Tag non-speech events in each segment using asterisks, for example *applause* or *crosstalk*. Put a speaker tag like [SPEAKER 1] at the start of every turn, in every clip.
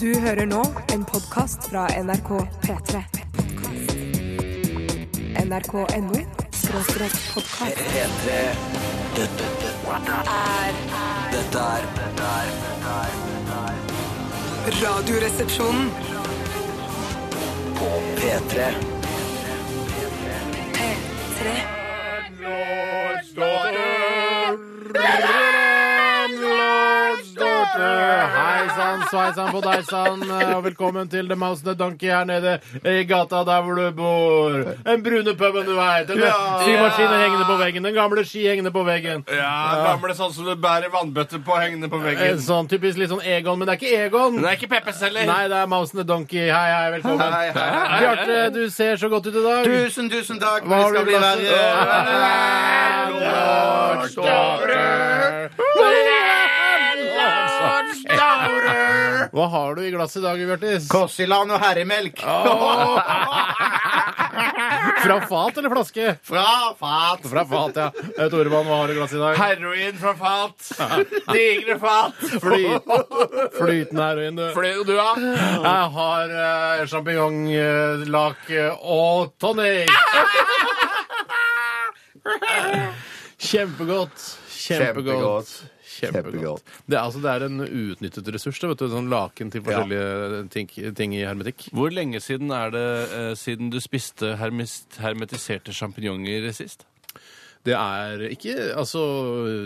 [SPEAKER 1] Du hører nå en podkast fra NRK P3. NRK.no skråstrek podkast.
[SPEAKER 2] P3 Dette, dette er Dette er dette er- dette er
[SPEAKER 1] Radioresepsjonen.
[SPEAKER 2] På P3
[SPEAKER 1] P3.
[SPEAKER 3] Hei sann, sveisann på deg sann, eh, og velkommen til The Mouse and the Donkey her nede i gata der hvor du bor. Den brune puben du veit. Den skimaskinen hengende på veggen. Den gamle ski hengende på veggen.
[SPEAKER 4] Ja, gamle sånn som du bærer vannbøtter på hengende på
[SPEAKER 3] En
[SPEAKER 4] veggen.
[SPEAKER 3] sånn typisk litt sånn Egon, men det er ikke Egon.
[SPEAKER 4] Men det er ikke Peppes heller.
[SPEAKER 3] Nei, det er Mouse and the Donkey. Hei, hei, velkommen.
[SPEAKER 4] Hei, hei, hei.
[SPEAKER 3] Bjarte, du ser så godt ut i dag.
[SPEAKER 5] Tusen, tusen takk.
[SPEAKER 3] Hva
[SPEAKER 5] Men det
[SPEAKER 3] har
[SPEAKER 5] skal
[SPEAKER 3] du
[SPEAKER 5] bli
[SPEAKER 3] plass-
[SPEAKER 5] verre.
[SPEAKER 3] Hva har du i glasset i dag, Bjartis?
[SPEAKER 5] Kossiland og herremelk.
[SPEAKER 3] Fra fat eller flaske?
[SPEAKER 5] Fra fat.
[SPEAKER 3] Fra fat, ja. Eh, Toremann, hva har du i glasset i dag?
[SPEAKER 4] Heroin fra fat. Digre fat.
[SPEAKER 3] Flyt, flytende heroin, du.
[SPEAKER 4] Fordi du har
[SPEAKER 3] Jeg har uh, sjampinjonglak eh, og tonic. Kjempegodt. Kjempegodt. Kjempegodt. Det er, altså, det er en uutnyttet ressurs. Det, vet du, sånn Laken til forskjellige eh, ting, ting i hermetikk.
[SPEAKER 4] Hvor lenge siden er det eh, siden du spiste hermis- hermetiserte sjampinjonger sist?
[SPEAKER 3] Det er ikke Altså,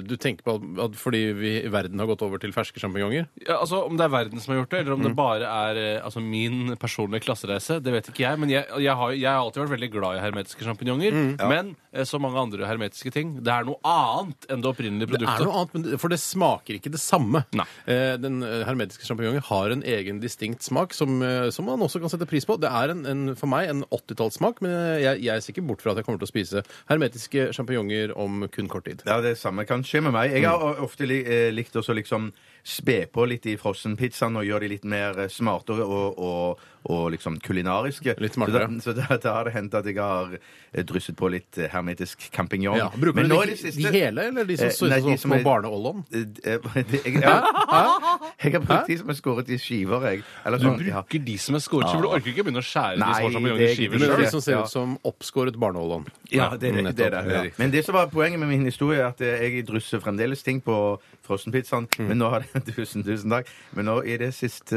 [SPEAKER 3] du tenker på at- at fordi vi i verden har gått over til ferske sjampinjonger?
[SPEAKER 4] Ja, altså, Om det er verden som har gjort det, eller om
[SPEAKER 5] Mm.
[SPEAKER 4] det bare er eh, altså, min personlige klassereise, det vet ikke jeg. Men jeg, jeg, har, jeg har alltid vært veldig glad i hermetiske sjampinjonger.
[SPEAKER 5] Mm.
[SPEAKER 4] Men eh, som mange andre hermetiske ting, det er noe annet enn det opprinnelige
[SPEAKER 3] Det
[SPEAKER 4] produktet.
[SPEAKER 3] er noe annet, men det, for det smaker ikke det samme.
[SPEAKER 4] Nei.
[SPEAKER 3] Eh, den eh, hermetiske sjampinjongen har en egen distinkt smak som, eh, som man også kan sette pris på. Det er en, en, for meg en 80-tallssmak, men jeg, jeg ser ikke bort fra at jeg kommer til å spise hermetiske sjampinjonger om kun kort tid.
[SPEAKER 5] Ja, det samme kan skje med meg. Jeg har
[SPEAKER 3] Mm.
[SPEAKER 5] ofte li eh, likt også liksom spe på litt i frossenpizzaen og gjøre de litt mer eh, smarte og, og, og, og liksom kulinariske.
[SPEAKER 3] Litt smartere.
[SPEAKER 5] Så da, så da, da har det hendt at jeg har eh, drysset på litt eh, hermetisk campignon.
[SPEAKER 3] Ja, bruker
[SPEAKER 5] Men
[SPEAKER 3] du
[SPEAKER 5] nå
[SPEAKER 3] de,
[SPEAKER 5] i det siste-
[SPEAKER 3] de hele, eller de
[SPEAKER 5] Eh,
[SPEAKER 3] som ser
[SPEAKER 5] nei,
[SPEAKER 3] ut
[SPEAKER 5] de
[SPEAKER 3] som
[SPEAKER 5] som
[SPEAKER 3] små
[SPEAKER 5] er-
[SPEAKER 3] barneollom?
[SPEAKER 5] Eh, eh, *laughs* det- Jeg, jeg, jeg har brukt de som er skåret i skiver, jeg. Eller
[SPEAKER 4] Du
[SPEAKER 5] sånn, ja.
[SPEAKER 4] bruker de som er skåret skiver. Du orker ikke begynne å skjære
[SPEAKER 5] Nei,
[SPEAKER 4] de små sjampinjongene
[SPEAKER 5] det
[SPEAKER 4] i
[SPEAKER 5] er
[SPEAKER 4] skiver
[SPEAKER 5] ikke-
[SPEAKER 3] Men
[SPEAKER 4] sjøl.
[SPEAKER 3] de som sånn ser
[SPEAKER 5] ja.
[SPEAKER 3] ut som oppskåret barneollom.
[SPEAKER 5] Ja, det, er det, det, er det,
[SPEAKER 3] Nettopp,
[SPEAKER 5] det er
[SPEAKER 3] ja.
[SPEAKER 5] det. Men det som var poenget med min historie, er at eh, jeg drysser fremdeles ting på frossenpizzaen.
[SPEAKER 3] Mm.
[SPEAKER 5] Men nå har det *laughs* Tusen, tusen takk. Men nå i det siste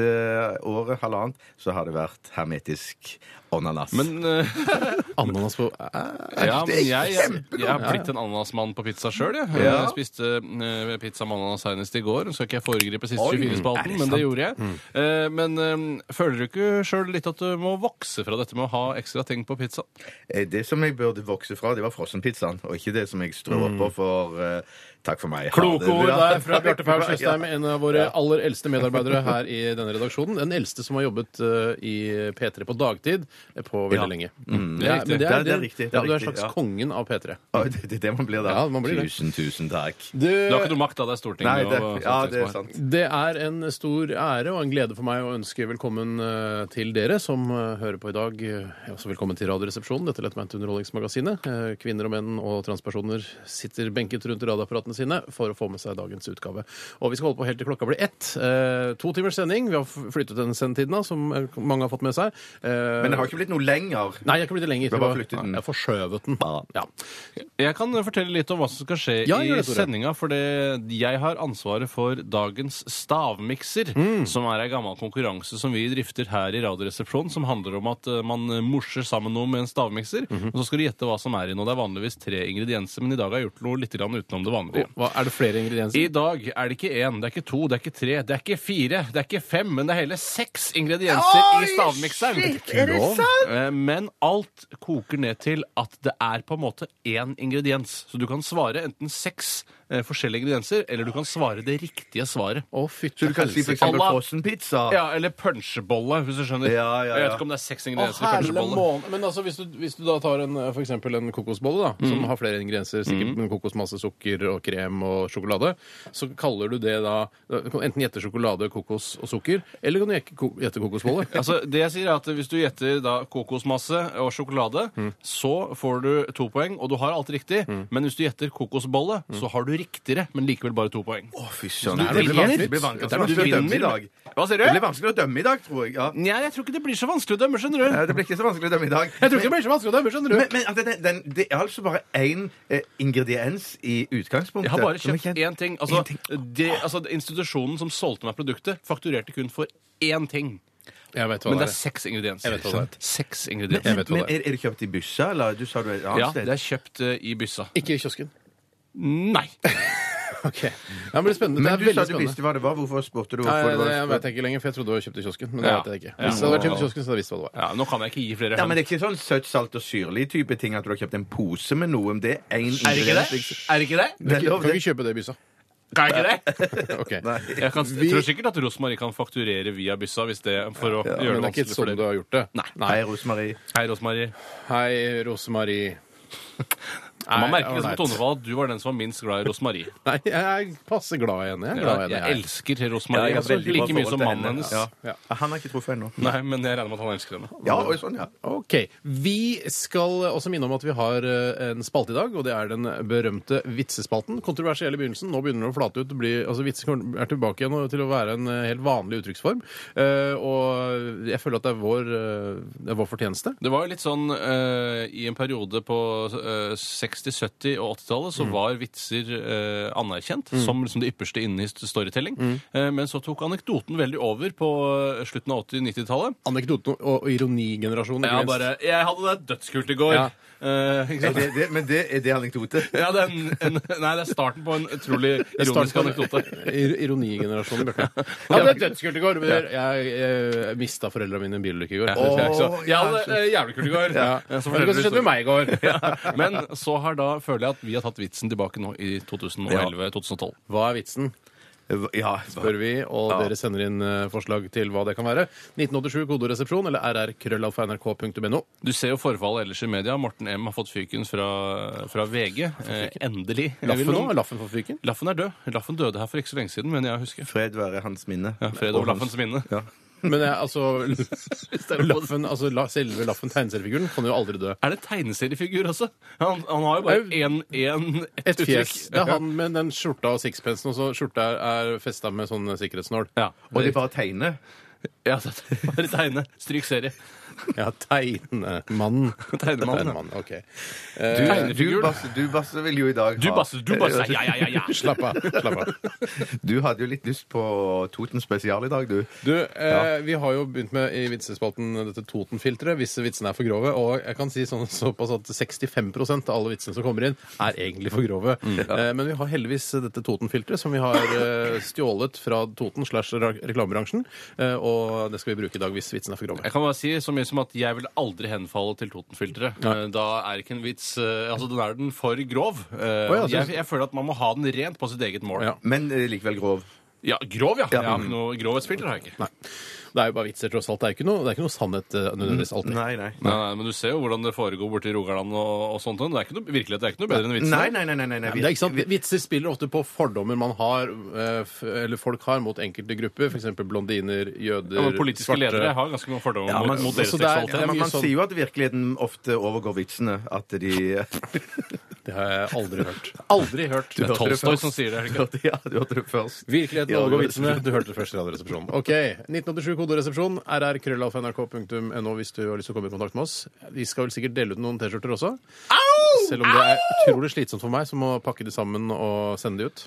[SPEAKER 5] året, halvannet, så har det vært hermetisk ananas.
[SPEAKER 4] Men, eh,
[SPEAKER 5] *laughs*
[SPEAKER 3] Ananas på eh,
[SPEAKER 4] ja, men
[SPEAKER 5] er
[SPEAKER 4] jeg, jeg,
[SPEAKER 5] kjempegodt.
[SPEAKER 4] jeg har blitt en ananasmann på pizza sjøl. Jeg.
[SPEAKER 5] Ja.
[SPEAKER 4] jeg spiste eh, pizza med ananas senest i går. Så skal ikke jeg foregripe siste
[SPEAKER 5] Oi, er
[SPEAKER 4] 24-spalten,
[SPEAKER 5] det
[SPEAKER 4] men
[SPEAKER 5] sant? Mm.
[SPEAKER 4] det gjorde jeg. Eh, men eh, føler du ikke sjøl litt at du må vokse fra dette med å ha ekstra ting på pizza?
[SPEAKER 5] Eh, Det som jeg burde vokse fra, det var frossenpizzaen, og ikke det som jeg strør oppå for eh, Takk for meg. Ha
[SPEAKER 3] Mm. Kloke
[SPEAKER 5] det
[SPEAKER 3] ord
[SPEAKER 5] bra.
[SPEAKER 3] der fra
[SPEAKER 5] *laughs*
[SPEAKER 3] Bjarte Paul
[SPEAKER 5] Ja.
[SPEAKER 3] Tjøstheim, en av våre aller eldste medarbeidere her i denne redaksjonen. Den eldste som har jobbet eh, i P3 på dagtid eh, på veldig
[SPEAKER 4] Ja.
[SPEAKER 3] lenge.
[SPEAKER 4] det er riktig.
[SPEAKER 3] Ja, men
[SPEAKER 5] Mm. Det er- det er riktig, det
[SPEAKER 3] Ja,
[SPEAKER 5] er
[SPEAKER 3] du er
[SPEAKER 5] riktig,
[SPEAKER 3] slags
[SPEAKER 5] ja.
[SPEAKER 3] kongen av P3.
[SPEAKER 5] Å, Det det er det man blir da.
[SPEAKER 3] Ja, man blir det.
[SPEAKER 5] tusen, tusen takk.
[SPEAKER 4] Du har ikke noe makt, da. Det er Stortinget.
[SPEAKER 5] Nei, det,
[SPEAKER 4] og-
[SPEAKER 5] ja, det er sant.
[SPEAKER 3] Det er en stor ære og en glede for meg å ønske velkommen eh, til dere som eh, hører på i dag. Eh, Også velkommen til Radioresepsjonen, dette lettbeinte underholdningsmagasinet. Eh, Kvinner og menn og transpersoner sitter benket rundt radioapparatene sine for å få med seg dagens utgave. Og vi skal holde på helt til klokka blir ett. Eh, To timers sending. Vi har f- flyttet den sendetiden, da, som eh, mange har fått med seg. Eh,
[SPEAKER 5] Men det har ikke blitt noe lenger.
[SPEAKER 3] Nei, jeg har ikke blitt det lenger.
[SPEAKER 5] Du har bare flyttet
[SPEAKER 3] Jeg
[SPEAKER 5] den.
[SPEAKER 3] har forskjøvet den. Ja.
[SPEAKER 4] Jeg kan fortelle litt om hva som skal skje
[SPEAKER 3] Ja, gjør
[SPEAKER 4] i
[SPEAKER 3] det, Tore.
[SPEAKER 4] sendinga. For det, jeg har ansvaret for dagens stavmikser, som er ei gammel konkurranse som vi drifter her i Radioresepsjonen, som handler om at eh, man morser sammen noe med en stavmikser. Og så skal du gjette hva som er i den. Og det er vanligvis tre ingredienser, men i dag har jeg gjort noe litt grann utenom det vanlige.
[SPEAKER 3] Hva, er det flere ingredienser?
[SPEAKER 4] I dag er det ikke én, det er ikke to, det er ikke tre, det er ikke fire, det er ikke fem, men det er hele seks ingredienser i stavmikseren.
[SPEAKER 3] er det sant?
[SPEAKER 4] Eh, Men alt koker ned til at det er på en måte én ingrediens. Så du kan svare enten seks eh, forskjellige ingredienser, eller du kan svare det riktige svaret.
[SPEAKER 3] Å, fytti
[SPEAKER 5] Så du kan si for
[SPEAKER 3] helsike.
[SPEAKER 5] eksempel
[SPEAKER 4] Allah.
[SPEAKER 5] frossenpizza.
[SPEAKER 4] Ja, eller punchebolle, hvis du skjønner.
[SPEAKER 5] Ja, ja, ja.
[SPEAKER 4] Jeg vet ikke om det er seks
[SPEAKER 3] Å,
[SPEAKER 4] ingredienser i
[SPEAKER 3] herre
[SPEAKER 4] punchebolle.
[SPEAKER 3] måne. Men altså, hvis du, hvis du da tar en, eh, for eksempel en kokosbolle, da, som har flere ingredienser, sikkert med kokosmasse, sukker og krem og sjokolade, så kaller du det da Du kan enten gjette sjokolade, kokos og sukker, eller kan du gjette ko- gjette kokosbolle.
[SPEAKER 4] Altså, det jeg sier er at Hvis du gjetter da kokosmasse og sjokolade, så får du to poeng, og du har alt riktig. Men hvis du gjetter kokosbolle, så har du riktigere, men likevel bare to poeng.
[SPEAKER 5] Å, fy søren.
[SPEAKER 4] Det er
[SPEAKER 5] Det
[SPEAKER 4] jo
[SPEAKER 5] blir
[SPEAKER 4] helt
[SPEAKER 5] vanskelig-
[SPEAKER 4] nytt.
[SPEAKER 5] det blir vanskelig
[SPEAKER 4] Dette er noe
[SPEAKER 5] det blir
[SPEAKER 4] du
[SPEAKER 5] vanskelig å dømme i
[SPEAKER 4] vinner.
[SPEAKER 5] dag. Mm.
[SPEAKER 4] Hva sier du?
[SPEAKER 5] Det blir vanskelig å dømme i dag, tror jeg. Ja.
[SPEAKER 4] Nei, jeg tror ikke det blir så vanskelig å dømme, skjønner du.
[SPEAKER 5] Eh, Det blir ikke så vanskelig å dømme i dag.
[SPEAKER 4] Jeg tror ikke det blir så vanskelig å dømme,
[SPEAKER 3] sånn
[SPEAKER 4] skjønner du.
[SPEAKER 5] Men, men at det, den, det er altså bare én eh, ingrediens i utgangspunktet.
[SPEAKER 4] Jeg har bare
[SPEAKER 5] som er
[SPEAKER 4] kjøpt
[SPEAKER 5] kjent.
[SPEAKER 4] én ting. Altså, det, altså, institusjonen som solgte meg produktet, fakturerte kun for én ting.
[SPEAKER 3] Jeg vet hva
[SPEAKER 4] Men det
[SPEAKER 3] det
[SPEAKER 4] er
[SPEAKER 3] er.
[SPEAKER 4] seks ingredienser.
[SPEAKER 3] Jeg vet hva det er.
[SPEAKER 4] Seks
[SPEAKER 3] Jeg
[SPEAKER 4] ingredienser.
[SPEAKER 3] vet hva
[SPEAKER 5] Men
[SPEAKER 3] det er.
[SPEAKER 5] er, er det kjøpt i byssa, eller du sa du er et annet
[SPEAKER 4] Ja,
[SPEAKER 5] sted?
[SPEAKER 4] det er kjøpt eh, i byssa.
[SPEAKER 3] Ikke i kiosken.
[SPEAKER 4] Nei.
[SPEAKER 3] Ok. Ja, men det blir spennende.
[SPEAKER 5] Men
[SPEAKER 3] det
[SPEAKER 5] du
[SPEAKER 3] er
[SPEAKER 5] sa
[SPEAKER 3] veldig
[SPEAKER 5] du
[SPEAKER 3] spennende.
[SPEAKER 5] visste hva det var. Hvorfor spurte du?
[SPEAKER 3] Nei,
[SPEAKER 5] Hvorfor det var
[SPEAKER 3] det jeg vet jeg ikke lenger, for jeg trodde det var kjøpt i kiosken. Men det
[SPEAKER 4] Ja.
[SPEAKER 3] vet jeg ikke.
[SPEAKER 4] Ja.
[SPEAKER 3] Hvis det hadde vært kjøpt i kiosken, så hadde jeg visst hva det var.
[SPEAKER 4] Ja, nå kan jeg ikke gi flere
[SPEAKER 5] Ja, men
[SPEAKER 4] hender.
[SPEAKER 5] det er ikke sånn søtt, salt og syrlig type ting at du har kjøpt en pose med noe. om Det er én liksom.
[SPEAKER 4] Er det ikke det? Er det ikke det?
[SPEAKER 5] Det er lov,
[SPEAKER 3] Kan
[SPEAKER 5] det.
[SPEAKER 3] ikke kjøpe det i byssa.
[SPEAKER 4] Kan jeg ikke det?
[SPEAKER 3] Ok.
[SPEAKER 4] *laughs* Jeg, kan, jeg tror sikkert at Rosmarie kan fakturere via byssa hvis det, for å gjøre
[SPEAKER 3] Men det
[SPEAKER 4] det
[SPEAKER 3] er ikke
[SPEAKER 4] vanskelig for
[SPEAKER 3] sånn du
[SPEAKER 4] dere.
[SPEAKER 3] har gjort det.
[SPEAKER 5] Hei, Rosemarie.
[SPEAKER 4] Hei, Rosmarie.
[SPEAKER 3] Hei, Rosemarie.
[SPEAKER 4] Man
[SPEAKER 3] Nei,
[SPEAKER 4] merker liksom
[SPEAKER 3] alright.
[SPEAKER 4] på tonefall at du var den som var minst glad i Rosmarie.
[SPEAKER 3] Nei, jeg er passe glad i henne. Jeg er glad i
[SPEAKER 4] Jeg,
[SPEAKER 3] henne.
[SPEAKER 4] jeg
[SPEAKER 3] jeg.
[SPEAKER 4] elsker
[SPEAKER 5] Ja, jeg
[SPEAKER 4] Rosmarie
[SPEAKER 5] har
[SPEAKER 4] altså,
[SPEAKER 5] veldig bra
[SPEAKER 4] like mye
[SPEAKER 5] forhold
[SPEAKER 4] som
[SPEAKER 5] til
[SPEAKER 4] mannen
[SPEAKER 5] henne.
[SPEAKER 4] hennes.
[SPEAKER 5] Ja.
[SPEAKER 3] Ja.
[SPEAKER 5] Han har ikke truffet ennå.
[SPEAKER 4] *laughs* Nei, men jeg regner med at han elsker henne.
[SPEAKER 5] Ja, oi, sånn, ja.
[SPEAKER 3] Ok. Vi skal også minne om at vi har eh, en spalte i dag, og det er den berømte vitsespalten. Kontroversiell i begynnelsen. Nå begynner det å flate ut. Bli, altså Vitser kommer- er tilbake igjen og til å være en eh, helt vanlig uttrykksform. Eh, og jeg føler at det er vår, eh, det er vår fortjeneste.
[SPEAKER 4] Det var jo litt sånn eh, I en periode på eh, 60-, 70- og 80-tallet så var vitser eh, anerkjent som liksom det ypperste innen hist- storytelling. Eh, men så tok anekdoten veldig over på eh, slutten av 80-, 90-tallet.
[SPEAKER 3] Anekdoten og ironigenerasjonen. ikke
[SPEAKER 4] Ja,
[SPEAKER 3] minst.
[SPEAKER 4] bare Jeg hadde det dødskult i går.
[SPEAKER 3] Ja.
[SPEAKER 4] Eh, ikke
[SPEAKER 3] *laughs*
[SPEAKER 5] Er
[SPEAKER 4] sant?
[SPEAKER 5] det, det, men det er det anekdote.
[SPEAKER 4] Ja, det er en, en, nei, det er starten på en
[SPEAKER 3] *laughs*
[SPEAKER 4] utrolig
[SPEAKER 3] Jeg starter
[SPEAKER 4] ironisk anekdote.
[SPEAKER 3] på *laughs* ir-
[SPEAKER 4] *laughs*
[SPEAKER 3] Ironigenerasjonen, Bjarte. Ja, det er dødskult i går. men Jeg, jeg mista foreldrene mine i en bilulykke i går.
[SPEAKER 4] Jeg synes jeg ikke så-
[SPEAKER 5] Åh,
[SPEAKER 4] jeg
[SPEAKER 5] ja,
[SPEAKER 4] hadde det jævlig kult i går. *laughs*
[SPEAKER 3] Ja.
[SPEAKER 4] Eh, så
[SPEAKER 3] Men
[SPEAKER 4] forteller
[SPEAKER 3] det skjedde
[SPEAKER 4] du
[SPEAKER 3] med meg i går.
[SPEAKER 4] historien. Men så har da, føler jeg at vi har tatt vitsen tilbake nå i 2011-2012.
[SPEAKER 3] *laughs* Hva er vitsen?
[SPEAKER 5] Ja,
[SPEAKER 3] spør vi, og dere sender inn eh, forslag til hva det kan være. 1987 kodoresepsjon eller rrkrøllalfa.nrk.no.
[SPEAKER 4] Du ser jo forfallet ellers i media. Morten M har fått fyken fra, fra VG. Eh, endelig.
[SPEAKER 3] Laffen
[SPEAKER 4] vil
[SPEAKER 3] nå?
[SPEAKER 4] noen-
[SPEAKER 3] er Laffen for fyken?
[SPEAKER 4] Laffen er død. Laffen døde her for ikke så lenge siden, men jeg husker.
[SPEAKER 5] Fred være hans minne.
[SPEAKER 4] Ja, fred over Laffens minne.
[SPEAKER 5] Ja.
[SPEAKER 3] Men jeg, altså, *laughs* laffen, altså la, Selve Laffen, tegneseriefiguren, kan jo aldri dø.
[SPEAKER 4] Er det tegneseriefigur også? Han, han har jo bare
[SPEAKER 3] Au.
[SPEAKER 4] én ett
[SPEAKER 3] Et fjes.
[SPEAKER 4] uttrykk.
[SPEAKER 3] Det er han med den skjorta og sixpensen, og så skjorta er, er festa med sånn sikkerhetsnål.
[SPEAKER 4] Ja.
[SPEAKER 5] Og det er bare å tegne.
[SPEAKER 4] ja, *laughs* det er bare tegne. Stryk serie.
[SPEAKER 3] Ja, *laughs* tegnemannen.
[SPEAKER 4] Tegnemannen, ja.
[SPEAKER 3] Tegnemannen, ok. Eh,
[SPEAKER 5] Du, du,
[SPEAKER 4] Tegnefigur.
[SPEAKER 5] Basse, du Basse, vil jo i dag ha
[SPEAKER 4] Du, Basse, du, Basse. Ja, ja, ja. ja.
[SPEAKER 3] *laughs* Slapp av. slapp av.
[SPEAKER 5] Du hadde jo litt lyst på Toten spesial i dag, du.
[SPEAKER 3] Du, eh, Vi har jo begynt med i vitsespalten dette Toten-filteret, hvis vitsene er for grove. Og jeg kan si sånn, såpass at 65 av alle vitsene som kommer inn, er egentlig for grove.
[SPEAKER 4] Mm.
[SPEAKER 3] eh, men vi har heldigvis dette Toten-filteret, som vi har eh, stjålet fra Toten slash re- reklamebransjen. Eh, og det skal vi bruke i dag hvis vitsene er for grove.
[SPEAKER 4] Jeg kan bare si så mye som at jeg ville aldri henfalle til Totenfilteret. Eh, Da er ikke en vits eh, Altså, den er den for grov. Eh,
[SPEAKER 3] ja,
[SPEAKER 4] jeg,
[SPEAKER 3] synes-
[SPEAKER 4] jeg føler at man må ha den rent på sitt eget mål.
[SPEAKER 3] Ja.
[SPEAKER 5] Men eh, likevel grov.
[SPEAKER 4] Ja, grov, ja. Jeg har ikke noe Grovhetsfilter har jeg ikke.
[SPEAKER 3] Nei. Det er jo bare vitser, tross alt. Det er jo ikke noe, det er ikke noe sannhet eh, nødvendigvis alltid.
[SPEAKER 5] Nei, nei.
[SPEAKER 4] Nei, nei, men du ser jo hvordan det foregår borti Rogaland og, og sånt. og Det er ikke noe, virkelig, det er ikke noe bedre enn vitsen.
[SPEAKER 5] Nei, nei, nei, nei, nei, nei.
[SPEAKER 3] Men det er ikke sant, Vitser spiller ofte på fordommer man har, eh, f- eller folk har mot enkelte grupper. F.eks. blondiner, jøder,
[SPEAKER 4] Ja, men politiske
[SPEAKER 3] svarte.
[SPEAKER 4] ledere har ganske mange fordommer
[SPEAKER 5] Ja,
[SPEAKER 4] mot,
[SPEAKER 5] men-
[SPEAKER 4] mot deres
[SPEAKER 3] så det er-
[SPEAKER 4] seksualitet.
[SPEAKER 3] det er
[SPEAKER 5] man,
[SPEAKER 3] mye
[SPEAKER 5] man
[SPEAKER 3] sånn-
[SPEAKER 5] sier jo at virkeligheten ofte overgår vitsene. At de
[SPEAKER 3] Det har jeg aldri hørt. *laughs* Aldri hørt.
[SPEAKER 4] Det er
[SPEAKER 5] hørte det
[SPEAKER 4] Tolstoy
[SPEAKER 5] først.
[SPEAKER 4] som sier det. er det ikke?
[SPEAKER 5] Ja, du hørte det først.
[SPEAKER 3] Virkeligheten
[SPEAKER 5] Ja,
[SPEAKER 3] overgår
[SPEAKER 5] det-
[SPEAKER 3] vitsene. Du hørte det først i Radioresepsjonen. Ok, 1987 koderesepsjon, rrkrøllalfa.nrk.no hvis du har lyst til å komme i kontakt med oss. Vi skal vel sikkert dele ut noen T-skjorter også. Selv om det er utrolig slitsomt for meg som må pakke de sammen og sende de ut.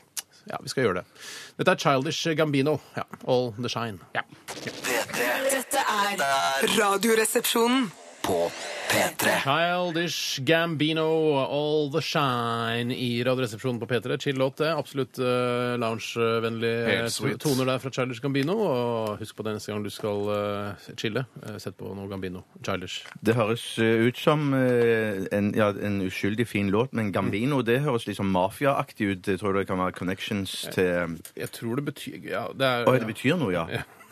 [SPEAKER 3] Ja, vi skal gjøre det. Dette er Childish Gambino. Ja, All the Shine.
[SPEAKER 1] Dette er Radioresepsjonen.
[SPEAKER 2] På P3
[SPEAKER 3] Childish Gambino, All the Shine i Radioresepsjonen på P3. Chill låt, det. Absolutt uh, loungevennlig eh,
[SPEAKER 4] Helt sweet.
[SPEAKER 3] toner der fra Childish Gambino. Og husk på det neste gang du skal eh, chille, eh, sett på noe Gambino. Childish.
[SPEAKER 5] Det høres eh, ut som eh, en, ja, en uskyldig fin låt, men Gambino det høres litt sånn mafiaaktig ut. Jeg tror det kan være connections til eh,
[SPEAKER 3] Jeg tror det betyr Ja, det er
[SPEAKER 5] Å, det betyr noe, ja.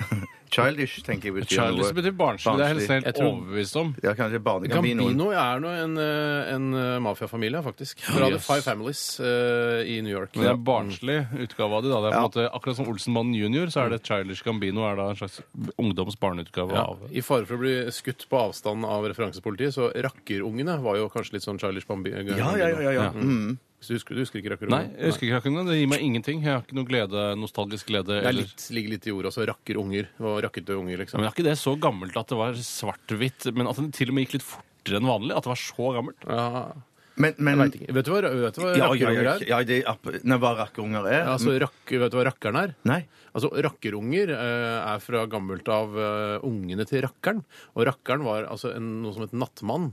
[SPEAKER 5] *laughs* Childish tenker jeg betyr
[SPEAKER 4] Charlies
[SPEAKER 5] noe.
[SPEAKER 4] betyr barnslig. Det er jeg nesten
[SPEAKER 3] Jeg
[SPEAKER 4] helt
[SPEAKER 3] tror-
[SPEAKER 4] overbevist om.
[SPEAKER 5] Ja, kanskje Barne-Gambino.
[SPEAKER 3] Gambino er nå en, eh, en eh, mafiafamilie, faktisk. Fra The
[SPEAKER 4] Yes.
[SPEAKER 3] Five Families eh, i New York.
[SPEAKER 4] Men det er barnslig utgave av de da. Det er på en måte, akkurat som Olsenmann junior, så er det Childish Gambino er da en slags ungdomsbarneutgave
[SPEAKER 3] Ja,
[SPEAKER 4] av
[SPEAKER 3] I fare for å bli skutt på avstand av referansepolitiet, så rakkerungene var jo kanskje litt sånn Childish Bambi.
[SPEAKER 5] Ja, ja, ja. ja, ja. Mm.
[SPEAKER 3] Hvis du husker, du husker ikke
[SPEAKER 4] Nei,
[SPEAKER 3] rakkerungen?
[SPEAKER 4] jeg husker ikke akkurat det. Det gir meg ingenting. Jeg har ikke noe glede, nostalgisk glede.
[SPEAKER 3] Det er
[SPEAKER 4] eller-
[SPEAKER 3] litt, ligger litt i ordet også. Rakker unger. Og rakkete unger,
[SPEAKER 4] Ja,
[SPEAKER 3] liksom.
[SPEAKER 4] men det er ikke det så gammelt at det var svart-hvitt, men at det til og med gikk litt fortere enn vanlig? At det var så gammelt?
[SPEAKER 3] Ja,
[SPEAKER 5] Men, men
[SPEAKER 3] vet, ikke. vet du hva, vet du hva
[SPEAKER 5] ja, ja,
[SPEAKER 3] rakkerunger
[SPEAKER 5] ja,
[SPEAKER 3] er?
[SPEAKER 5] ja, det er app- Nei, hva rakkerunger er? Mm.
[SPEAKER 3] Ja, altså, rakk, vet du hva rakkeren er?
[SPEAKER 5] Nei.
[SPEAKER 3] Altså, Rakkerunger eh, er fra gammelt av eh, ungene til rakkeren. Og rakkeren var altså en, noe som het nattmann.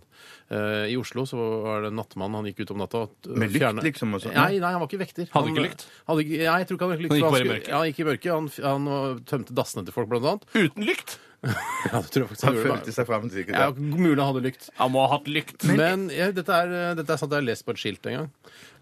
[SPEAKER 3] Eh, I Oslo så var det en nattmann han gikk ut om natta og
[SPEAKER 5] Med lykt, liksom, og sånn?
[SPEAKER 3] Nei, nei, han var ikke vekter.
[SPEAKER 4] Hadde ikke lykt?
[SPEAKER 3] Hadde, ikke- nei, jeg tror ikke han hadde lykt.
[SPEAKER 4] Han gikk
[SPEAKER 3] for
[SPEAKER 4] bare i
[SPEAKER 3] skulle- Ja, han gikk i mørket. Han, f- han eh, tømte dassene til folk, blant annet.
[SPEAKER 4] Uten lykt!
[SPEAKER 3] Ja, det tror jeg faktisk
[SPEAKER 5] Han
[SPEAKER 3] han gjorde.
[SPEAKER 5] følte
[SPEAKER 3] bare.
[SPEAKER 5] seg fram sikkert.
[SPEAKER 3] Ja, mulig han hadde lykt.
[SPEAKER 4] Han må ha hatt lykt.
[SPEAKER 3] Men ja, dette, er, dette er sant, jeg har lest på et skilt en gang.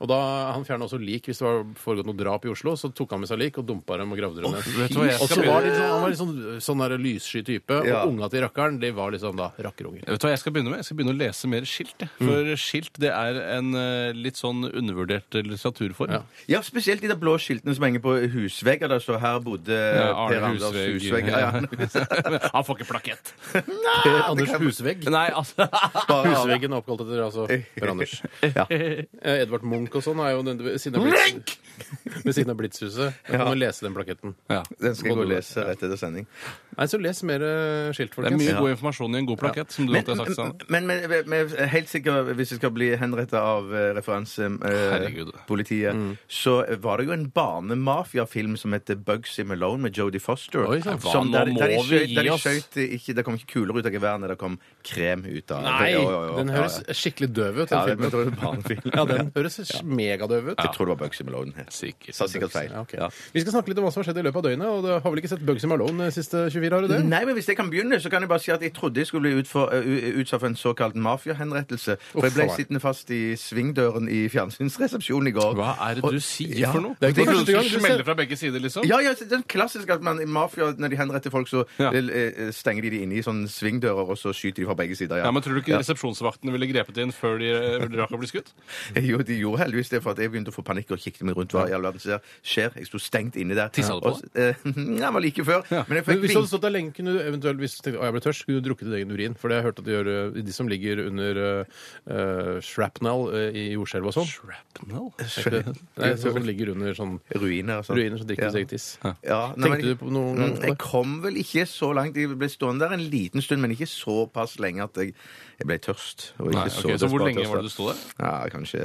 [SPEAKER 3] Og da, Han fjerna også lik hvis det var foregått noe drap i Oslo. Så tok han med seg lik og dumpa dem og gravde dem ned.
[SPEAKER 4] vet du hva jeg
[SPEAKER 3] og så
[SPEAKER 4] skal
[SPEAKER 3] var
[SPEAKER 4] begynne-
[SPEAKER 3] de sånn, Han var litt sånn, sånn der lyssky type.
[SPEAKER 5] Ja.
[SPEAKER 3] Og unga til rakkeren de var liksom da rakkerunger.
[SPEAKER 4] Vet du hva Jeg skal begynne med? Jeg skal begynne å lese mer skilt. jeg. For skilt det er en eh, litt sånn undervurdert litteraturform.
[SPEAKER 3] Ja.
[SPEAKER 5] Ja, spesielt de der blå skiltene som henger på husvegger. Der, så her bodde
[SPEAKER 4] Ja,
[SPEAKER 5] Per Anders Husvegg. Ja, *laughs* ja.
[SPEAKER 4] Eh, *laughs* Han får ikke plakett.
[SPEAKER 3] Per Anders Husvegg.
[SPEAKER 4] Nei,
[SPEAKER 3] *laughs*
[SPEAKER 4] altså
[SPEAKER 3] Husveggen er oppkalt etter altså Per Anders. Eh, Edvard Munch og sånn er jo den, ved siden av Blitz, ved siden av Blitzhuset. Da kan man lese den plaketten.
[SPEAKER 4] ja. *laughs*
[SPEAKER 5] Den skal jeg gå og lese rett etter sending.
[SPEAKER 3] Nei, Så les mer eh, skilt,
[SPEAKER 4] Det er
[SPEAKER 3] folkens.
[SPEAKER 4] mye god informasjon i en god plakett, som du
[SPEAKER 5] Men,
[SPEAKER 4] alltid har sagt. Sanne.
[SPEAKER 5] men, men, men helt sikkert, hvis jeg skal bli henrettet av eh, referanse eh,
[SPEAKER 4] Herregud.
[SPEAKER 5] politiet,
[SPEAKER 3] Mm.
[SPEAKER 5] så var det jo en barnemafiafilm som heter Bugsy Malone med Jodie Foster.
[SPEAKER 3] Oi, sant.
[SPEAKER 5] som
[SPEAKER 4] Hva,
[SPEAKER 5] der,
[SPEAKER 4] nå
[SPEAKER 5] der, de
[SPEAKER 4] må vi
[SPEAKER 5] skjøt,
[SPEAKER 4] gi
[SPEAKER 5] der de
[SPEAKER 4] oss.
[SPEAKER 5] skjøt eh, ikke, Det kom ikke kuler ut av geværene, det kom krem ut av
[SPEAKER 3] Nei!
[SPEAKER 5] Jo, jo, jo.
[SPEAKER 3] Den høres skikkelig døv ut, den
[SPEAKER 5] Ja, ja. Ja, men
[SPEAKER 3] filmen.
[SPEAKER 5] det var en barnefilm.
[SPEAKER 3] *laughs* Ja, den høres megadøv ut.
[SPEAKER 5] Jeg tror det var Bugsy Malone. het.
[SPEAKER 4] Sikkert.
[SPEAKER 5] Sa sikkert feil.
[SPEAKER 3] Ja, ok. Vi skal snakke litt om hva som har skjedd i løpet av døgnet. og du har vel ikke sett Bugsy Malone de siste 24 år? i det?
[SPEAKER 5] Nei, men Hvis Mm, jeg kan begynne, så kan jeg bare si at jeg trodde jeg skulle bli utfor, ø, u- utsatt for en såkalt mafiahenrettelse. For jeg ble
[SPEAKER 3] Uff, faen.
[SPEAKER 5] sittende fast i svingdøren i fjernsynsresepsjonen i går.
[SPEAKER 4] Hva er det
[SPEAKER 5] Og-
[SPEAKER 4] du sier
[SPEAKER 5] ja.
[SPEAKER 4] for noe?
[SPEAKER 3] Det er ikke
[SPEAKER 4] Hvorfor
[SPEAKER 3] første gang du
[SPEAKER 4] smeller
[SPEAKER 3] ser-
[SPEAKER 4] fra begge sider, liksom?
[SPEAKER 5] *laughs* Ja, ja, så det er klassisk at man i mafia, når de henretter folk, så
[SPEAKER 4] Ja.
[SPEAKER 5] eh, eh, stenger de de inne i sånne svingdører, og så skyter de fra begge sider. Ja.
[SPEAKER 4] Ja, men Tror du ikke resepsjonsvaktene ville grepet inn før de eh, rakk å bli skutt?
[SPEAKER 5] *laughs* Jo, de gjorde heldigvis det, for at jeg begynte å få panikk og kikket meg rundt hva i all verden som skjer. Jeg sto stengt inne der.
[SPEAKER 4] Tissa du på
[SPEAKER 5] Og s- eh, *laughs* Nei, det var like før. Men jeg
[SPEAKER 3] Men
[SPEAKER 5] fikk
[SPEAKER 3] hvis du
[SPEAKER 4] sånn
[SPEAKER 3] hadde stått der lenge, kunne du eventuelt hvis du tenkte, å, jeg ble tørst, skulle du drukket din egen urin. For det har jeg hørt at de gjør eh, de som ligger under eh, eh, shrapnel eh, i jordskjelv og sånn.
[SPEAKER 4] Shrapnel?
[SPEAKER 3] Det
[SPEAKER 4] *laughs*
[SPEAKER 3] er sånn som ligger under sånn
[SPEAKER 5] ruiner og sånn.
[SPEAKER 3] ruiner, så drikker du
[SPEAKER 5] Ja.
[SPEAKER 3] sitt eget tiss.
[SPEAKER 5] Ja, nei, men-
[SPEAKER 3] Tenkte du på noen gang
[SPEAKER 5] Mm,
[SPEAKER 3] på
[SPEAKER 5] Jeg
[SPEAKER 3] det?
[SPEAKER 5] kom vel ikke så langt. Jeg ble stående der en liten stund, men ikke såpass lenge at jeg, jeg ble tørst. og
[SPEAKER 4] Nei,
[SPEAKER 5] ikke
[SPEAKER 4] ok, så hvor
[SPEAKER 5] desperat
[SPEAKER 4] lenge
[SPEAKER 5] tørst,
[SPEAKER 4] var det
[SPEAKER 5] da.
[SPEAKER 4] du sto der?
[SPEAKER 5] Ja, kanskje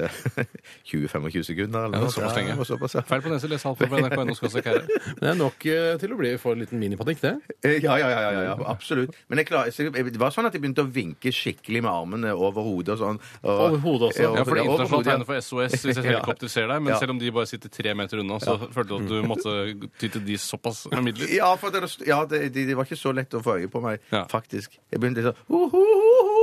[SPEAKER 5] *laughs* 20-25 sekunder. Eller
[SPEAKER 4] Ja,
[SPEAKER 5] noe
[SPEAKER 4] det er såpass
[SPEAKER 5] Ja,
[SPEAKER 4] lenge.
[SPEAKER 5] det var såpass, ja.
[SPEAKER 4] Feil på nese, les halvparten på NRK.no. skal se
[SPEAKER 5] *laughs*
[SPEAKER 4] kære.
[SPEAKER 3] Det er nok eh, til å bli få en liten minipanikk, det.
[SPEAKER 5] Eh, Ja, ja, ja, ja, ja, ja absolutt. Men jeg klar, så jeg, det var sånn at jeg begynte å vinke skikkelig med armene over hodet og sånn. Og,
[SPEAKER 3] Over hodet også.
[SPEAKER 5] Ja,
[SPEAKER 4] Ja, for det
[SPEAKER 5] ja, over
[SPEAKER 4] internasjonale
[SPEAKER 5] hodet, *laughs* ja.
[SPEAKER 4] tegnet for SOS hvis et helikopter ser deg, men
[SPEAKER 5] Ja.
[SPEAKER 4] selv om de bare sitter tre meter unna, så følte du at du måtte ty til de såpass midler.
[SPEAKER 5] Ja, for det, ja det, det, det var ikke så lett å få øye på meg,
[SPEAKER 4] Ja.
[SPEAKER 5] faktisk. Jeg begynte sånn ho, ho, ho, ho.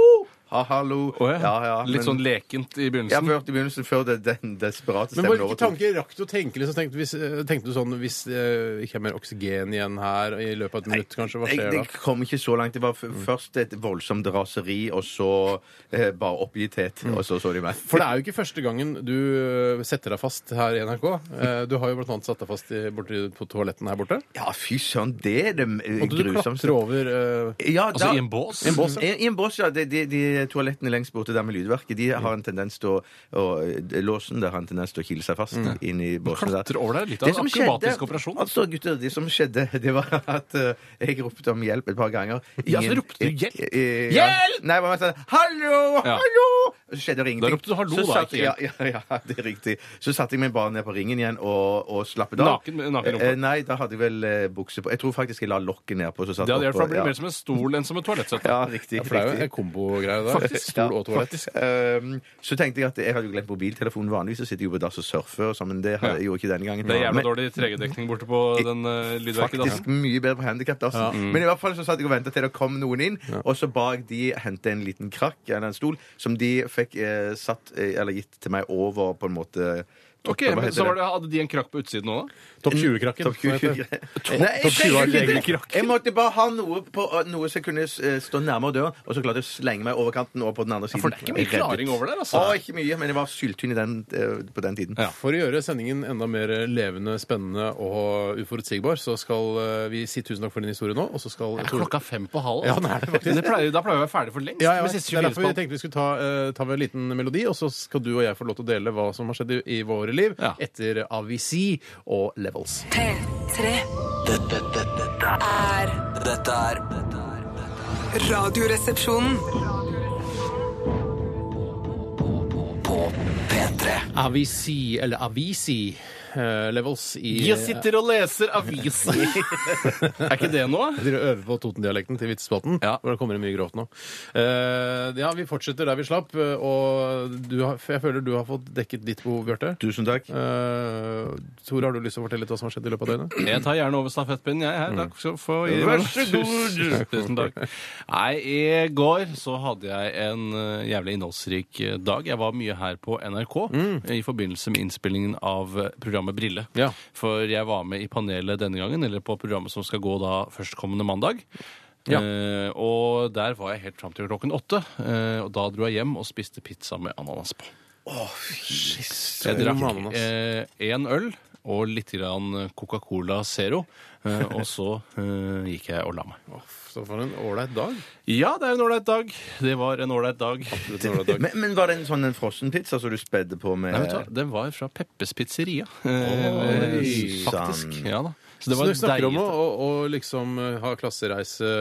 [SPEAKER 5] Ha, hallo.
[SPEAKER 4] Å ja. Litt
[SPEAKER 5] men-
[SPEAKER 4] sånn lekent i
[SPEAKER 5] Ja,
[SPEAKER 4] begynnelsen.
[SPEAKER 5] før i begynnelsen, før det, den desperate
[SPEAKER 3] Men
[SPEAKER 5] stemmen
[SPEAKER 3] hvilke
[SPEAKER 5] overtok.
[SPEAKER 3] tanker rakk du å tenke? Liksom, tenkte, hvis, eh, tenkte du sånn Hvis eh, ikke er mer oksygen igjen her i løpet av et minutt, kanskje? Hva skjer
[SPEAKER 5] Jeg,
[SPEAKER 3] da? Mm.
[SPEAKER 5] jeg kom ikke så langt. Det var f først et voldsomt raseri, og så eh, bare oppgitthet. Og så så de meg.
[SPEAKER 3] Mm. For det er jo ikke første gangen du ø, setter deg fast her i NRK. Eh, Du har jo blant annet satt deg fast i, borte, på toaletten her borte.
[SPEAKER 5] Ja, fy søren, det er det eh,
[SPEAKER 3] Og du
[SPEAKER 5] grusomste.
[SPEAKER 3] klatrer over eh, ø,
[SPEAKER 5] Ja,
[SPEAKER 4] Altså i en bås?
[SPEAKER 5] I en bås, ja. I en bås, ja. De, de, de toalettene lengst borte der med lydverket, de har en tendens til å og, eh, Låsen der har en tendens til å kile seg fast inn i båsen der.
[SPEAKER 4] Klatre Mm. over der? Litt av en akrobatisk operasjon.
[SPEAKER 5] altså, gutter, det som skjedde, det var at eh, jeg ropte om hjelp et par ganger.
[SPEAKER 4] Ja, så ropte du
[SPEAKER 5] eh,
[SPEAKER 4] hjelp?
[SPEAKER 5] eh,
[SPEAKER 4] Hjelp!
[SPEAKER 5] Nei, bare sånn Hallo!
[SPEAKER 4] Ja.
[SPEAKER 5] Hallo! Og så skjedde det ingenting.
[SPEAKER 4] Da ropte du hallo,
[SPEAKER 5] Så
[SPEAKER 4] da,
[SPEAKER 5] satt-
[SPEAKER 4] ikke
[SPEAKER 5] ja,
[SPEAKER 4] hjelp.
[SPEAKER 5] ja, ja, det er riktig. Så satte jeg meg bare ned på ringen igjen og, og slappet av.
[SPEAKER 4] Naken- naken rumpe.
[SPEAKER 5] Eh, Nei, da hadde jeg vel eh, bukse på. Jeg tror faktisk jeg la lokket ned på. Så satt
[SPEAKER 4] Det hadde
[SPEAKER 5] jeg
[SPEAKER 4] hjulpet, for det
[SPEAKER 5] oppå,
[SPEAKER 4] blir mer som en stol enn som et toalettsett.
[SPEAKER 5] ja, riktig.
[SPEAKER 3] ja, For det er jo
[SPEAKER 5] riktig.
[SPEAKER 3] en kombogreie der. Stol og toalett.
[SPEAKER 5] Um, så tenkte jeg at jeg hadde jo glemt mobiltelefonen. Vanligvis så sitter jeg jo på dass og surfer, og sånn, men det hadde jeg jo ikke denne gangen.
[SPEAKER 4] Det er jævla
[SPEAKER 5] Men-
[SPEAKER 4] dårlig 3G-dekning borte på den uh, lydverket. da.
[SPEAKER 5] Faktisk mye bedre på handikapdassen. Men i hvert fall så satt jeg og venta til det kom noen inn, og så ba jeg de hente en liten krakk eller en stol som de fikk eh, satt, eh, eller gitt til meg over på en måte
[SPEAKER 4] Ok,
[SPEAKER 5] Hva
[SPEAKER 4] men
[SPEAKER 5] heter
[SPEAKER 4] så var
[SPEAKER 5] det?
[SPEAKER 4] det, Hadde de en krakk på utsiden òg, da?
[SPEAKER 3] Topp 20-krakken.
[SPEAKER 5] Topp 20
[SPEAKER 3] hva heter det?
[SPEAKER 5] Nei,
[SPEAKER 3] topp 20 har
[SPEAKER 5] jeg,
[SPEAKER 3] ikke
[SPEAKER 5] jeg,
[SPEAKER 3] egen
[SPEAKER 5] jeg,
[SPEAKER 3] krakke.
[SPEAKER 5] jeg måtte bare ha noe, på, noe som kunne eh, stå nærmere døren, og så klarte jeg å slenge meg over kanten og på den andre siden.
[SPEAKER 4] For det er ikke mye
[SPEAKER 5] Jeg reddet.
[SPEAKER 4] klaring over der, altså.
[SPEAKER 5] Å, ikke mye, men jeg var syltynn i den, eh, på den tiden.
[SPEAKER 4] Ja.
[SPEAKER 3] For å gjøre sendingen enda mer levende, spennende og uforutsigbar, så skal eh, vi si tusen takk for din historie nå, og så skal
[SPEAKER 4] Er klokka fem på halv?
[SPEAKER 3] Ja, den er det faktisk.
[SPEAKER 4] Men det pleier, da pleier vi å være ferdig for lengst.
[SPEAKER 3] ja,
[SPEAKER 4] med
[SPEAKER 3] jeg vet.
[SPEAKER 4] siste
[SPEAKER 3] Det er derfor
[SPEAKER 4] 24
[SPEAKER 3] vi tenkte vi skulle ta, eh, ta med en liten melodi, og så skal du og jeg få lov til å dele hva som har skjedd i, i våre liv
[SPEAKER 4] Ja.
[SPEAKER 3] etter AVC og Levels.
[SPEAKER 1] P3
[SPEAKER 2] Dette, dette, dette er
[SPEAKER 1] er
[SPEAKER 2] Dette er dette er- dette
[SPEAKER 1] Radioresepsjonen.
[SPEAKER 2] er På P3
[SPEAKER 3] AVC, eller AVC eh, Levels i
[SPEAKER 4] Jeg sitter og leser aviser! *laughs* er ikke det noe?
[SPEAKER 3] Dere øver på Toten-dialekten til Vitsespalten,
[SPEAKER 4] Ja.
[SPEAKER 3] hvor det kommer inn mye grovt nå. Eh, ja, vi fortsetter der vi slapp, eh, og du har, jeg føler du har fått dekket ditt behov, Bjarte.
[SPEAKER 5] Tusen takk.
[SPEAKER 3] Eh, Tore, har du lyst til å fortelle litt hva som har skjedd i løpet av døgnet?
[SPEAKER 4] Jeg tar gjerne over stafettpinnen, jeg. Her. Takk skal du få.
[SPEAKER 5] Vær så
[SPEAKER 4] god! *laughs* Tusen takk. Nei, i går så hadde jeg en eh, jævlig innholdsrik eh, dag. Jeg var mye her på NRK i forbindelse med innspillingen av eh, programmet Brille.
[SPEAKER 3] Mm. Ja.
[SPEAKER 4] For jeg var med i panelet denne gangen, eller på programmet som skal gå da førstkommende mandag.
[SPEAKER 3] Ja.
[SPEAKER 4] Eh, og der var jeg helt fram til klokken åtte. Eh, og da dro jeg hjem og spiste pizza med ananas på. Jeg
[SPEAKER 3] Søren
[SPEAKER 4] drakk én
[SPEAKER 3] ananas.
[SPEAKER 4] øl og litt grann Coca-Cola Zero, eh, og så eh, gikk jeg og la meg.
[SPEAKER 3] Så for en ålreit dag.
[SPEAKER 4] Ja, det er en ålreit dag. Det var en ålreit dag.
[SPEAKER 3] Absolutt en ålreit dag. Eh.
[SPEAKER 5] Men, men var det en sånn en frossenpizza som du spedde på med
[SPEAKER 4] Nei, vet du hva? Den var fra Peppes Pizzeria, eh,
[SPEAKER 5] Oi,
[SPEAKER 4] faktisk.
[SPEAKER 5] sann.
[SPEAKER 4] Ja da. Så
[SPEAKER 3] Så du snakker om å,
[SPEAKER 4] deilig.
[SPEAKER 3] å, å liksom eh, ha klassereise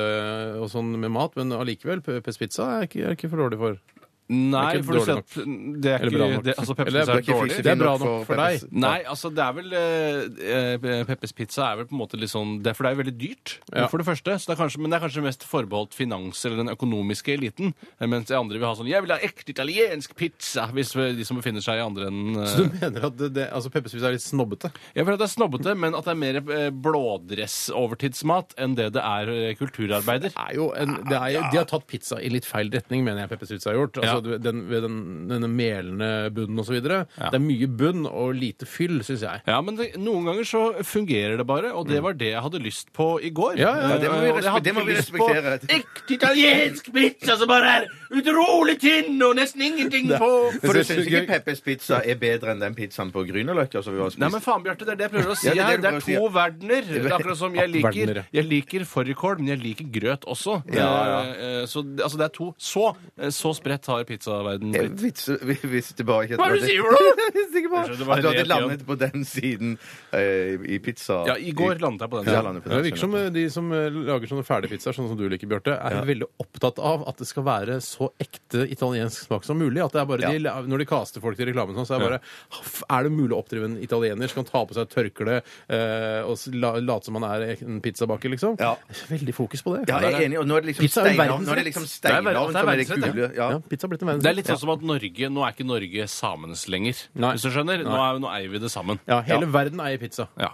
[SPEAKER 3] og sånn med mat, men allikevel, Peppes Pizza er jeg ikke, er ikke for dårlig for.
[SPEAKER 4] Nei,
[SPEAKER 3] Det er ikke
[SPEAKER 4] for du
[SPEAKER 3] dårlig
[SPEAKER 4] ser Det er
[SPEAKER 3] Eller bra
[SPEAKER 4] ikke
[SPEAKER 3] nok.
[SPEAKER 4] det, Altså, Peppes
[SPEAKER 3] Eller
[SPEAKER 4] Pizza er
[SPEAKER 5] ikke
[SPEAKER 4] dårlig.
[SPEAKER 5] fyselig
[SPEAKER 3] Det er bra
[SPEAKER 5] nok
[SPEAKER 3] nok
[SPEAKER 5] for
[SPEAKER 3] for deg.
[SPEAKER 5] Peppes.
[SPEAKER 4] Nei, altså det er vel eh, eh, Peppes pizza er vel på en måte litt sånn det, For det er jo veldig dyrt,
[SPEAKER 3] Ja.
[SPEAKER 4] for det første. Så det er kanskje, men det er kanskje mest forbeholdt finans eller den økonomiske eliten. eh, Mens de andre vil ha sånn 'Jeg vil ha ekte italiensk pizza!' Hvis vi- de som befinner seg i andre enden eh,
[SPEAKER 3] Så *laughs* du mener at det, det, altså Peppes Pizza er litt snobbete?
[SPEAKER 4] Jeg føler at det er snobbete, men at det er mer eh, blådress-overtidsmat enn det det er eh, kulturarbeider.
[SPEAKER 3] Det er jo en, det er, jo- De har tatt pizza i litt feil retning, mener jeg Peppes Pizza har gjort.
[SPEAKER 4] Ja.
[SPEAKER 3] Altså, du- den, ved den, denne melende bunnen osv. videre Det er mye bunn og lite fyll, syns jeg.
[SPEAKER 4] Ja, men det, noen ganger så fungerer det bare,
[SPEAKER 5] Mm.
[SPEAKER 4] og det var det jeg hadde lyst på i går.
[SPEAKER 3] Ja, ja, ja,
[SPEAKER 5] det må vi
[SPEAKER 4] Eh, og jeg
[SPEAKER 5] respe-
[SPEAKER 4] hadde
[SPEAKER 5] det må
[SPEAKER 4] ikke
[SPEAKER 5] vi
[SPEAKER 4] lyst
[SPEAKER 5] respektere.
[SPEAKER 4] på *laughs* Ekte italiensk pizza som bare er utrolig tynn og nesten ingenting på.
[SPEAKER 5] For du
[SPEAKER 3] Jeg synes det
[SPEAKER 5] syns
[SPEAKER 3] er
[SPEAKER 5] ikke Peppers pizza er bedre enn den pizzaen på Grünerløkka som vi var og
[SPEAKER 4] Nei, men
[SPEAKER 5] spiste?
[SPEAKER 4] faen, Bjarte, det er det jeg prøver å si
[SPEAKER 5] Ja, det er det
[SPEAKER 4] her.
[SPEAKER 5] du
[SPEAKER 4] Det er
[SPEAKER 5] prøver å si,
[SPEAKER 4] to
[SPEAKER 5] ja.
[SPEAKER 4] verdener. Det er akkurat som jeg
[SPEAKER 3] Verdener,
[SPEAKER 4] liker,
[SPEAKER 3] ja.
[SPEAKER 4] jeg liker fårikål, men jeg liker grøt også.
[SPEAKER 5] Ja,
[SPEAKER 4] Eh, eh, Så altså, det er to. Så, eh, så spredt har pizzaverdenen
[SPEAKER 5] Jeg
[SPEAKER 4] blitt.
[SPEAKER 5] visste, vi visste bare ikke at
[SPEAKER 4] Hva er det du sier for noe?!
[SPEAKER 5] Jeg visste ikke bare
[SPEAKER 4] Jeg skjønner, det var
[SPEAKER 5] at du hadde
[SPEAKER 4] rett igjen.
[SPEAKER 5] landet på den siden eh, i pizza...
[SPEAKER 4] Ja, i går landet jeg på den.
[SPEAKER 5] Ja,
[SPEAKER 4] siden.
[SPEAKER 5] landet på
[SPEAKER 3] Det
[SPEAKER 5] den
[SPEAKER 3] virker som eh, de som eh, lager sånne ferdige pizzaer, sånn som du liker, Bjarte, er veldig opptatt av at det skal være så ekte italiensk smak som mulig. At det er bare de, Når de kaster folk til reklamen sånn, så er det bare "F- Er det mulig å oppdrive en italiener som kan ta på seg et tørkle eh, og s- la- late som han er en pizzabaker, liksom?
[SPEAKER 5] Ja.
[SPEAKER 3] Veldig fokus på det.
[SPEAKER 5] Ja, jeg er enig, og nå er det liksom
[SPEAKER 3] Pizza er jo
[SPEAKER 5] steinovn. Nå er det liksom
[SPEAKER 3] verdensrett.
[SPEAKER 4] Det er ver-
[SPEAKER 5] steinovn
[SPEAKER 4] det er
[SPEAKER 5] som er det
[SPEAKER 4] verdensrett,
[SPEAKER 5] kule. Ja.
[SPEAKER 3] Ja, pizza er blitt en verdens-
[SPEAKER 4] Det er litt sånn som at Norge, Nå er ikke Norge samenes lenger.
[SPEAKER 3] Nei.
[SPEAKER 4] Hvis du skjønner? Nå, er, nå eier vi det sammen.
[SPEAKER 3] Ja, hele verden eier pizza.
[SPEAKER 4] Ja.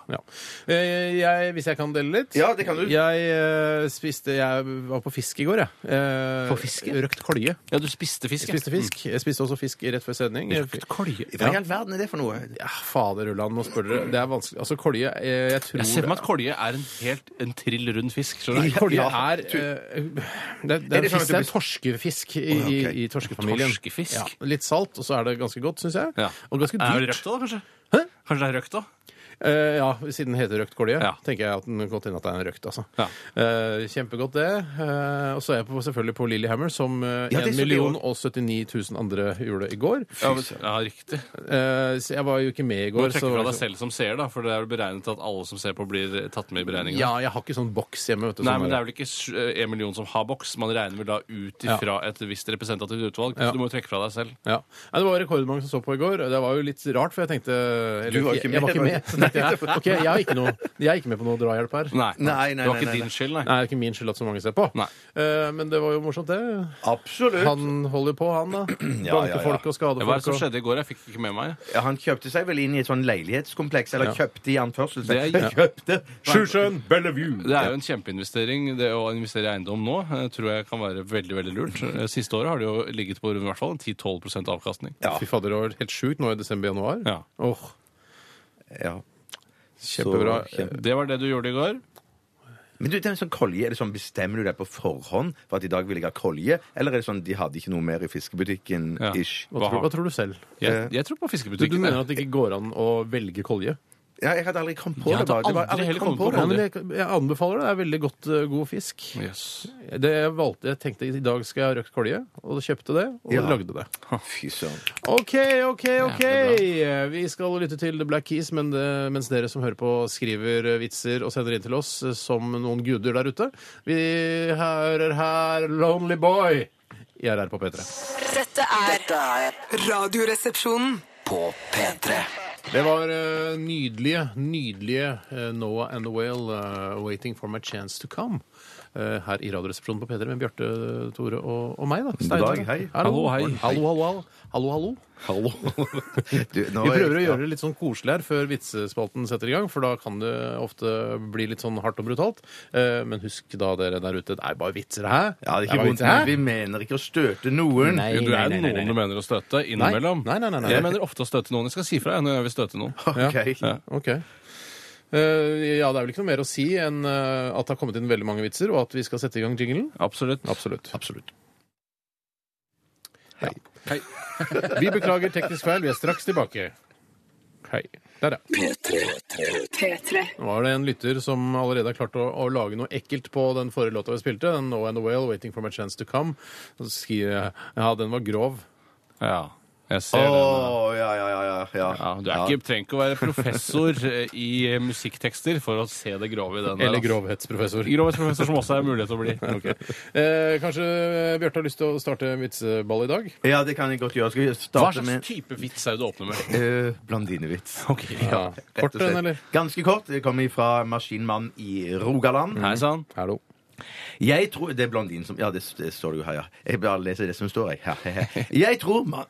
[SPEAKER 3] Eh, Jeg, hvis jeg kan dele litt?
[SPEAKER 5] Ja, det kan du.
[SPEAKER 3] Jeg eh, spiste Jeg var på fisk i går, jeg. Eh,
[SPEAKER 4] På fiske?
[SPEAKER 3] Røkt kolje.
[SPEAKER 4] Ja, du spiste fisk.
[SPEAKER 3] Jeg spiste fisk. Jeg spiste også fisk rett før sending.
[SPEAKER 4] Røkt kolje.
[SPEAKER 5] Hva i all verden er det for noe?
[SPEAKER 3] Ja, fader Ulland, nå spør dere. Det er vanskelig. Altså, kolje eh, Jeg tror
[SPEAKER 4] Jeg ser for meg at kolje er en helt en trill rund fisk. skjønner du?
[SPEAKER 3] Kolje
[SPEAKER 5] Ja,
[SPEAKER 3] er eh, Det er, det
[SPEAKER 5] Er
[SPEAKER 3] er,
[SPEAKER 5] det
[SPEAKER 3] fisk,
[SPEAKER 5] sånn at du
[SPEAKER 3] det er
[SPEAKER 5] bes-
[SPEAKER 3] torskefisk i, i,
[SPEAKER 5] ok.
[SPEAKER 3] i torskefamilien.
[SPEAKER 4] Torskefisk?
[SPEAKER 3] Ja, litt salt, og så er det ganske godt, syns jeg.
[SPEAKER 4] Ja.
[SPEAKER 3] Og ganske
[SPEAKER 4] Er det
[SPEAKER 3] dyrt.
[SPEAKER 4] røkt da, kanskje?
[SPEAKER 3] Hæ?
[SPEAKER 4] Kanskje det er røkt da?
[SPEAKER 3] Eh, ja, siden den heter røkt kolje,
[SPEAKER 4] Ja.
[SPEAKER 3] tenker jeg at den godt inn at det er en røkt. altså.
[SPEAKER 4] Ja.
[SPEAKER 3] Eh, kjempegodt, det. Eh, og så er jeg på, selvfølgelig på Lillehammer, som uh,
[SPEAKER 5] Ja,
[SPEAKER 3] 1
[SPEAKER 5] det så vi
[SPEAKER 3] 079 000 andre gjorde i går.
[SPEAKER 4] Ja, men- ja riktig.
[SPEAKER 3] Eh, så jeg var jo ikke med i
[SPEAKER 4] Du
[SPEAKER 3] går.
[SPEAKER 4] trekker
[SPEAKER 3] så-
[SPEAKER 4] fra deg selv som ser, da, for det er vel beregnet at alle som ser på, blir tatt med i beregningen.
[SPEAKER 3] Ja, jeg har ikke sånn boks hjemme. vet du.
[SPEAKER 4] Nei,
[SPEAKER 3] sånn
[SPEAKER 4] men det
[SPEAKER 3] der.
[SPEAKER 4] er vel ikke sj- eh, en million som har boks. Man regner vel da ut ifra et visst representativt utvalg.
[SPEAKER 3] Ja.
[SPEAKER 4] Så du må jo trekke fra deg selv.
[SPEAKER 3] Ja. Nei, det var rekordmange som så på i går. Det var jo litt rart, for jeg tenkte eller,
[SPEAKER 5] Du var ikke med.
[SPEAKER 3] Jeg var ikke med. Så tenkte jeg, ok, jeg er ikke noe, jeg er ikke med på noe drahjelp her.
[SPEAKER 4] Nei,
[SPEAKER 5] Nei, nei,
[SPEAKER 4] det var ikke
[SPEAKER 5] nei, nei, nei.
[SPEAKER 4] din skyld, nei.
[SPEAKER 3] Nei, det er ikke min skyld at så mange ser på.
[SPEAKER 4] Nei.
[SPEAKER 3] Eh, men det var jo morsomt, det.
[SPEAKER 5] Absolutt. Han,
[SPEAKER 3] Han holder på, han, da.
[SPEAKER 5] *clears throat* ja, ja.
[SPEAKER 3] Banke folk og skade
[SPEAKER 4] Det var det
[SPEAKER 3] folk.
[SPEAKER 4] som
[SPEAKER 3] og-
[SPEAKER 4] skjedde i går. Jeg fikk ikke med meg.
[SPEAKER 5] kjøpte seg vel inn i et sånn leilighetskompleks, eller kjøpte i anførselstegn.
[SPEAKER 4] Det er-
[SPEAKER 5] *laughs* Kjøpte.
[SPEAKER 3] Sjusjøen, Bellevue.
[SPEAKER 4] Det er jo en kjempeinvestering. Det å investere i eiendom nå eh, tror jeg kan være veldig veldig lurt. Eh, Siste året har det jo ligget på i hvert fall en 10-12 avkastning.
[SPEAKER 5] Ja.
[SPEAKER 3] Fy fader, det var helt sjukt nå i desember-januar.
[SPEAKER 4] Ja.
[SPEAKER 3] Åh,
[SPEAKER 5] Ja. Så
[SPEAKER 3] Kjempebra.
[SPEAKER 5] kjempe-
[SPEAKER 4] Det var det du gjorde i går.
[SPEAKER 5] Men du, det er en sånn kolje, er det sånn, Bestemmer du deg på forhånd for at i dag vil jeg ha kolje? Eller er det sånn de hadde ikke noe mer i fiskebutikken?
[SPEAKER 4] Ja.
[SPEAKER 5] ish?
[SPEAKER 3] Hva tror, hva tror du selv?
[SPEAKER 4] Jeg, jeg tror på
[SPEAKER 3] Eh, Du, du
[SPEAKER 4] fiskebutikken.
[SPEAKER 3] mener
[SPEAKER 4] jeg.
[SPEAKER 3] at det ikke går an å velge kolje?
[SPEAKER 5] Ja, jeg hadde aldri kommet på
[SPEAKER 4] Jeg
[SPEAKER 5] det.
[SPEAKER 4] hadde
[SPEAKER 5] bare. Det var-
[SPEAKER 4] aldri heller kommet på
[SPEAKER 3] Ja, men
[SPEAKER 4] det.
[SPEAKER 3] jeg, jeg anbefaler det. Det er veldig godt, eh, god fisk.
[SPEAKER 4] Yes.
[SPEAKER 3] Det jeg, valgte, jeg tenkte i dag skal jeg ha røkt kolje, og kjøpte det, og
[SPEAKER 5] Ja.
[SPEAKER 3] lagde det.
[SPEAKER 5] Fy søren.
[SPEAKER 3] OK, OK, OK!
[SPEAKER 4] Jævlig
[SPEAKER 3] Vi skal lytte til The Black Keys, men det, mens dere som hører på, skriver eh, vitser og sender inn til oss eh, som noen guder der ute. Vi hører her Lonely Boy i RR på P3.
[SPEAKER 6] Dette er
[SPEAKER 2] Dette er
[SPEAKER 1] Radioresepsjonen.
[SPEAKER 2] på P3.
[SPEAKER 3] Det var eh, nydelige, nydelige eh, Noah and the Whale, eh, 'Waiting for my chance to come'. eh, her i Radioresepsjonen på P3 med Bjarte, eh, Tore og, og meg. da. Stein
[SPEAKER 5] dag,
[SPEAKER 3] Tore.
[SPEAKER 5] hei.
[SPEAKER 3] Hallo,
[SPEAKER 4] Hallo, hei.
[SPEAKER 3] Hallo, hallo, hallo. hallo, hallo.
[SPEAKER 4] Hallo.
[SPEAKER 5] Du, nå
[SPEAKER 3] Vi
[SPEAKER 5] er-
[SPEAKER 3] prøver å
[SPEAKER 5] ja.
[SPEAKER 3] gjøre det litt sånn koselig her før vitsespalten setter i gang, for da kan det ofte bli litt sånn hardt og brutalt. Eh, Men husk da, dere der ute, det er bare vitser, hæ?
[SPEAKER 5] Ja, det er ikke
[SPEAKER 3] bare
[SPEAKER 5] vondt,
[SPEAKER 3] vitser, hæ?
[SPEAKER 5] men vi mener ikke å støte noen.
[SPEAKER 3] Nei.
[SPEAKER 4] Du er det noen du mener å støte innimellom.
[SPEAKER 3] Nei, nei, nei, nei, nei.
[SPEAKER 4] Jeg mener ofte å støte noen. Jeg skal si fra jeg når jeg vil støte
[SPEAKER 3] *laughs*
[SPEAKER 4] noen.
[SPEAKER 5] *laughs* Ok.
[SPEAKER 4] Ja.
[SPEAKER 3] Ok. Eh, ja, det er vel ikke noe mer å si enn eh, at det har kommet inn veldig mange vitser, og at vi skal sette i gang jinglen.
[SPEAKER 4] Absolutt.
[SPEAKER 3] Absolutt.
[SPEAKER 5] Absolutt.
[SPEAKER 4] Hei.
[SPEAKER 3] Vi beklager teknisk feil, vi er straks tilbake. Hei. Der, ja.
[SPEAKER 6] P3.
[SPEAKER 3] Nå var det en lytter som allerede har klart å, å lage noe ekkelt på den forrige låta vi spilte, den No and the Whale, 'Waiting for my chance to come'. Og så skriver jeg ja, den var grov.
[SPEAKER 4] Ja, jeg
[SPEAKER 5] Å,
[SPEAKER 4] ser den.
[SPEAKER 5] ja, ja, ja, ja, ja.
[SPEAKER 4] Ja, du er ikke, trenger ikke å være professor eh, i eh, musikktekster for å se det grove i den. der,
[SPEAKER 3] Eller
[SPEAKER 4] altså.
[SPEAKER 3] grovhetsprofessor.
[SPEAKER 4] Grovhetsprofessor som også er mulighet til å bli.
[SPEAKER 3] *laughs* Eh, kanskje Bjarte har lyst til å starte vitseball i dag?
[SPEAKER 5] Ja, det kan jeg godt gjøre. Skal vi
[SPEAKER 4] Hva
[SPEAKER 5] starte med
[SPEAKER 4] slags type vits er det du åpner med?
[SPEAKER 5] uh, blandinevits?
[SPEAKER 4] Ok, ja.
[SPEAKER 5] Rett og
[SPEAKER 3] Kort en,
[SPEAKER 5] slett.
[SPEAKER 3] eller?
[SPEAKER 5] Ganske kort. Det kommer fra Maskinmann i Rogaland.
[SPEAKER 4] Hei sann.
[SPEAKER 3] Hallo.
[SPEAKER 5] Jeg tror Det er blondinen som Ja, det, det står det jo her, ja. Jeg bare leser det som står, jeg. Jeg tror man,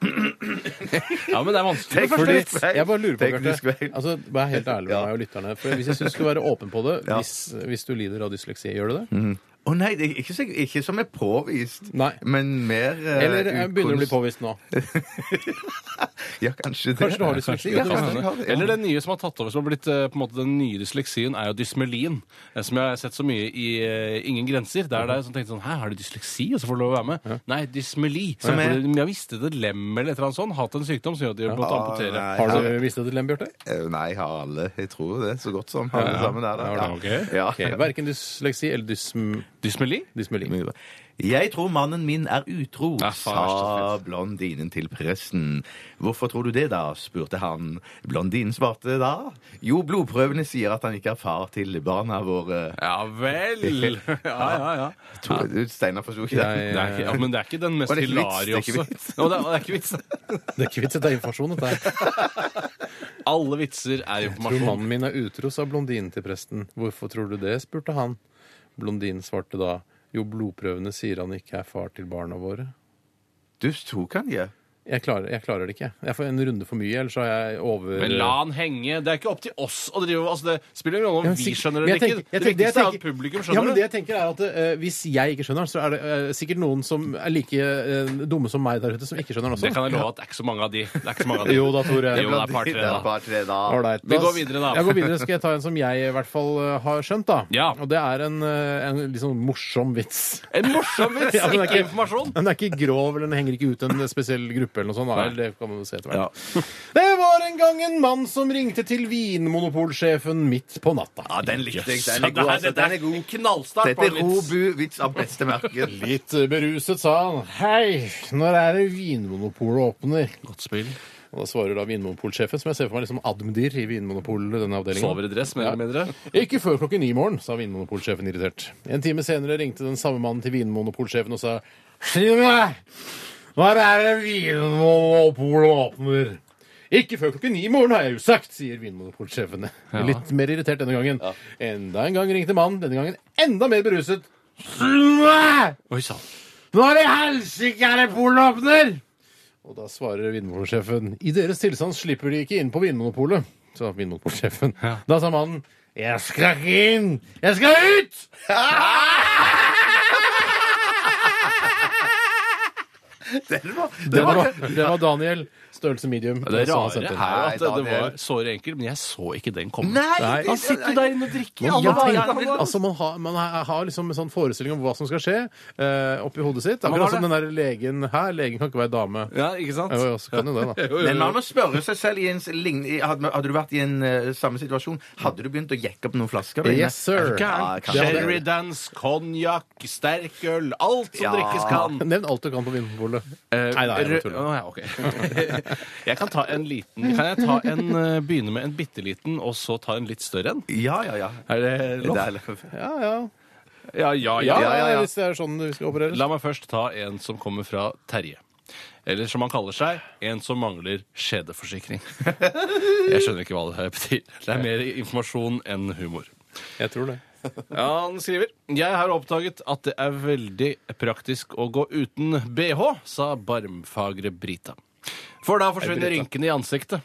[SPEAKER 4] Ja, men det er vanskelig.
[SPEAKER 5] Tenk
[SPEAKER 4] Fordi,
[SPEAKER 5] først. feil.
[SPEAKER 3] Jeg bare lurer på,
[SPEAKER 5] Teknisk
[SPEAKER 3] Bjarte.
[SPEAKER 5] feil.
[SPEAKER 3] Altså, vær helt ærlig med
[SPEAKER 5] Ja.
[SPEAKER 3] meg og lytterne. For hvis jeg syns du skal være åpen på det,
[SPEAKER 5] Ja. Mm.
[SPEAKER 3] hvis, hvis du lider av dysleksi, gjør du det?
[SPEAKER 5] Å nei, det er ikke, så- ikke som er påvist,
[SPEAKER 3] Nei.
[SPEAKER 5] men mer eh,
[SPEAKER 3] Eller eh, begynner det å bli påvist
[SPEAKER 5] ukunst-
[SPEAKER 3] nå?
[SPEAKER 5] Ja, kanskje det.
[SPEAKER 3] Kanskje du har dysleksi?
[SPEAKER 5] Ja,
[SPEAKER 3] vet du.
[SPEAKER 5] kanskje jeg har det, ja.
[SPEAKER 4] Eller den nye som har tatt over, som har blitt eh, på en måte den nye dysleksien, er jo dysmelin. eh, Som jeg har sett så mye i eh, Ingen grenser.
[SPEAKER 5] Mhm.
[SPEAKER 4] Der er det som tenkte sånn Hæ, har du dysleksi? Og så får du lov å være med. Nei, dysmeli.
[SPEAKER 5] Som
[SPEAKER 4] Hvor
[SPEAKER 5] er-
[SPEAKER 4] de- Jeg visste det lem eller et eller annet sånt. Hatt en sykdom som gjør at de måtte
[SPEAKER 5] Ah,
[SPEAKER 4] amputere.
[SPEAKER 5] nei.
[SPEAKER 3] Har du visst det til dem, Bjarte?
[SPEAKER 5] Eh, Nei, jeg har alle. Jeg tror det. Så godt som alle sammen er
[SPEAKER 4] Ja,
[SPEAKER 5] da.
[SPEAKER 4] ok.
[SPEAKER 5] Ja.
[SPEAKER 3] Ok, Verken dysleksi eller dysm...
[SPEAKER 4] Dysmeli?
[SPEAKER 3] Dysmeli.
[SPEAKER 5] Mye bra. Jeg tror mannen min er utro,
[SPEAKER 4] Ja, faen,
[SPEAKER 5] sa blondinen til presten. Hvorfor tror du det, da? spurte han. Blondinen svarte da. Jo, blodprøvene sier at han ikke er far til barna våre.
[SPEAKER 4] Ja
[SPEAKER 5] *laughs*
[SPEAKER 4] vel! Ja, ja, ja.
[SPEAKER 5] To, Steinar forsto ikke
[SPEAKER 3] Nei,
[SPEAKER 5] det.
[SPEAKER 4] Det er ikke, ja, men det er ikke den mest
[SPEAKER 5] Og det er ikke vits, det er
[SPEAKER 4] hilariøse.
[SPEAKER 5] ikke
[SPEAKER 4] Og
[SPEAKER 5] vits.
[SPEAKER 4] det er- og det er ikke vits.
[SPEAKER 5] *laughs*
[SPEAKER 3] Det er ikke vits i det er informasjon, dette her.
[SPEAKER 4] Alle vitser er
[SPEAKER 3] Tror
[SPEAKER 4] informasjon.
[SPEAKER 3] mannen min er utro, sa blondinen til presten. Hvorfor tror du det? spurte han. Blondinen svarte da. Jo, blodprøvene sier han ikke er far til barna våre.
[SPEAKER 5] Du tok han, ja.
[SPEAKER 3] Jeg klarer, jeg klarer det ikke. Jeg får en runde for mye, ellers har jeg over...
[SPEAKER 4] Men la han henge. Det er ikke opp til oss å drive altså Det spiller ingen rolle
[SPEAKER 3] Ja,
[SPEAKER 4] om
[SPEAKER 3] men
[SPEAKER 4] vi
[SPEAKER 3] sikkert-
[SPEAKER 4] skjønner
[SPEAKER 3] men
[SPEAKER 4] det
[SPEAKER 3] jeg
[SPEAKER 4] eller
[SPEAKER 3] tenker-
[SPEAKER 4] ikke. Det
[SPEAKER 3] jeg tenker- jeg
[SPEAKER 4] viktigste er at
[SPEAKER 3] tenker-
[SPEAKER 4] publikum
[SPEAKER 3] Ja, men
[SPEAKER 4] skjønner
[SPEAKER 3] det
[SPEAKER 4] det.
[SPEAKER 3] jeg tenker er at eh, Hvis jeg ikke skjønner den, så er det eh, sikkert noen som er like eh, dumme som meg der ute, som ikke skjønner den også.
[SPEAKER 4] Det kan jeg love at det er ikke så mange av de. Det er ikke så mange av de.
[SPEAKER 3] Jo da, Tore.
[SPEAKER 4] Jo, det er par tre,
[SPEAKER 5] Det er
[SPEAKER 4] da.
[SPEAKER 5] par tre, da.
[SPEAKER 3] Ålreit.
[SPEAKER 4] Vi
[SPEAKER 3] Da-
[SPEAKER 4] går videre, da.
[SPEAKER 3] Jeg går videre, skal jeg ta en som jeg i hvert fall eh, har skjønt, da.
[SPEAKER 4] Ja.
[SPEAKER 3] Og det er en, eh, en litt sånn morsom vits. *laughs*
[SPEAKER 4] En morsom vits,
[SPEAKER 3] Ja, men det er
[SPEAKER 4] ikke
[SPEAKER 3] ikke-
[SPEAKER 4] informasjon.
[SPEAKER 3] Den er ikke grov, eller den henger ikke ut en spesiell gruppe eller noe sånt. da.
[SPEAKER 4] Nei.
[SPEAKER 3] Eller Det kan man jo se etter hvert. *laughs* Det var en gang en mann som ringte til vinmonopolsjefen midt på natta.
[SPEAKER 5] Ja, den likte jeg.
[SPEAKER 4] Så
[SPEAKER 5] Den er
[SPEAKER 4] det
[SPEAKER 5] god.
[SPEAKER 4] er-
[SPEAKER 5] Altså.
[SPEAKER 4] det er
[SPEAKER 5] Den er god.
[SPEAKER 4] en Knallstart
[SPEAKER 5] Dette
[SPEAKER 4] på
[SPEAKER 5] er
[SPEAKER 4] en vits.
[SPEAKER 5] Robu-vits av beste merke.
[SPEAKER 4] *laughs*
[SPEAKER 3] Litt beruset sa han Hei, når er det Vinmonopolet åpner?
[SPEAKER 4] Godt spill.
[SPEAKER 3] Og da svarer da Vinmonopolsjefen, som jeg ser for meg liksom admdir i Vinmonopolet, denne avdelingen.
[SPEAKER 4] Sover i dress, mer eller mindre.
[SPEAKER 3] Ikke før klokken ni i morgen, sa Vinmonopolsjefen irritert. En time senere ringte den samme mannen til Vinmonopolsjefen og sa Si meg, når er det Vinmonopolet åpner? Ikke før klokken ni i morgen, har jeg jo sagt, sier Vinmonopolsjefen. Litt mer irritert denne gangen. Enda en gang ringte mannen, denne gangen enda mer beruset. Si meg!
[SPEAKER 4] Oi sann.
[SPEAKER 3] Når i helsike er det polet åpner? Og da svarer vinmonopolsjefen I deres tilstand slipper de ikke inn på Vinmonopolet. Sa vinmonopolsjefen. Da sa mannen Jeg skal ikke inn! Jeg skal ut!
[SPEAKER 5] Den var,
[SPEAKER 3] Det var, det var Daniel, størrelse medium.
[SPEAKER 4] Det
[SPEAKER 3] som han
[SPEAKER 4] rare
[SPEAKER 3] sendte
[SPEAKER 4] er
[SPEAKER 3] inn.
[SPEAKER 5] Nei,
[SPEAKER 4] at det
[SPEAKER 5] Daniel.
[SPEAKER 4] var såre enkelt, men jeg så ikke den komme.
[SPEAKER 5] Nei!
[SPEAKER 3] Nei.
[SPEAKER 4] Han sitter der inne og drikker i alle
[SPEAKER 3] Ja,
[SPEAKER 4] dager!
[SPEAKER 3] tenk- altså man har, man har- har liksom en sånn forestilling om hva som skal skje eh, oppi hodet sitt.
[SPEAKER 4] Man har
[SPEAKER 3] Akkurat som den der legen her. Legen kan ikke være dame.
[SPEAKER 4] Ja, ikke sant?
[SPEAKER 3] Jo, jo, så kan jo det, da.
[SPEAKER 5] Men man må spørre seg selv i en, s- lign- i- hadde, man- hadde du vært i en eh, samme situasjon, hadde du begynt å jekke opp noen flasker? der inne?
[SPEAKER 3] Yes, sir.
[SPEAKER 5] Ja, kanskje.
[SPEAKER 4] Sherrydans, konjakk, sterkøl, alt som
[SPEAKER 5] Ja.
[SPEAKER 4] drikkes kan.
[SPEAKER 3] Nevn alt du kan på Vinmonopolet. nei, nei, jeg
[SPEAKER 4] Rød-
[SPEAKER 3] tuller.
[SPEAKER 4] Å, ja, ok. *laughs* Jeg kan ta en liten Kan jeg ta en, eh, begynne med en bitte liten, og så ta en litt større en?
[SPEAKER 5] Ja, ja, ja.
[SPEAKER 4] Er det lov?
[SPEAKER 5] Det er lov.
[SPEAKER 3] Ja, ja.
[SPEAKER 4] Ja, ja,
[SPEAKER 3] Ja,
[SPEAKER 4] ja.
[SPEAKER 5] ja, ja.
[SPEAKER 3] Hvis det er sånn vi skal operere.
[SPEAKER 4] La meg først ta en som kommer fra Terje. Eller som han kaller seg, en som mangler skjedeforsikring. *laughs* Jeg skjønner ikke hva det her betyr. Det er mer informasjon enn humor.
[SPEAKER 3] Jeg tror det.
[SPEAKER 4] Ja, han skriver Jeg har oppdaget at det er veldig praktisk å gå uten BH, sa barmfagre Brita. For da forsvinner rynkene i ansiktet.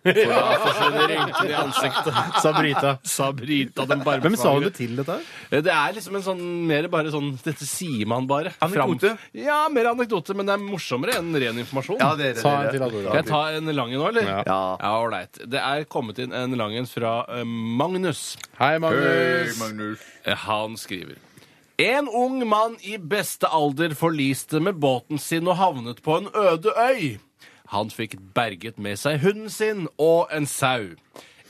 [SPEAKER 4] For da forsvinner rynkene i ansiktet,
[SPEAKER 3] *laughs* Sa Brita.
[SPEAKER 4] sa Brita *laughs* den barmfagre.
[SPEAKER 3] Hvem sa hun det til, dette her?
[SPEAKER 4] Det er liksom en sånn mer bare sånn Dette sier man bare.
[SPEAKER 5] Anekdote?
[SPEAKER 4] Fram- Ja, mer anekdote, men det er morsommere enn ren informasjon.
[SPEAKER 5] Ja, det er det.
[SPEAKER 3] Sa
[SPEAKER 5] det er
[SPEAKER 3] en til
[SPEAKER 5] det.
[SPEAKER 3] Adora.
[SPEAKER 4] Skal jeg ta en lang en nå, eller?
[SPEAKER 3] Ja.
[SPEAKER 5] Ja.
[SPEAKER 4] Ja, Ålreit. det er kommet inn en lang en fra eh, Magnus. Eh,
[SPEAKER 3] Hei, Magnus.
[SPEAKER 4] Han skriver En ung mann i beste alder forliste med båten sin og havnet på en øde øy. Han fikk berget med seg hunden sin og en sau.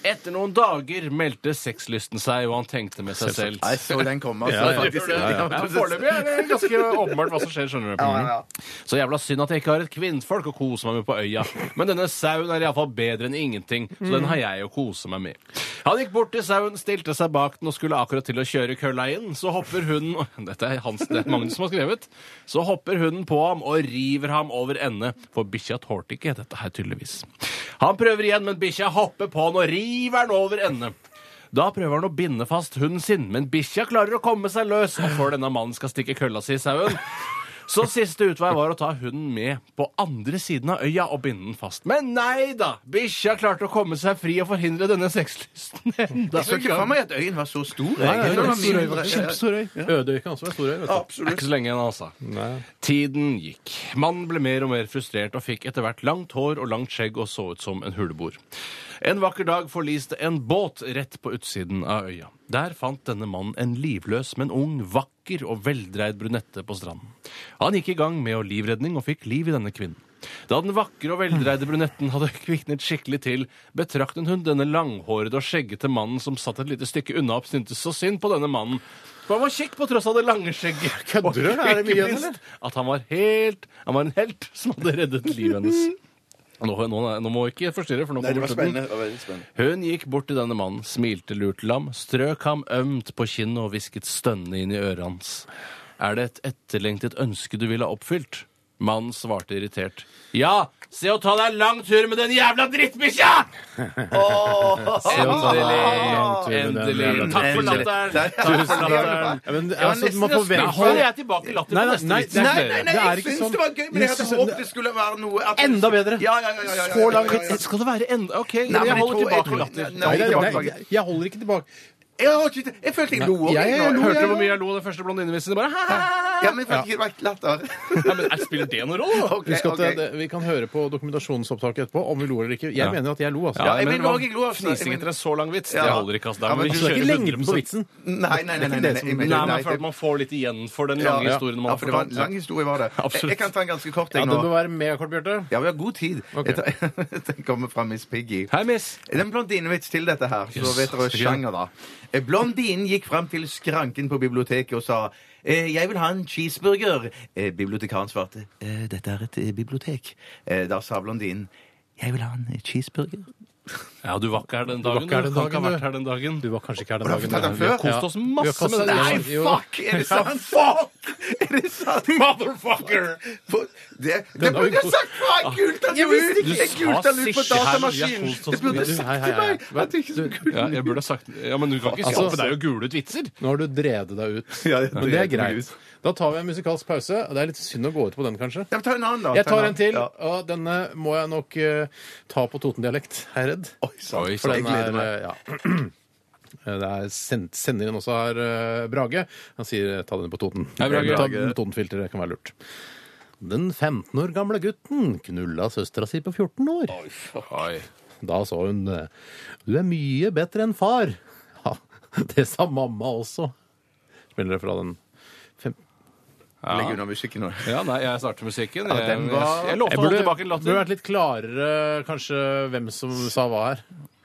[SPEAKER 4] Etter noen dager meldte sexlysten seg, og han tenkte med seg selv
[SPEAKER 5] Nei, så den komme, altså.
[SPEAKER 3] Ja, ja.
[SPEAKER 5] faktisk.
[SPEAKER 4] Ja, ja. Ja, Foreløpig er det ganske åpenbart hva som skjer. skjønner du Så jævla synd at jeg ikke har et kvinnfolk å kose meg med på øya. Men denne sauen er iallfall bedre enn ingenting, så den har jeg å kose meg med. Han gikk bort til sauen, stilte seg bak den og skulle akkurat til å kjøre kølla inn. Så hopper hunden *laughs* Dette er Hans det er Magnus som har skrevet. Så hopper hunden på ham og river ham over ende. For bikkja tålte ikke dette her, tydeligvis. Han prøver igjen, men bikkja hopper på han og river han over ende. Da prøver han å binde fast hunden sin, men bikkja klarer å komme seg løs, og før denne mannen skal stikke kølla si i sauen. Så siste utvei var å ta hunden med på andre siden av øya og binde den fast. Men nei da! Bikkja klarte å komme seg fri og forhindre denne sexlysten *laughs* enda
[SPEAKER 5] Jeg så ikke for meg at øyen var så stor. jeg.
[SPEAKER 3] Nei,
[SPEAKER 5] Jeg
[SPEAKER 3] nei,
[SPEAKER 5] tror
[SPEAKER 3] nei,
[SPEAKER 5] det var
[SPEAKER 3] stor
[SPEAKER 5] mindre.
[SPEAKER 3] øy. Kjempestor øy. Ødøy kan også være stor øy. vet du.
[SPEAKER 4] Det er ikke så lenge igjen, altså. Tiden gikk. Mannen ble mer og mer frustrert og fikk etter hvert langt hår og langt skjegg og så ut som en huleboer. En vakker dag forliste en båt rett på utsiden av øya. Der fant denne mannen en livløs, men ung, vakker og veldreid brunette på stranden. Han gikk i gang med å livredning og fikk liv i denne kvinnen. Da den vakre og veldreide brunetten hadde *laughs* kviknet skikkelig til, betraktet hun denne langhårede og skjeggete mannen som satt et lite stykke unna og syntes så synd på denne mannen. For han var kjekk på tross av det lange skjegget.
[SPEAKER 3] Kødder du? Er det mye igjen, eller?
[SPEAKER 4] At han var helt Han var en helt som hadde reddet livet hennes. Nå, nå, nå må jeg ikke forstyrre, for nå kommer slutten. Hun gikk bort til denne mannen, smilte lurt til ham, strøk ham ømt på kinnet og hvisket stønnende inn i øret hans. Er det et etterlengtet ønske du ville ha oppfylt? Mannen svarte irritert. Ja! Se å ta deg en lang tur med den jævla drittbikkja!
[SPEAKER 3] lang tur
[SPEAKER 4] Endelig!
[SPEAKER 3] med den
[SPEAKER 4] Endelig.
[SPEAKER 3] jævla
[SPEAKER 4] Takk for latteren. Takk for latteren.
[SPEAKER 3] Ja, men,
[SPEAKER 5] var
[SPEAKER 3] altså,
[SPEAKER 5] nesten
[SPEAKER 3] man
[SPEAKER 5] å
[SPEAKER 4] Nei,
[SPEAKER 3] forventer
[SPEAKER 4] holder jeg tilbake latter
[SPEAKER 3] Nei,
[SPEAKER 4] på
[SPEAKER 3] nei,
[SPEAKER 4] neste
[SPEAKER 3] nei,
[SPEAKER 4] vits?
[SPEAKER 5] Nei, nei, nei,
[SPEAKER 3] Det er
[SPEAKER 5] jeg
[SPEAKER 3] ikke
[SPEAKER 5] syns
[SPEAKER 3] sånn-
[SPEAKER 5] det var gøy, men jeg
[SPEAKER 3] Jeg
[SPEAKER 5] hadde
[SPEAKER 3] syns-
[SPEAKER 5] håpet det skulle være noe at-
[SPEAKER 4] Enda bedre.
[SPEAKER 5] Ja, ja, ja, ja, ja, ja,
[SPEAKER 4] Så lang
[SPEAKER 5] ja, ja, ja.
[SPEAKER 4] Skal det være enda OK,
[SPEAKER 5] Nei, men
[SPEAKER 4] jeg holder
[SPEAKER 5] tror-
[SPEAKER 4] tilbake
[SPEAKER 5] tror-
[SPEAKER 4] latter.
[SPEAKER 5] Nei,
[SPEAKER 3] Nei, nei,
[SPEAKER 5] nei, nei,
[SPEAKER 3] nei, jeg holder ikke tilbake.
[SPEAKER 5] Jeg har ikke- jeg følte jeg lo òg.
[SPEAKER 3] Jeg- jeg lo,
[SPEAKER 4] Hørte
[SPEAKER 3] jeg
[SPEAKER 4] du hvor mye jeg lo av den første blondinevitsen? Bare «Haha!»
[SPEAKER 5] Ja, men jeg følte ikke det var ikke latter.
[SPEAKER 4] Nei, men Spiller det noen rolle? da?
[SPEAKER 5] Ok,
[SPEAKER 3] Husk at eh,
[SPEAKER 5] ok.
[SPEAKER 3] det, vi kan høre på dokumentasjonsopptaket etterpå om vi lo eller ikke. Jeg
[SPEAKER 4] Ja.
[SPEAKER 3] mener at jeg lo, altså.
[SPEAKER 4] Ja,
[SPEAKER 5] jeg
[SPEAKER 4] men
[SPEAKER 5] vil
[SPEAKER 4] det var
[SPEAKER 5] også ikke lo, altså.
[SPEAKER 4] Fnising etter en så lang vits, det
[SPEAKER 5] Ja.
[SPEAKER 4] holder ikke. Altså,
[SPEAKER 5] Ja, men
[SPEAKER 4] men
[SPEAKER 5] du
[SPEAKER 3] Altså, det er ikke lengden på vitsen.
[SPEAKER 5] Nei, nei, nei. nei, nei, jeg mener-
[SPEAKER 4] Nei,
[SPEAKER 5] nei,
[SPEAKER 4] men for at man får litt igjen for den
[SPEAKER 5] Ja,
[SPEAKER 4] lange
[SPEAKER 5] ja.
[SPEAKER 4] historien man
[SPEAKER 5] Ja,
[SPEAKER 4] har
[SPEAKER 5] for det var en
[SPEAKER 4] fortalt.
[SPEAKER 5] lang historie, var det.
[SPEAKER 4] Absolutt.
[SPEAKER 5] Jeg, jeg kan ta en ganske kort,
[SPEAKER 3] Ja,
[SPEAKER 5] jeg
[SPEAKER 3] det bør
[SPEAKER 5] nå.
[SPEAKER 3] være megakort, Bjarte.
[SPEAKER 5] Ja, vi har god tid. Jeg tar- *laughs* Den kommer fra Miss Piggy.
[SPEAKER 4] Hei, miss.
[SPEAKER 5] Det er en blondinevits til dette her, så
[SPEAKER 4] Yes.
[SPEAKER 5] vet dere sjanger, da. Eh, Blondinen gikk fram til skranken på biblioteket og sa eh, 'Jeg vil ha en cheeseburger'. Eh, Bibliotekaren svarte eh, 'Dette er et eh, bibliotek'. Eh, Da sa blondinen 'Jeg vil ha en eh, cheeseburger'.
[SPEAKER 4] Ja, du var ikke her den
[SPEAKER 3] var
[SPEAKER 4] dagen. Du
[SPEAKER 3] ikke her den
[SPEAKER 4] kan ikke ha
[SPEAKER 3] dagen,
[SPEAKER 4] vært her den dagen.
[SPEAKER 3] Du var kanskje ikke her den
[SPEAKER 5] Har du
[SPEAKER 3] dagen.
[SPEAKER 5] fortalt den
[SPEAKER 3] men vi har
[SPEAKER 5] før?
[SPEAKER 3] kost oss
[SPEAKER 4] Ja.
[SPEAKER 3] masse med det.
[SPEAKER 5] Nei,
[SPEAKER 3] Jo,
[SPEAKER 5] fuck! Er
[SPEAKER 3] *laughs*
[SPEAKER 5] det sant? Fuck! Er det sant?
[SPEAKER 4] Motherfucker!
[SPEAKER 5] For- Det, det
[SPEAKER 3] har vi
[SPEAKER 5] burde jeg
[SPEAKER 3] kost-
[SPEAKER 5] sagt! fra! Jeg gulte den jo ut!
[SPEAKER 4] Du
[SPEAKER 5] Jeg gulte
[SPEAKER 4] sa
[SPEAKER 5] den ut på
[SPEAKER 4] sikkert her, men vi har
[SPEAKER 5] datamaskinen!
[SPEAKER 4] kost oss
[SPEAKER 5] Det burde
[SPEAKER 4] med-
[SPEAKER 5] jeg
[SPEAKER 3] Du, hei, hei,
[SPEAKER 5] sagt til
[SPEAKER 3] hei.
[SPEAKER 5] meg! At jeg ikke skulle
[SPEAKER 4] Ja, jeg burde ha sagt Ja, men du kan ikke
[SPEAKER 3] Altså-
[SPEAKER 4] skaffe deg å gule ut vitser.
[SPEAKER 3] Nå har du drevet deg ut.
[SPEAKER 5] Ja, jeg
[SPEAKER 3] Men det er
[SPEAKER 5] drev meg
[SPEAKER 3] greit.
[SPEAKER 5] ut.
[SPEAKER 3] Da tar vi en musikalsk pause. Det er litt synd å gå ut på den, kanskje.
[SPEAKER 5] Ja, men Ta en annen, da.
[SPEAKER 3] Jeg
[SPEAKER 5] Ta
[SPEAKER 3] tar en til,
[SPEAKER 5] Ja.
[SPEAKER 3] og denne må jeg nok eh, ta på Toten-dialekt, er jeg redd.
[SPEAKER 5] Oi sann.
[SPEAKER 4] Oi,
[SPEAKER 3] For
[SPEAKER 5] Jeg
[SPEAKER 3] den
[SPEAKER 5] gleder
[SPEAKER 3] er
[SPEAKER 5] meg.
[SPEAKER 3] eh, ja. *clears throat* Det er send, sender inn også her, eh, Brage. Han sier eh, ta den på Toten.
[SPEAKER 4] Hei, Brage.
[SPEAKER 3] Ta den på Totenfilteret, det kan være lurt. Den 15 år gamle gutten knulla søstera si på 14 år.
[SPEAKER 4] Oi.
[SPEAKER 3] Da sa hun eh, Du er mye bedre enn far. Ja, *laughs* det sa mamma også. Spiller det fra den fem...
[SPEAKER 5] Legg unna musikken nå.
[SPEAKER 4] Ja, nei, jeg starter musikken.
[SPEAKER 5] Ja,
[SPEAKER 4] Jeg,
[SPEAKER 5] den
[SPEAKER 4] jeg,
[SPEAKER 5] var-
[SPEAKER 4] jeg lovte
[SPEAKER 3] Jeg
[SPEAKER 4] å holde
[SPEAKER 3] burde,
[SPEAKER 4] tilbake en
[SPEAKER 3] burde
[SPEAKER 4] latter.
[SPEAKER 3] vært litt klarere kanskje hvem som sa hva her.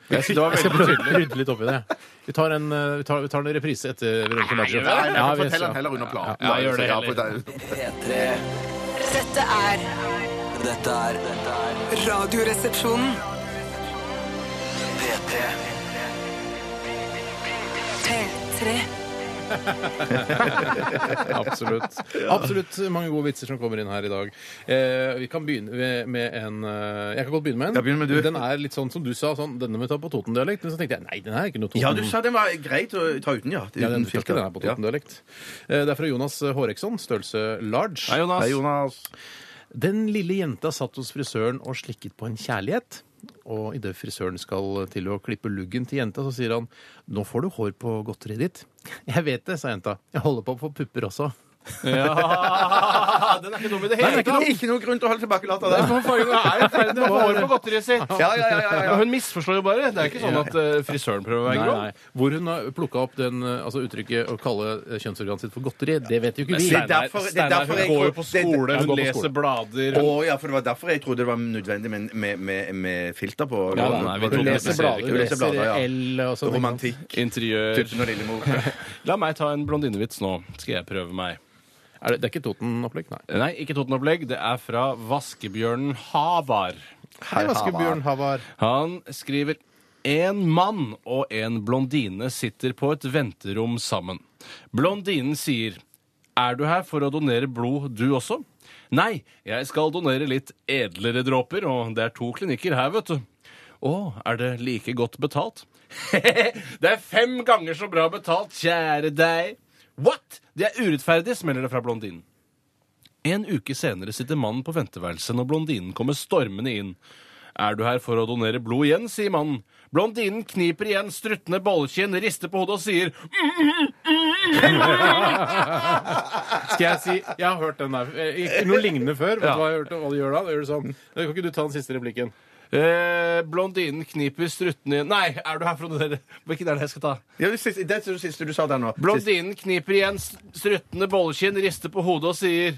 [SPEAKER 5] Jeg synes det var
[SPEAKER 3] Jeg skal
[SPEAKER 5] veldig
[SPEAKER 3] prøve å rydde litt opp i det. Vi tar en, eh, vi tar, vi tar en reprise etter Veronica Maggio.
[SPEAKER 5] Nei, nei,
[SPEAKER 3] Ja, vi-
[SPEAKER 5] fortell den heller under planen.
[SPEAKER 4] Ja, gjør det
[SPEAKER 5] Ja,
[SPEAKER 4] heller.
[SPEAKER 5] for det er-
[SPEAKER 2] P3.
[SPEAKER 6] Dette er
[SPEAKER 2] Dette er dette er
[SPEAKER 1] Radioresepsjonen.
[SPEAKER 2] P3.
[SPEAKER 6] P3.
[SPEAKER 3] Absolutt. *laughs* Absolutt mange gode vitser som kommer inn her i dag. Eh, vi kan begynne ved- med en eh, Jeg kan godt begynne med en.
[SPEAKER 5] Ja, begynn med du.
[SPEAKER 3] Den er litt sånn som du sa, sånn, denne må vi ta på Toten-dialekt. Men så tenkte jeg nei, den er ikke noe Toten.
[SPEAKER 5] Ja, du sa den var greit å ta uten, ja.
[SPEAKER 3] ja, den,
[SPEAKER 5] Uten
[SPEAKER 3] du tar ikke den her på
[SPEAKER 5] Ja.
[SPEAKER 3] Toten-dialekt. Eh, det er fra Jonas Håreksson, størrelse large.
[SPEAKER 4] Hei, Jonas.
[SPEAKER 5] Hei, Jonas.
[SPEAKER 3] Den lille jenta satt hos frisøren og slikket på en kjærlighet. Og idet frisøren skal til å klippe luggen til jenta, så sier han 'Nå får du hår på godteriet ditt'. *laughs* 'Jeg vet det', sa jenta. 'Jeg holder på å få pupper også'.
[SPEAKER 4] Ja, den er ikke dum i det hele tatt.
[SPEAKER 5] Ikke noe grunn til å holde tilbake latter der.
[SPEAKER 4] Hun får jo- er i ferd med å få hår på godteriet sitt.
[SPEAKER 5] Ja, ja,
[SPEAKER 3] *laughs*
[SPEAKER 5] ja, ja, ja.
[SPEAKER 4] Hun misforstår jo bare. Det er ikke sånn at eh, frisøren prøver å være grå.
[SPEAKER 3] Hvor hun har plukka opp den, eh, altså uttrykket å kalle eh, kjønnsorganet sitt for godteri, det vet jo ikke vi.
[SPEAKER 5] Det er derfor- det er
[SPEAKER 4] Steinar,
[SPEAKER 5] derfor jeg-
[SPEAKER 4] hun går jo på
[SPEAKER 5] det- det-
[SPEAKER 4] skole,
[SPEAKER 3] Hun
[SPEAKER 4] hun
[SPEAKER 3] går på
[SPEAKER 4] leser
[SPEAKER 3] skole.
[SPEAKER 4] blader.
[SPEAKER 5] Å ja, for det var derfor jeg trodde det var nødvendig med, med, med, med filter på.
[SPEAKER 4] Ja, nei, nei, vi
[SPEAKER 5] Du
[SPEAKER 4] tror det
[SPEAKER 5] leser
[SPEAKER 4] passer
[SPEAKER 5] blader,
[SPEAKER 4] ikke.
[SPEAKER 5] du leser blader, ja.
[SPEAKER 3] L og sånn.
[SPEAKER 5] Romantikk.
[SPEAKER 4] Interiør.
[SPEAKER 5] Tuppen og
[SPEAKER 3] *laughs*
[SPEAKER 5] Lillemor.
[SPEAKER 4] La meg ta en blondinevits nå. Skal jeg prøve meg.
[SPEAKER 3] Er det, det er ikke Toten-opplegg, nei.
[SPEAKER 4] Nei, ikke Toten-opplegg. Det er fra Vaskebjørnen Havar.
[SPEAKER 3] Hei, Vaskebjørn Havar.
[SPEAKER 4] Han skriver en mann og en blondine sitter på et venterom sammen. Blondinen sier Er du her for å donere blod, du også? Nei, jeg skal donere litt edlere dråper, og det er to klinikker her, vet du. Å, er det like godt betalt? *laughs* det er fem ganger så bra betalt, kjære deg. What? Det er urettferdig, smeller det fra blondinen. En uke senere sitter mannen på venteværelset når blondinen kommer stormende inn. Er du her for å donere blod igjen, sier mannen. Blondinen kniper igjen struttende bollekinn, rister på hodet og sier "Mm,
[SPEAKER 3] Skal jeg si Jeg har hørt den der. eh, Ikke noe lignende
[SPEAKER 5] *laughs*
[SPEAKER 3] før. Vet du
[SPEAKER 4] Ja.
[SPEAKER 3] hva jeg hørte? Hva du gjør da? Da gjør du sånn. Eh, Kan ikke du ta den siste replikken?
[SPEAKER 4] eh, Blondinen kniper struttende igjen Nei, er du her for å donere Hvilken er det jeg skal ta?
[SPEAKER 5] Ja, det siste- det er det siste du sa der nå. Siste-
[SPEAKER 4] Blondinen kniper igjen s- struttende bollekinn, rister på hodet og sier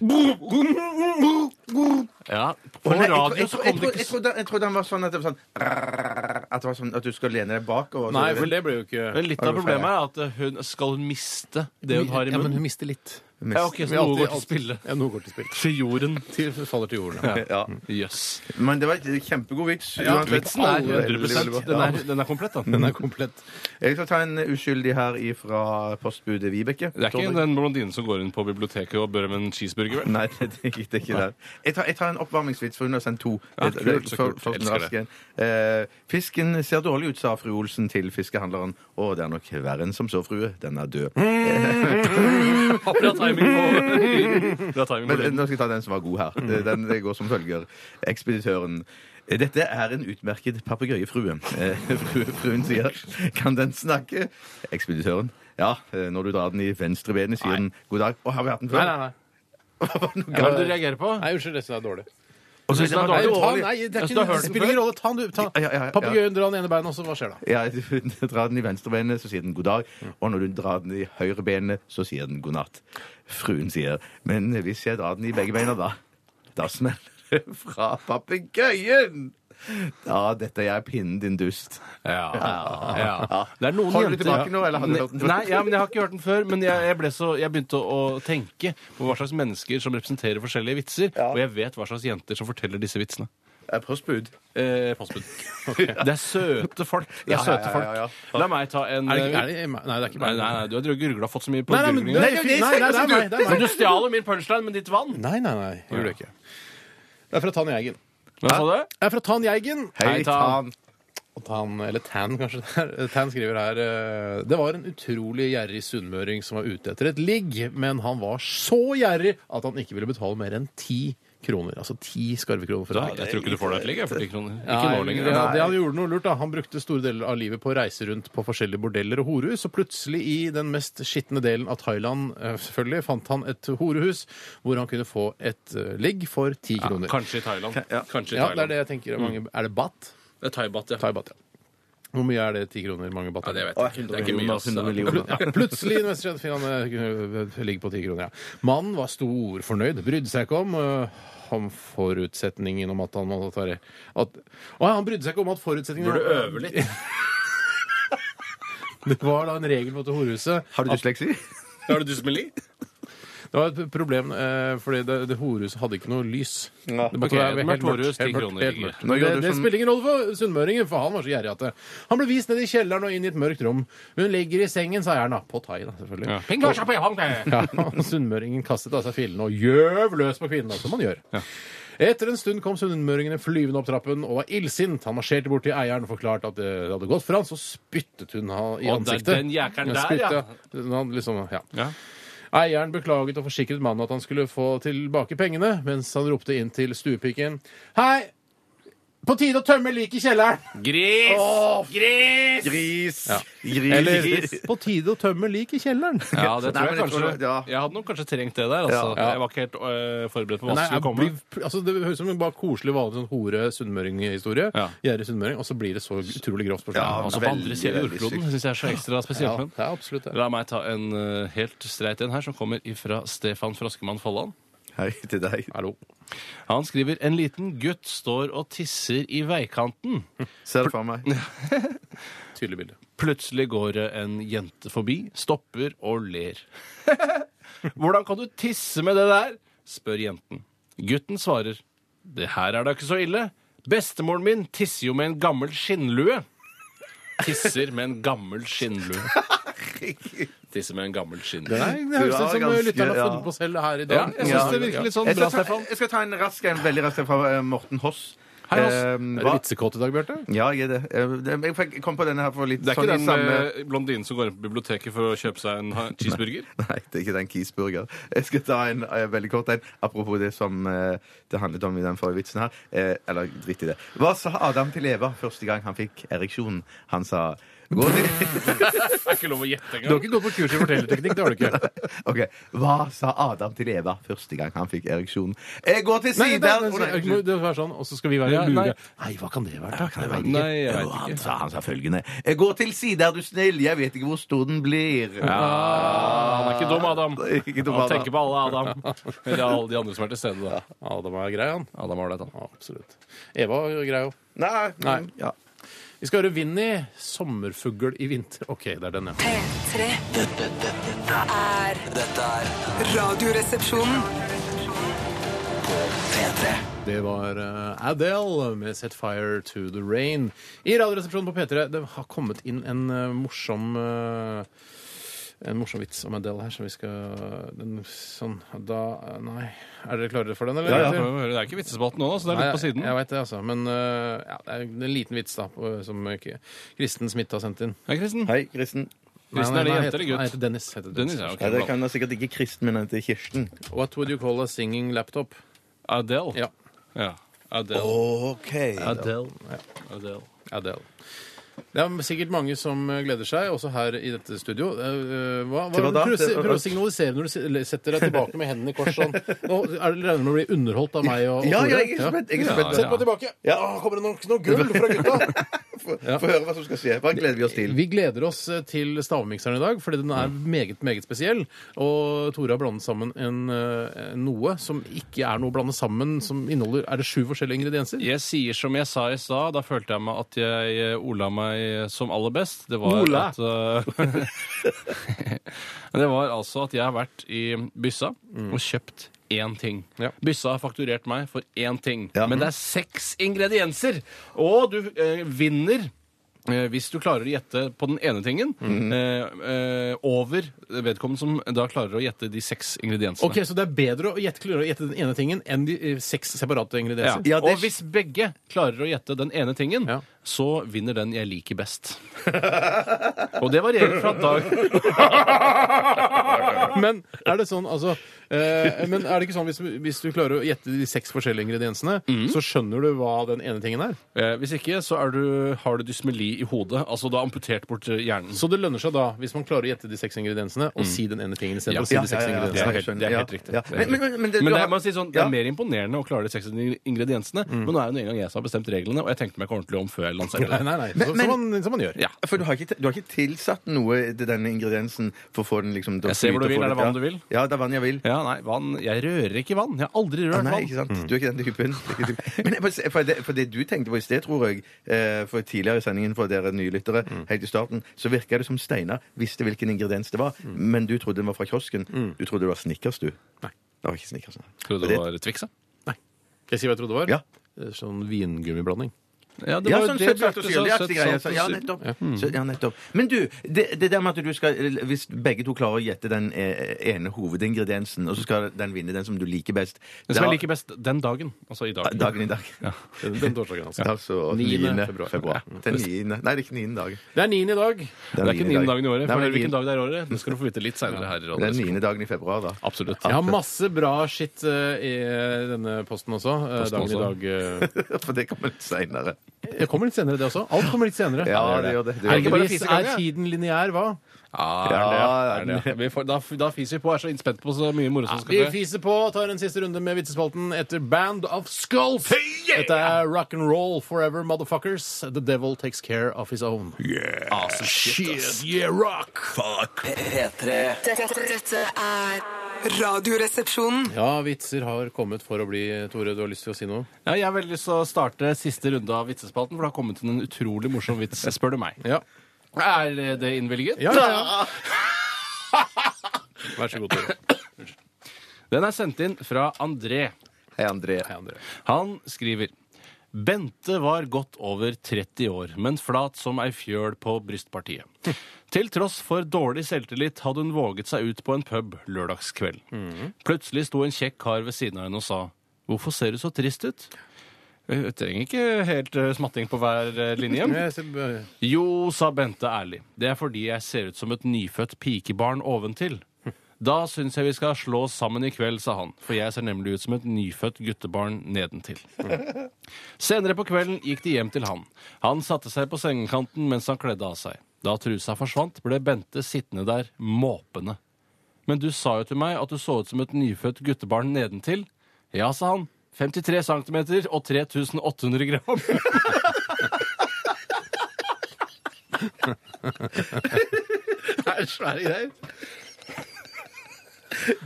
[SPEAKER 4] Ja, på
[SPEAKER 5] Å, nei, jeg tro-
[SPEAKER 4] radio
[SPEAKER 5] jeg
[SPEAKER 4] så
[SPEAKER 5] tro-
[SPEAKER 4] kom det
[SPEAKER 5] jeg tro- Jeg
[SPEAKER 4] ikke
[SPEAKER 5] trodde- jeg trodde han var sånn at det var sånn At det var sånn at du skal lene deg bakover. og så-
[SPEAKER 3] Nei, for det ble jo ikke
[SPEAKER 4] Men litt av problemet er at hun, skal hun miste det hun har i
[SPEAKER 3] Ja, men hun
[SPEAKER 4] munnen?
[SPEAKER 3] mister litt.
[SPEAKER 4] Ja, ok, så
[SPEAKER 3] Vi
[SPEAKER 4] noe går
[SPEAKER 3] alltid-
[SPEAKER 4] til
[SPEAKER 3] alltid-
[SPEAKER 4] spille.
[SPEAKER 3] Ja, noe går til spill.
[SPEAKER 4] Til jorden.
[SPEAKER 3] *laughs* Til, faller til jorden. Ja.
[SPEAKER 5] Ja.
[SPEAKER 4] Jøss.
[SPEAKER 5] Men det var et kjempegod vits. uansett.
[SPEAKER 4] Vitsen er
[SPEAKER 5] Alle-
[SPEAKER 4] 100 Den er, den er komplett, da.
[SPEAKER 3] Den er komplett.
[SPEAKER 5] Jeg skal ta en uskyldig her ifra postbudet Vibeke.
[SPEAKER 4] Det er ikke den blondinen som går inn på biblioteket og bør om en *laughs* cheeseburger, vel?
[SPEAKER 5] Nei, *laughs* det, det, er ikke- det er ikke der. Jeg tar, jeg tar en oppvarmingsvits, for hun har sendt to.
[SPEAKER 4] Ja, kult, så kult.
[SPEAKER 5] den
[SPEAKER 4] Elsker det.
[SPEAKER 5] raske. Eh, fisken ser dårlig ut, sa fru Olsen til fiskehandleren. Å, det er nok verre enn som så, frue. Den er død.
[SPEAKER 4] Bra timing på, Bra timing på
[SPEAKER 5] Men eh,
[SPEAKER 4] lyden.
[SPEAKER 5] nå skal jeg ta den som var god her. Eh, Den eh, går som følger. Ekspeditøren. Eh, Dette er en utmerket papegøyefrue. Eh, *laughs* fru- Fruen sier Kan den snakke? Ekspeditøren. Ja, eh, når du drar den i venstre benet, sier den god dag. Å, har vi hatt den før? *laughs*
[SPEAKER 3] Nei, nei, nei.
[SPEAKER 4] Hva er det du reagerer på?
[SPEAKER 3] Nei, unnskyld, resten er dårlig.
[SPEAKER 5] Og så-
[SPEAKER 4] Hvis den er
[SPEAKER 3] Nei,
[SPEAKER 4] dårlig,
[SPEAKER 3] ta, nei, det er
[SPEAKER 4] Altså,
[SPEAKER 3] ikke,
[SPEAKER 4] du har hørt den
[SPEAKER 3] spiller
[SPEAKER 4] før?
[SPEAKER 3] ingen rolle. Ta den, du. Ta.
[SPEAKER 5] Ja, ja, ja, ja.
[SPEAKER 3] Papegøyen drar den ene beinet, og så hva skjer da?
[SPEAKER 5] Ja, *laughs* du drar den i venstrebeinet, så sier den god dag. Og når du drar den i høyrebeinet, så sier den god natt. Fruen sier, men hvis jeg drar den i begge beina, da Da smeller det fra papegøyen! Da detter jeg pinnen din dust.
[SPEAKER 4] Ja, ja. Det er noen
[SPEAKER 5] Holder du
[SPEAKER 4] jenter
[SPEAKER 5] tilbake nå, eller hadde du hørt den før?
[SPEAKER 4] Nei, ja, men jeg har ikke hørt den før. Men jeg, jeg, ble så, jeg begynte å, å tenke på hva slags mennesker som representerer forskjellige vitser. Og jeg vet hva slags jenter som forteller disse vitsene.
[SPEAKER 5] Eh, Postbud.
[SPEAKER 4] Eh, postbud. *laughs* Det er søte folk. Det er
[SPEAKER 5] Ja, ja,
[SPEAKER 4] søte
[SPEAKER 5] ja,
[SPEAKER 4] folk.
[SPEAKER 5] ja, ja.
[SPEAKER 4] La meg ta en
[SPEAKER 3] Er det, ikke- er det, nei, det er ikke
[SPEAKER 4] Nei,
[SPEAKER 3] beinet.
[SPEAKER 4] nei, nei, du har gurgla fått så mye på
[SPEAKER 3] Nei, nei, men-
[SPEAKER 4] gurglingen.
[SPEAKER 3] nei, nei, nei, nei, nei, nei, nei.
[SPEAKER 4] Men du stjal jo min punchline med ditt vann.
[SPEAKER 3] Nei, nei, nei. jeg Gjorde det ikke. Det er fra Tan Jeigen.
[SPEAKER 4] Hva sa du?
[SPEAKER 3] Det er fra Tan Jeigen.
[SPEAKER 5] Hei,
[SPEAKER 4] Hei, Tan.
[SPEAKER 5] Tan.
[SPEAKER 3] Og Tan, eller Tan, kanskje. det er. *laughs* Tan skriver her eh, Det var en utrolig gjerrig sunnmøring som var ute etter et ligg, men han var så gjerrig at han ikke ville betale mer enn ti kroner. Altså ti skarvekroner for
[SPEAKER 4] Ja,
[SPEAKER 3] et egg.
[SPEAKER 4] jeg tror ikke du får deg et ligg jeg, for 10 kroner. Ikke
[SPEAKER 3] Nei,
[SPEAKER 4] nå lenger.
[SPEAKER 3] det- Det, han gjorde noe lurt da. Han brukte store deler av livet på å reise rundt på forskjellige bordeller og horehus, og plutselig i den mest skitne delen av Thailand eh, selvfølgelig fant han et horehus hvor han kunne få et eh, ligg for ti
[SPEAKER 4] Ja,
[SPEAKER 3] kroner.
[SPEAKER 4] kanskje i Thailand. Kanskje i
[SPEAKER 3] Ja, det er
[SPEAKER 4] Thailand. Mm.
[SPEAKER 3] det jeg tenker. Mange, er det baht?
[SPEAKER 4] Det er thaibat, ja.
[SPEAKER 3] Thaibaht, ja. Hvor mye er det ti kroner? Mange baht?
[SPEAKER 4] ja. Det vet jeg ikke. Det er ikke mye. ass.
[SPEAKER 5] 100 millioner.
[SPEAKER 3] Ja, plutselig investerte fingrene ligger på 10 kroner. Ja. Mannen var storfornøyd, brydde seg ikke om eh, om forutsetningen om at han måtte være at, Å ja, han brydde seg ikke om at forutsetningen
[SPEAKER 4] Burde øve litt.
[SPEAKER 3] *laughs* Det var da en regel på dette horehuset.
[SPEAKER 5] Har du dysleksi?
[SPEAKER 4] Har du dysmeli?
[SPEAKER 3] Det var et problem, eh, fordi det, det horehuset hadde ikke noe lys. det måtte
[SPEAKER 4] ok,
[SPEAKER 3] være
[SPEAKER 4] mørkt
[SPEAKER 3] helt mørkt,
[SPEAKER 4] horehus,
[SPEAKER 3] helt
[SPEAKER 4] 10
[SPEAKER 3] mørkt,
[SPEAKER 4] kroner
[SPEAKER 3] helt
[SPEAKER 4] ligger.
[SPEAKER 3] mørkt.
[SPEAKER 5] Nå
[SPEAKER 3] Men Det,
[SPEAKER 5] gjorde du
[SPEAKER 3] det
[SPEAKER 5] som-
[SPEAKER 3] spiller ingen rolle for sunnmøringen, for han var så gjerrig at det. Han ble vist ned i kjelleren og inn i et mørkt rom. Hun ligger i sengen, sa jeg da. På thai, da, selvfølgelig. Ja, *laughs* og Sunnmøringen kastet av seg fillene og gjøv løs på kvinnen, da, som man gjør. Etter en stund kom sunnmøringene flyvende opp trappen og var illsint. Han marsjerte bort til eieren og forklarte at det hadde gått for han, så spyttet hun han i
[SPEAKER 4] Å, det er
[SPEAKER 3] ansiktet.
[SPEAKER 4] den jækeren der,
[SPEAKER 3] spytte.
[SPEAKER 4] ja.
[SPEAKER 3] Han liksom, ja.
[SPEAKER 4] Ja.
[SPEAKER 3] Eieren beklaget og forsikret mannen at han skulle få tilbake pengene, mens han ropte inn til stuepiken. Hei! På tide å tømme liket i kjelleren!
[SPEAKER 4] Gris! Gris!
[SPEAKER 5] Gris!
[SPEAKER 3] Eller
[SPEAKER 5] Gris!
[SPEAKER 3] *laughs* på tide å tømme liket i kjelleren.
[SPEAKER 4] Ja, det tror jeg
[SPEAKER 5] Nei, men jeg
[SPEAKER 4] kanskje.
[SPEAKER 5] tror det- ja.
[SPEAKER 4] Jeg hadde nok kanskje trengt det der. altså.
[SPEAKER 3] Ja.
[SPEAKER 4] Jeg var ikke helt øh, forberedt på hva
[SPEAKER 3] Nei,
[SPEAKER 4] som
[SPEAKER 3] jeg
[SPEAKER 4] skulle komme.
[SPEAKER 3] blir, altså det høres ut som en bare koselig, vanlig sånn hore sunnmøring-historie.
[SPEAKER 4] Ja.
[SPEAKER 3] Gjerrig sunnmøring. Og så blir det så utrolig grovt på
[SPEAKER 5] Ja,
[SPEAKER 3] slutten.
[SPEAKER 4] Altså, på
[SPEAKER 5] veldig,
[SPEAKER 4] andre siden av
[SPEAKER 5] veldig
[SPEAKER 4] jordkloden syns jeg er så ekstra
[SPEAKER 3] Ja,
[SPEAKER 4] spesielt. men-
[SPEAKER 3] det er absolutt det.
[SPEAKER 4] La meg ta en øh, helt streit en her, som kommer ifra Stefan Froskemann Folland.
[SPEAKER 5] Hei til deg.
[SPEAKER 3] Hallo.
[SPEAKER 4] Han skriver en liten gutt står og tisser i *laughs* veikanten.
[SPEAKER 5] Ser det for meg.
[SPEAKER 3] Tydelig bilde.
[SPEAKER 4] Plutselig går det en jente forbi, stopper og *laughs* ler. Hvordan kan du tisse med det der? spør jenten. Gutten svarer. Det her er da ikke så ille. Bestemoren min tisser jo med en gammel skinnlue. *laughs* Tisser med en gammel skinnlue. Tisser med en gammel skinnlue.
[SPEAKER 3] Nei, det høres
[SPEAKER 5] Ja,
[SPEAKER 3] ut som eh,
[SPEAKER 5] ganske-
[SPEAKER 3] lytterne har
[SPEAKER 5] ja.
[SPEAKER 3] funnet på selv her i
[SPEAKER 4] Ja,
[SPEAKER 3] dag.
[SPEAKER 4] jeg syns det virker litt sånn
[SPEAKER 5] Jeg
[SPEAKER 4] bra,
[SPEAKER 5] skal, ta,
[SPEAKER 4] Stefan.
[SPEAKER 5] jeg skal ta en rask en, veldig rask en fra eh, Morten Hoss.
[SPEAKER 4] Hei, Hoss.
[SPEAKER 5] Eh,
[SPEAKER 3] Er det
[SPEAKER 5] hva-
[SPEAKER 3] vitsekåt i dag, Bjarte?
[SPEAKER 5] ja, jeg er det. Eh, det- Jeg fikk- kom på denne her for litt
[SPEAKER 4] Det er ikke
[SPEAKER 5] sånn i
[SPEAKER 4] den
[SPEAKER 5] samme
[SPEAKER 4] eh, blondinen som går inn på biblioteket for å kjøpe seg en ha- cheeseburger?
[SPEAKER 5] *laughs* Nei, det er ikke den Kiesburger. Jeg skal ta en eh, veldig kort en. Apropos det som eh, det handlet om i den forrige vitsen her. Eh, eller dritt i det. Hva sa Adam til Eva første gang han fikk ereksjon? Han sa Gå til *laughs*
[SPEAKER 4] Det er ikke lov å gjette
[SPEAKER 3] Du har
[SPEAKER 4] engang.
[SPEAKER 3] ikke gått på kurs i fortellerteknikk, det har du ikke.
[SPEAKER 5] Ok, Hva sa Adam til Eva første gang han fikk ereksjon? Jeg går til
[SPEAKER 3] Nei, det, det,
[SPEAKER 5] siden! Å,
[SPEAKER 3] det, det være sånn, og så skal vi være
[SPEAKER 4] Ja, nei.
[SPEAKER 3] lure. Nei, hva kan det være? da?
[SPEAKER 5] Jeg vet ikke.
[SPEAKER 4] Nei, jeg vet
[SPEAKER 5] Jo, han,
[SPEAKER 4] ikke.
[SPEAKER 5] sa, han sa følgende Jeg går til side, er du snill, jeg vet ikke hvor stor den blir.
[SPEAKER 4] Han er ikke dum, Adam.
[SPEAKER 5] Det er *laughs* ikke dum,
[SPEAKER 4] Han
[SPEAKER 5] Adam.
[SPEAKER 4] tenker på alle
[SPEAKER 3] *laughs*
[SPEAKER 4] Adam. Eller alle de andre som er til stede. da.
[SPEAKER 3] Adam er grei, han.
[SPEAKER 4] Adam var ålreit, han.
[SPEAKER 3] Ja, absolutt. Eva er grei òg.
[SPEAKER 5] Nei, mm,
[SPEAKER 3] Nei.
[SPEAKER 5] Ja.
[SPEAKER 3] Vi skal høre Vinni, 'Sommerfugl i vinter'. OK, det er den, ja.
[SPEAKER 6] P3
[SPEAKER 2] Dette, dette, dette
[SPEAKER 6] er
[SPEAKER 2] er- dette er
[SPEAKER 6] Radioresepsjonen.
[SPEAKER 2] P3.
[SPEAKER 3] Det var eh, Adele med 'Set Fire to the Rain'. I Radioresepsjonen på P3 det har kommet inn en eh, morsom eh, en morsom vits om Adele her, som vi skal den, Sånn Da Nei. Er dere klarere for den, eller?
[SPEAKER 4] Det er ikke vitsespalten nå, da, så det er
[SPEAKER 3] Nei,
[SPEAKER 4] litt på siden.
[SPEAKER 3] Jeg, jeg vet det, altså. Men eh, ja, det er en liten vits, da, på- som eh, Kristen Smith har sendt inn.
[SPEAKER 4] Hei, Kristen.
[SPEAKER 5] Hei, Kristen.
[SPEAKER 4] Kristen, er det
[SPEAKER 3] han
[SPEAKER 4] jente
[SPEAKER 3] heter-
[SPEAKER 4] eller gutt?
[SPEAKER 3] Han heter Dennis. Heter
[SPEAKER 4] Dennis, ja, ok.
[SPEAKER 5] Ja, det kan da sikkert ikke Kristen, men han heter Kirsten.
[SPEAKER 3] What would you call a singing laptop?
[SPEAKER 4] Adele.
[SPEAKER 3] Ja.
[SPEAKER 4] Ja. Adele.
[SPEAKER 5] Ok.
[SPEAKER 4] Adele. Adele.
[SPEAKER 3] Adele. Det er sikkert mange som eh, gleder seg, også her i dette studio. Eh, Hva, hva,
[SPEAKER 5] Til hva da?
[SPEAKER 3] prøv, å si-
[SPEAKER 5] Til-
[SPEAKER 3] prøv å signalisere når du si- setter deg tilbake med hendene i kors sånn. Nå er det regner med å bli underholdt av meg og, og
[SPEAKER 5] Ja,
[SPEAKER 3] Tore.
[SPEAKER 5] ja, jeg er spent. Jeg er spent.
[SPEAKER 3] Sett meg tilbake.
[SPEAKER 5] Ja.
[SPEAKER 3] Å, kommer det noe, noe gull fra
[SPEAKER 5] *laughs*
[SPEAKER 3] gutta?
[SPEAKER 5] Få få høre hva som skal skje. Hva gleder vi oss til?
[SPEAKER 3] Vi gleder oss eh, til stavmikseren i dag, fordi den er meget, meget spesiell. Og Tore har blandet sammen en, eh, noe som ikke er noe å blande sammen, som inneholder Er det sju forskjellige ingredienser?
[SPEAKER 4] Jeg sier som jeg sa i stad. Da følte jeg meg at jeg eh, ola meg som aller best. Det var
[SPEAKER 3] Ola.
[SPEAKER 4] at eh, *laughs* Det var altså at jeg har vært i byssa og kjøpt én ting.
[SPEAKER 3] Mm. Ja.
[SPEAKER 4] Byssa har fakturert meg for én ting,
[SPEAKER 5] Ja.
[SPEAKER 4] men det er seks ingredienser! Og du eh, vinner eh, hvis du klarer å gjette på den ene tingen
[SPEAKER 3] Mm.
[SPEAKER 4] eh, eh, over vedkommende som da klarer å gjette de seks ingrediensene.
[SPEAKER 3] Ok, Så det er bedre å gjette, klare å gjette den ene tingen enn de eh, seks separate
[SPEAKER 4] Ja.
[SPEAKER 3] ingredienser?
[SPEAKER 5] Ja, det-
[SPEAKER 4] *laughs* Og hvis begge klarer å gjette den ene tingen,
[SPEAKER 3] Ja.
[SPEAKER 4] så vinner den jeg liker best. Og det varierer fra dag
[SPEAKER 3] Men er det sånn, altså eh, Men er det ikke sånn hvis, hvis du klarer å gjette de seks forskjellige ingrediensene,
[SPEAKER 5] Mhm.
[SPEAKER 3] så skjønner du hva den ene tingen er?
[SPEAKER 4] Eh, Hvis ikke, så er du, har du dysmeli i hodet. Altså, du har amputert bort eh, hjernen.
[SPEAKER 3] Så det lønner seg da, hvis man klarer å gjette de seks ingrediensene, og si den ene tingen
[SPEAKER 4] Ja,
[SPEAKER 3] istedenfor for å si
[SPEAKER 4] ja,
[SPEAKER 3] de seks
[SPEAKER 5] Mhm. ja, ja, ja.
[SPEAKER 4] Det er
[SPEAKER 3] ingrediensene.
[SPEAKER 4] helt, det er helt
[SPEAKER 5] Ja,
[SPEAKER 4] riktig.
[SPEAKER 5] ja.
[SPEAKER 4] Det er helt
[SPEAKER 5] Men- men-
[SPEAKER 4] riktig.
[SPEAKER 5] men det- du
[SPEAKER 4] det,
[SPEAKER 5] har-
[SPEAKER 4] er, man sier sånn, det
[SPEAKER 5] Ja.
[SPEAKER 4] er mer imponerende å klare de seks ingrediensene, men nå er det nå engang jeg som har bestemt reglene, og jeg tenkte meg ikke ordentlig om før jeg lanserte
[SPEAKER 3] Nei,
[SPEAKER 4] det.
[SPEAKER 3] nei, nei. Så,
[SPEAKER 5] men-
[SPEAKER 3] som, man, som man gjør.
[SPEAKER 4] Ja.
[SPEAKER 5] For du har, ikke, du har ikke tilsatt noe til denne ingrediensen for å få den liksom til å
[SPEAKER 4] Jeg ser hvor
[SPEAKER 5] flyte
[SPEAKER 4] du vil.
[SPEAKER 5] og få
[SPEAKER 4] Er det
[SPEAKER 5] litt-
[SPEAKER 4] vann du vil?
[SPEAKER 5] Ja, det er vann jeg vil.
[SPEAKER 4] Ja, nei, vann Jeg rører ikke vann. Jeg har aldri
[SPEAKER 5] Ah,
[SPEAKER 4] rørt vann.
[SPEAKER 5] nei, ikke sant? Du er ikke den typen. Du er ikke den typen. Men jeg bare ser- for det, for det du tenkte på i sted, tror jeg, eh, for tidligere i sendingen for dere nye lyttere,
[SPEAKER 4] Mm.
[SPEAKER 5] helt i starten, så virka det som Steinar visste hvilken ingrediens det var,
[SPEAKER 4] Mm.
[SPEAKER 5] men du trodde den var fra kiosken. Du trodde det var Snickers, du. Nei. Det var ikke Snickers. nei.
[SPEAKER 4] Trodde
[SPEAKER 5] det-
[SPEAKER 4] det var Twix, ja?
[SPEAKER 3] Nei. Skal jeg si hva jeg trodde det var?
[SPEAKER 5] Ja.
[SPEAKER 3] Eh, Sånn vingummiblanding.
[SPEAKER 4] Ja, det
[SPEAKER 5] Ja,
[SPEAKER 4] var jo
[SPEAKER 5] sånn
[SPEAKER 4] det
[SPEAKER 5] søtt, salt og
[SPEAKER 4] Bjarte sa,
[SPEAKER 5] syrlig-aktig
[SPEAKER 4] søtt, Mm.
[SPEAKER 5] greie.
[SPEAKER 4] salt og
[SPEAKER 5] Så- Ja,
[SPEAKER 4] syr.
[SPEAKER 5] nettopp. Så- Ja, nettopp. Men du, det, det der med at du skal Hvis begge to klarer å gjette den eh, ene hovedingrediensen, og så skal den vinne den som du liker best
[SPEAKER 4] Den som
[SPEAKER 5] da-
[SPEAKER 4] jeg liker best den dagen. Altså i dag.
[SPEAKER 5] Dagen i
[SPEAKER 4] *laughs*
[SPEAKER 5] dag.
[SPEAKER 3] Den, den torsdagen, altså.
[SPEAKER 5] *laughs* Altså 9.
[SPEAKER 3] Niende
[SPEAKER 5] februar.
[SPEAKER 3] februar.
[SPEAKER 5] Den niende. Nei, det er ikke niende dagen.
[SPEAKER 3] Det er niende i dag.
[SPEAKER 4] Det er ikke den
[SPEAKER 5] niende
[SPEAKER 4] niende dagen i året.
[SPEAKER 5] Nei,
[SPEAKER 4] For
[SPEAKER 5] men
[SPEAKER 4] hvilken
[SPEAKER 5] niende-
[SPEAKER 4] dag det er i året, det skal du få vite litt seinere her i
[SPEAKER 5] Det er
[SPEAKER 4] Radio.
[SPEAKER 5] den niende dagen i februar, da.
[SPEAKER 4] Absolutt.
[SPEAKER 3] Jeg har masse bra skitt eh, i denne posten også. eh,
[SPEAKER 4] Posten
[SPEAKER 3] dagen
[SPEAKER 4] også.
[SPEAKER 3] i dag. eh,
[SPEAKER 5] *laughs* For det kommer litt seinere.
[SPEAKER 3] Det kommer litt senere, det også. Alt kommer litt senere.
[SPEAKER 5] *laughs* Ja, det gjør det. Det gjør
[SPEAKER 4] Det
[SPEAKER 3] Heldigvis
[SPEAKER 5] det.
[SPEAKER 4] er ikke bare
[SPEAKER 3] er
[SPEAKER 4] fise ganger.
[SPEAKER 3] tiden lineær, hva?
[SPEAKER 4] Ja, Ah, det er det. ja. Vi får, da, da fiser vi på. Jeg er så innspent på så mye moro som
[SPEAKER 3] Vi
[SPEAKER 4] skal skje.
[SPEAKER 3] fiser på, tar en siste runde med vitsespalten etter Band of Skulls. Dette er rock and roll forever, motherfuckers. The devil takes care of his own.
[SPEAKER 4] Ah, så shit, ass.
[SPEAKER 3] yeah, rock!
[SPEAKER 2] P3.
[SPEAKER 6] Dette, dette er Radioresepsjonen.
[SPEAKER 3] Ja, vitser har kommet for å bli. Tore, du har lyst til å si noe?
[SPEAKER 4] Ja, jeg har veldig lyst til å starte siste runde av vitsespalten, for det har kommet inn en utrolig morsom vits, spør du meg.
[SPEAKER 3] Ja.
[SPEAKER 4] Er det innvilget?
[SPEAKER 3] ja, ja,
[SPEAKER 4] *laughs*
[SPEAKER 3] ja. Vær så god, Tore.
[SPEAKER 4] Den er sendt inn fra André.
[SPEAKER 5] Hei, André.
[SPEAKER 3] Hei, André.
[SPEAKER 4] Han skriver Bente var godt over 30 år, men flat som ei fjøl på brystpartiet. Til tross for dårlig selvtillit hadde hun våget seg ut på en pub lørdagskveld. Plutselig sto en kjekk kar ved siden av henne og sa Hvorfor ser du så trist ut? Jeg trenger ikke helt eh, smatting på hver eh, *laughs* linje.
[SPEAKER 3] Jeg ser- eh,
[SPEAKER 4] Jo, sa Bente ærlig. Det er fordi jeg ser ut som et nyfødt pikebarn oventil. Da syns jeg vi skal slå oss sammen i kveld, sa han, for jeg ser nemlig ut som et nyfødt guttebarn nedentil. Senere på kvelden gikk de hjem til han. Han satte seg på sengekanten mens han kledde av seg. Da trusa forsvant, ble Bente sittende der måpende. Men du sa jo til meg at du så ut som et nyfødt guttebarn nedentil. Ja, sa han. 53 cm og 3800 gram.
[SPEAKER 3] Det er svære greier.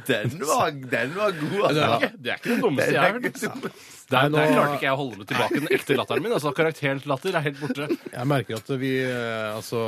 [SPEAKER 5] Den var, den var god,
[SPEAKER 4] Det er
[SPEAKER 5] altså.
[SPEAKER 4] ikke det, er ikke det dummeste jeg har hørt. Der, der klarte ikke jeg å holde meg tilbake den ekte latteren min. altså Karakterens latter er helt borte.
[SPEAKER 3] Jeg merker at vi eh, altså,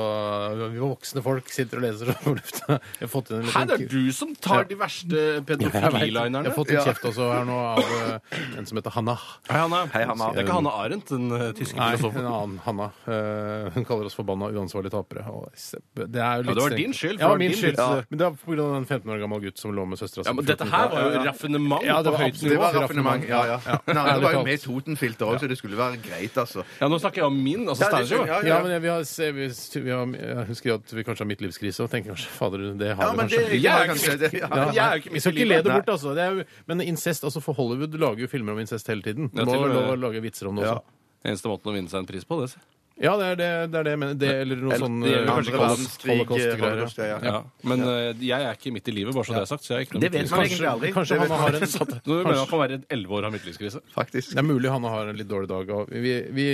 [SPEAKER 3] vi voksne folk sitter og leser om lufta. Jeg har fått inn en
[SPEAKER 4] Hæ, det
[SPEAKER 3] liten
[SPEAKER 4] er du som tar de verste
[SPEAKER 3] Jeg
[SPEAKER 4] pedofililinerne.
[SPEAKER 3] har fått litt kjeft også her nå av eh, en som heter Hanna.
[SPEAKER 4] Hei, Hanna.
[SPEAKER 5] Hei, Hanna.
[SPEAKER 4] Det er ikke Hanna Arendt, den eh, tyske
[SPEAKER 3] Nei, en
[SPEAKER 4] filosofen.
[SPEAKER 3] annen Hanna. Eh, hun kaller oss forbanna uansvarlige tapere. Og se- Det er jo litt
[SPEAKER 4] Ja, det var
[SPEAKER 3] strengt.
[SPEAKER 4] din skyld, for
[SPEAKER 3] Ja,
[SPEAKER 4] det var
[SPEAKER 3] min
[SPEAKER 4] din
[SPEAKER 3] skyld.
[SPEAKER 4] skyld.
[SPEAKER 3] så- Men det er på grunn av en 15 år gammel gutt som lå med søstera si.
[SPEAKER 4] Ja, men
[SPEAKER 3] på
[SPEAKER 4] dette
[SPEAKER 3] 14
[SPEAKER 4] her
[SPEAKER 3] år.
[SPEAKER 4] var jo raffinement
[SPEAKER 3] Ja, det
[SPEAKER 4] på
[SPEAKER 3] var
[SPEAKER 4] høyt
[SPEAKER 3] absolutt
[SPEAKER 5] Det
[SPEAKER 4] nivå.
[SPEAKER 5] var raffinement. Ja, ja. Nei, det var jo med Totenfilter òg, så det skulle være greit, altså.
[SPEAKER 4] Ja, Nå snakker jeg om min, altså
[SPEAKER 5] Ja,
[SPEAKER 4] Steinar.
[SPEAKER 5] det skjønner
[SPEAKER 4] jo.
[SPEAKER 5] jeg.
[SPEAKER 3] Ja, men jeg- vi har, se- vi, vi har, jeg husker jo at vi kanskje har midtlivskrise, og tenker kanskje fader, det har
[SPEAKER 5] Ja,
[SPEAKER 3] vi
[SPEAKER 5] men
[SPEAKER 3] kanskje.
[SPEAKER 5] det
[SPEAKER 4] Jeg er
[SPEAKER 5] var kanskje det. Ja.
[SPEAKER 3] Ja,
[SPEAKER 4] Jeg er jo ikke
[SPEAKER 3] vi skal
[SPEAKER 4] midt i
[SPEAKER 3] ikke le
[SPEAKER 4] livet.
[SPEAKER 3] det bort, altså. Det er, jo- men incest, altså for Hollywood lager jo filmer om incest hele tiden.
[SPEAKER 4] Ja,
[SPEAKER 3] Du må
[SPEAKER 4] til og med-
[SPEAKER 3] lov å lage vitser om det også.
[SPEAKER 4] Eneste måten å vinne seg en pris på, det. si.
[SPEAKER 3] Ja, det er det, det, er det jeg mener. Det, eller noe sånn
[SPEAKER 4] det gjelder
[SPEAKER 3] eh,
[SPEAKER 4] kanskje ikke
[SPEAKER 3] holocaust-
[SPEAKER 5] verdenskrig,
[SPEAKER 3] holocaust-greier, ja.
[SPEAKER 5] holocaust, ja, ja.
[SPEAKER 4] Ja. Men eh, jeg er ikke midt i livet, bare så det er sagt. Så jeg er ikke noe
[SPEAKER 5] Det vet man egentlig aldri.
[SPEAKER 3] Kanskje
[SPEAKER 5] Det vet
[SPEAKER 3] Hanna har en
[SPEAKER 4] midtlivskrise. Nå mener jeg sånn at man være elleve år av midtlivskrise.
[SPEAKER 5] Faktisk.
[SPEAKER 3] Det er mulig Hanna har en litt dårlig dag. Og vi vi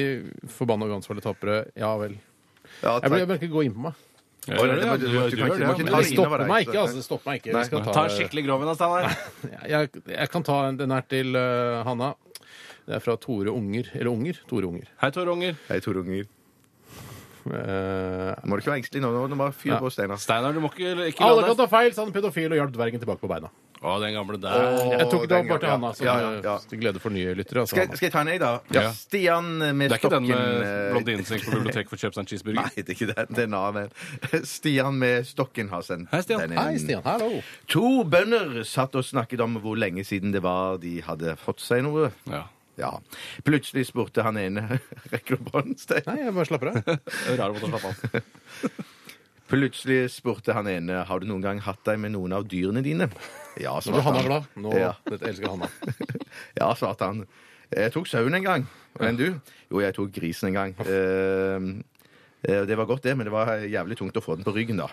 [SPEAKER 3] forbanna uansvarlige tapere. Ja vel.
[SPEAKER 5] Ja,
[SPEAKER 3] Jeg
[SPEAKER 5] takk.
[SPEAKER 3] bør ikke gå inn på meg.
[SPEAKER 4] Ja,
[SPEAKER 5] Å, nei, det må-
[SPEAKER 4] du
[SPEAKER 5] du-
[SPEAKER 4] gjør
[SPEAKER 5] du kan ikke-
[SPEAKER 4] det,
[SPEAKER 5] du må ikke
[SPEAKER 4] men
[SPEAKER 3] Det
[SPEAKER 5] ta det inn over
[SPEAKER 3] stopper
[SPEAKER 5] deg,
[SPEAKER 3] meg ikke.
[SPEAKER 5] så-
[SPEAKER 3] altså, det stopper meg ikke.
[SPEAKER 5] Nei.
[SPEAKER 3] Vi skal
[SPEAKER 4] Ta
[SPEAKER 3] ta,
[SPEAKER 4] en skikkelig grov en da, Steinar.
[SPEAKER 3] jeg, jeg kan ta en, den her til eh, Hanna. Det er fra Tore Unger. Eller Unger. Tore Unger.
[SPEAKER 4] Hei, Tor Unger.
[SPEAKER 5] Hei, Tor Unger.
[SPEAKER 3] Eh,
[SPEAKER 5] Må du ikke være engstelig nå. Nå må du bare fyre på, Steinar.
[SPEAKER 4] Altså, Steinar, du må ikke, ikke
[SPEAKER 3] alle
[SPEAKER 4] la
[SPEAKER 3] kan
[SPEAKER 4] deg
[SPEAKER 3] ta feil, sa han pedofil og hjalp dvergen tilbake på beina.
[SPEAKER 4] Å, den gamle der.
[SPEAKER 3] Jeg tok det
[SPEAKER 5] den
[SPEAKER 3] opp bare til
[SPEAKER 5] gangen,
[SPEAKER 3] Hanna,
[SPEAKER 5] ja.
[SPEAKER 3] som,
[SPEAKER 5] Ja, ja, ja.
[SPEAKER 3] eh, til glede for nye lyttere. Altså,
[SPEAKER 5] Skal, jeg-
[SPEAKER 3] Hanna.
[SPEAKER 5] skal jeg ta en, jeg, da?
[SPEAKER 4] Ja.
[SPEAKER 5] Stian med
[SPEAKER 4] Det er ikke den
[SPEAKER 5] stokken
[SPEAKER 4] med
[SPEAKER 5] eh,
[SPEAKER 4] blondinen som gikk på biblioteket for å kjøpe seg en
[SPEAKER 5] Nei,
[SPEAKER 4] cheeseburger?
[SPEAKER 5] det er *laughs* ikke den. Det er en *laughs* annen. Stian med stokken har sendt
[SPEAKER 4] Hei, Stian.
[SPEAKER 5] den inn.
[SPEAKER 3] Hei, Stian. Hallo.
[SPEAKER 5] To bønder satt og snakket om hvor lenge siden det var de hadde fått seg noe.
[SPEAKER 4] Ja.
[SPEAKER 5] Ja. Plutselig spurte *laughs* han ene Rekker du bånd, Stein?
[SPEAKER 3] *laughs* Nei, jeg bare slapper av.
[SPEAKER 4] Rar måte å slappe av.
[SPEAKER 5] Plutselig spurte han ene har du noen gang hatt deg med noen av dyrene dine. Ja,
[SPEAKER 3] Nå blir
[SPEAKER 5] svarte
[SPEAKER 3] Hanna
[SPEAKER 5] han.
[SPEAKER 3] glad. Nå
[SPEAKER 5] Ja. *laughs*
[SPEAKER 3] Dette elsker *laughs* Hanna.
[SPEAKER 5] Ja, svarte han. Jeg tok sauen en gang. Enn du? Jo, jeg tok grisen en gang. Eh, eh, Det var godt, det, men det var jævlig tungt å få den på ryggen, da.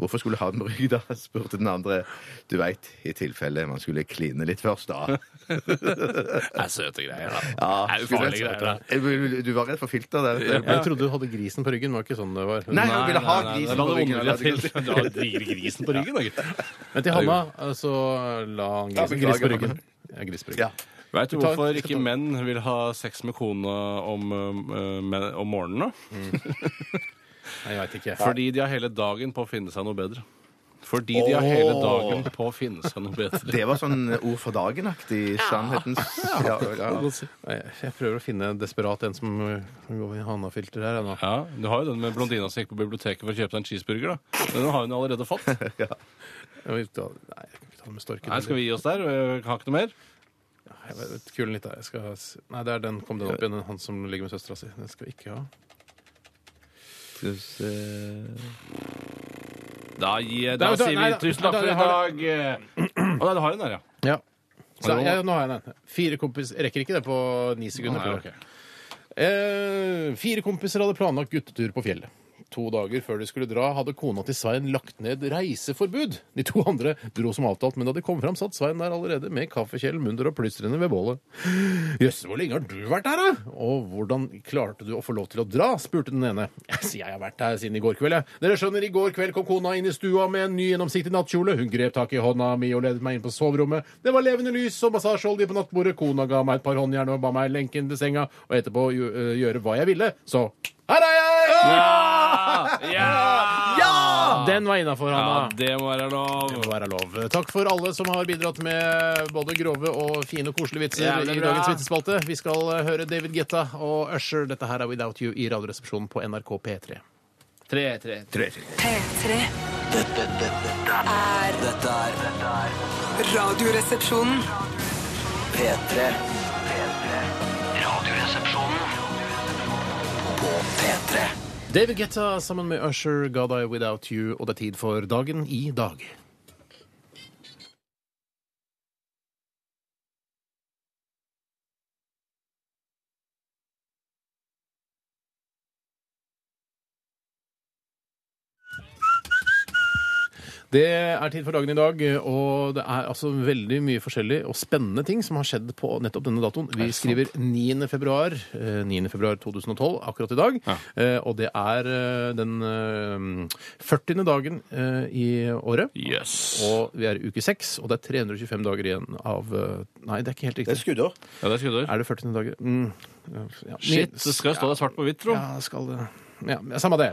[SPEAKER 5] Hvorfor skulle jeg ha den på ryggen, da? *laughs* spurte den andre. Du veit, i tilfelle man skulle kline litt først,
[SPEAKER 4] *laughs*
[SPEAKER 5] da.
[SPEAKER 4] Det er søte greier, da.
[SPEAKER 5] Ja,
[SPEAKER 4] det er jo
[SPEAKER 5] skulle
[SPEAKER 4] farlige
[SPEAKER 5] jeg-
[SPEAKER 4] greier, da.
[SPEAKER 5] Eh, Du var redd for filter der.
[SPEAKER 3] Men jeg trodde du hadde grisen på ryggen. Det var ikke sånn det var.
[SPEAKER 5] Nei, han
[SPEAKER 4] Nei,
[SPEAKER 5] ville ha
[SPEAKER 4] nei, nei,
[SPEAKER 5] grisen
[SPEAKER 4] la
[SPEAKER 5] på
[SPEAKER 4] det
[SPEAKER 5] ryggen.
[SPEAKER 4] åndelige
[SPEAKER 5] eller det-
[SPEAKER 4] til. Du
[SPEAKER 3] *laughs*
[SPEAKER 4] har digre grisen på ryggen, da, gitt.
[SPEAKER 3] Men til Hanna eh, så la han
[SPEAKER 5] Ja,
[SPEAKER 3] grisen,
[SPEAKER 5] beklager,
[SPEAKER 3] gris på
[SPEAKER 5] Hanna.
[SPEAKER 3] ryggen. Ja, gris på ryggen.
[SPEAKER 5] Ja.
[SPEAKER 4] Veit du hvorfor ikke menn vil ha sex med kona om, øh, men- om morgenen? da?
[SPEAKER 3] Nei, jeg veit ikke.
[SPEAKER 4] Fordi de har hele dagen på å finne seg noe bedre. Fordi de har hele dagen på å finne seg noe bedre.
[SPEAKER 5] Det var sånn ord for dagen-aktig. Sannhetens ja, ja.
[SPEAKER 3] Nei, Jeg prøver å finne en desperat en som eh, kan gå i Hanna-filter her. jeg, nå.
[SPEAKER 4] Ja, Du har jo den med blondina som gikk på biblioteket for å kjøpe seg en cheeseburger. da. Den har hun allerede fått. Nei,
[SPEAKER 3] Jeg vil ta- Nei, jeg kan ikke ta den med storken.
[SPEAKER 4] Skal vi gi oss der? Jeg har ikke noe mer.
[SPEAKER 3] Jeg vet, kulen litt der. Jeg skal... s- Nei, det er den. Kom den opp igjen. Han som ligger med søstera si. Den skal vi ikke ha.
[SPEAKER 4] Da, gir,
[SPEAKER 3] Nei,
[SPEAKER 4] da
[SPEAKER 3] vet du hva,
[SPEAKER 4] sier
[SPEAKER 3] nei,
[SPEAKER 4] vi
[SPEAKER 3] da-
[SPEAKER 4] tusen
[SPEAKER 3] nei,
[SPEAKER 4] takk
[SPEAKER 3] da-
[SPEAKER 4] for i
[SPEAKER 3] jeg har
[SPEAKER 4] dag. eh. Å nei, du har den der, ja.
[SPEAKER 3] Ja. Så,
[SPEAKER 4] Hallo?
[SPEAKER 3] jeg, nå har jeg den. Fire kompis Jeg rekker ikke det på ni sekunder.
[SPEAKER 4] Nei,
[SPEAKER 3] tror jeg. eh, fire kompiser hadde planlagt guttetur på fjellet. To dager før de skulle dra, hadde kona til Svein lagt ned reiseforbud. De to andre dro som avtalt, men da de kom fram, satt Svein der allerede med kaffekjelen, munter og plystrende ved bålet. Jøss, hvor lenge har du vært her, da? Og hvordan klarte du å få lov til å dra? spurte den ene. Jeg sier jeg har vært her siden i går kveld, jeg. Dere skjønner, i går kveld kom kona inn i stua med en ny gjennomsiktig nattkjole. Hun grep tak i hånda mi og ledet meg inn på soverommet. Det var levende lys og massasjeolje på nattbordet. Kona ga meg et par håndjern og ba meg lenke inn til senga og etterpå gjø- øh, gjøre hva jeg ville. Så her er jeg!
[SPEAKER 4] Ah, Ja!
[SPEAKER 3] Den var innafor,
[SPEAKER 4] Ja,
[SPEAKER 3] Hanna.
[SPEAKER 4] det må være lov.
[SPEAKER 3] Må være lov. Takk for alle som har bidratt med både grove og fine og koselige vitser
[SPEAKER 4] Jævlig
[SPEAKER 3] i
[SPEAKER 4] bra.
[SPEAKER 3] dagens vitsespalte. Vi skal eh, høre David Getta og Usher. Dette her er Without You i Radioresepsjonen på NRK P3.
[SPEAKER 4] Tre, tre,
[SPEAKER 6] P3
[SPEAKER 2] Dette, dette, dette er Dette er dette er
[SPEAKER 6] Radioresepsjonen
[SPEAKER 2] P3. P3. Radioresepsjonen på P3.
[SPEAKER 3] David Getta sammen med Usher, God I Without You, og det er tid for Dagen i dag. Det er tid for dagen i dag, og det er altså veldig mye forskjellig og spennende ting som har skjedd på nettopp denne datoen. Vi skriver 9. februar, eh, 9. februar 2012, akkurat i dag. Eh, Og det er eh, den eh, 40. dagen eh, i året.
[SPEAKER 4] Jøss.
[SPEAKER 3] Og vi er i uke 6, og det er 325 dager igjen av eh, Nei, det er ikke helt riktig.
[SPEAKER 5] skuddår.
[SPEAKER 4] Ja, det er skuddår.
[SPEAKER 3] Er det 40. dager? Mm. Ja.
[SPEAKER 4] Shit, det skal jo stå der svart på hvitt, tro.
[SPEAKER 3] Ja, skal det. Ja, samme det.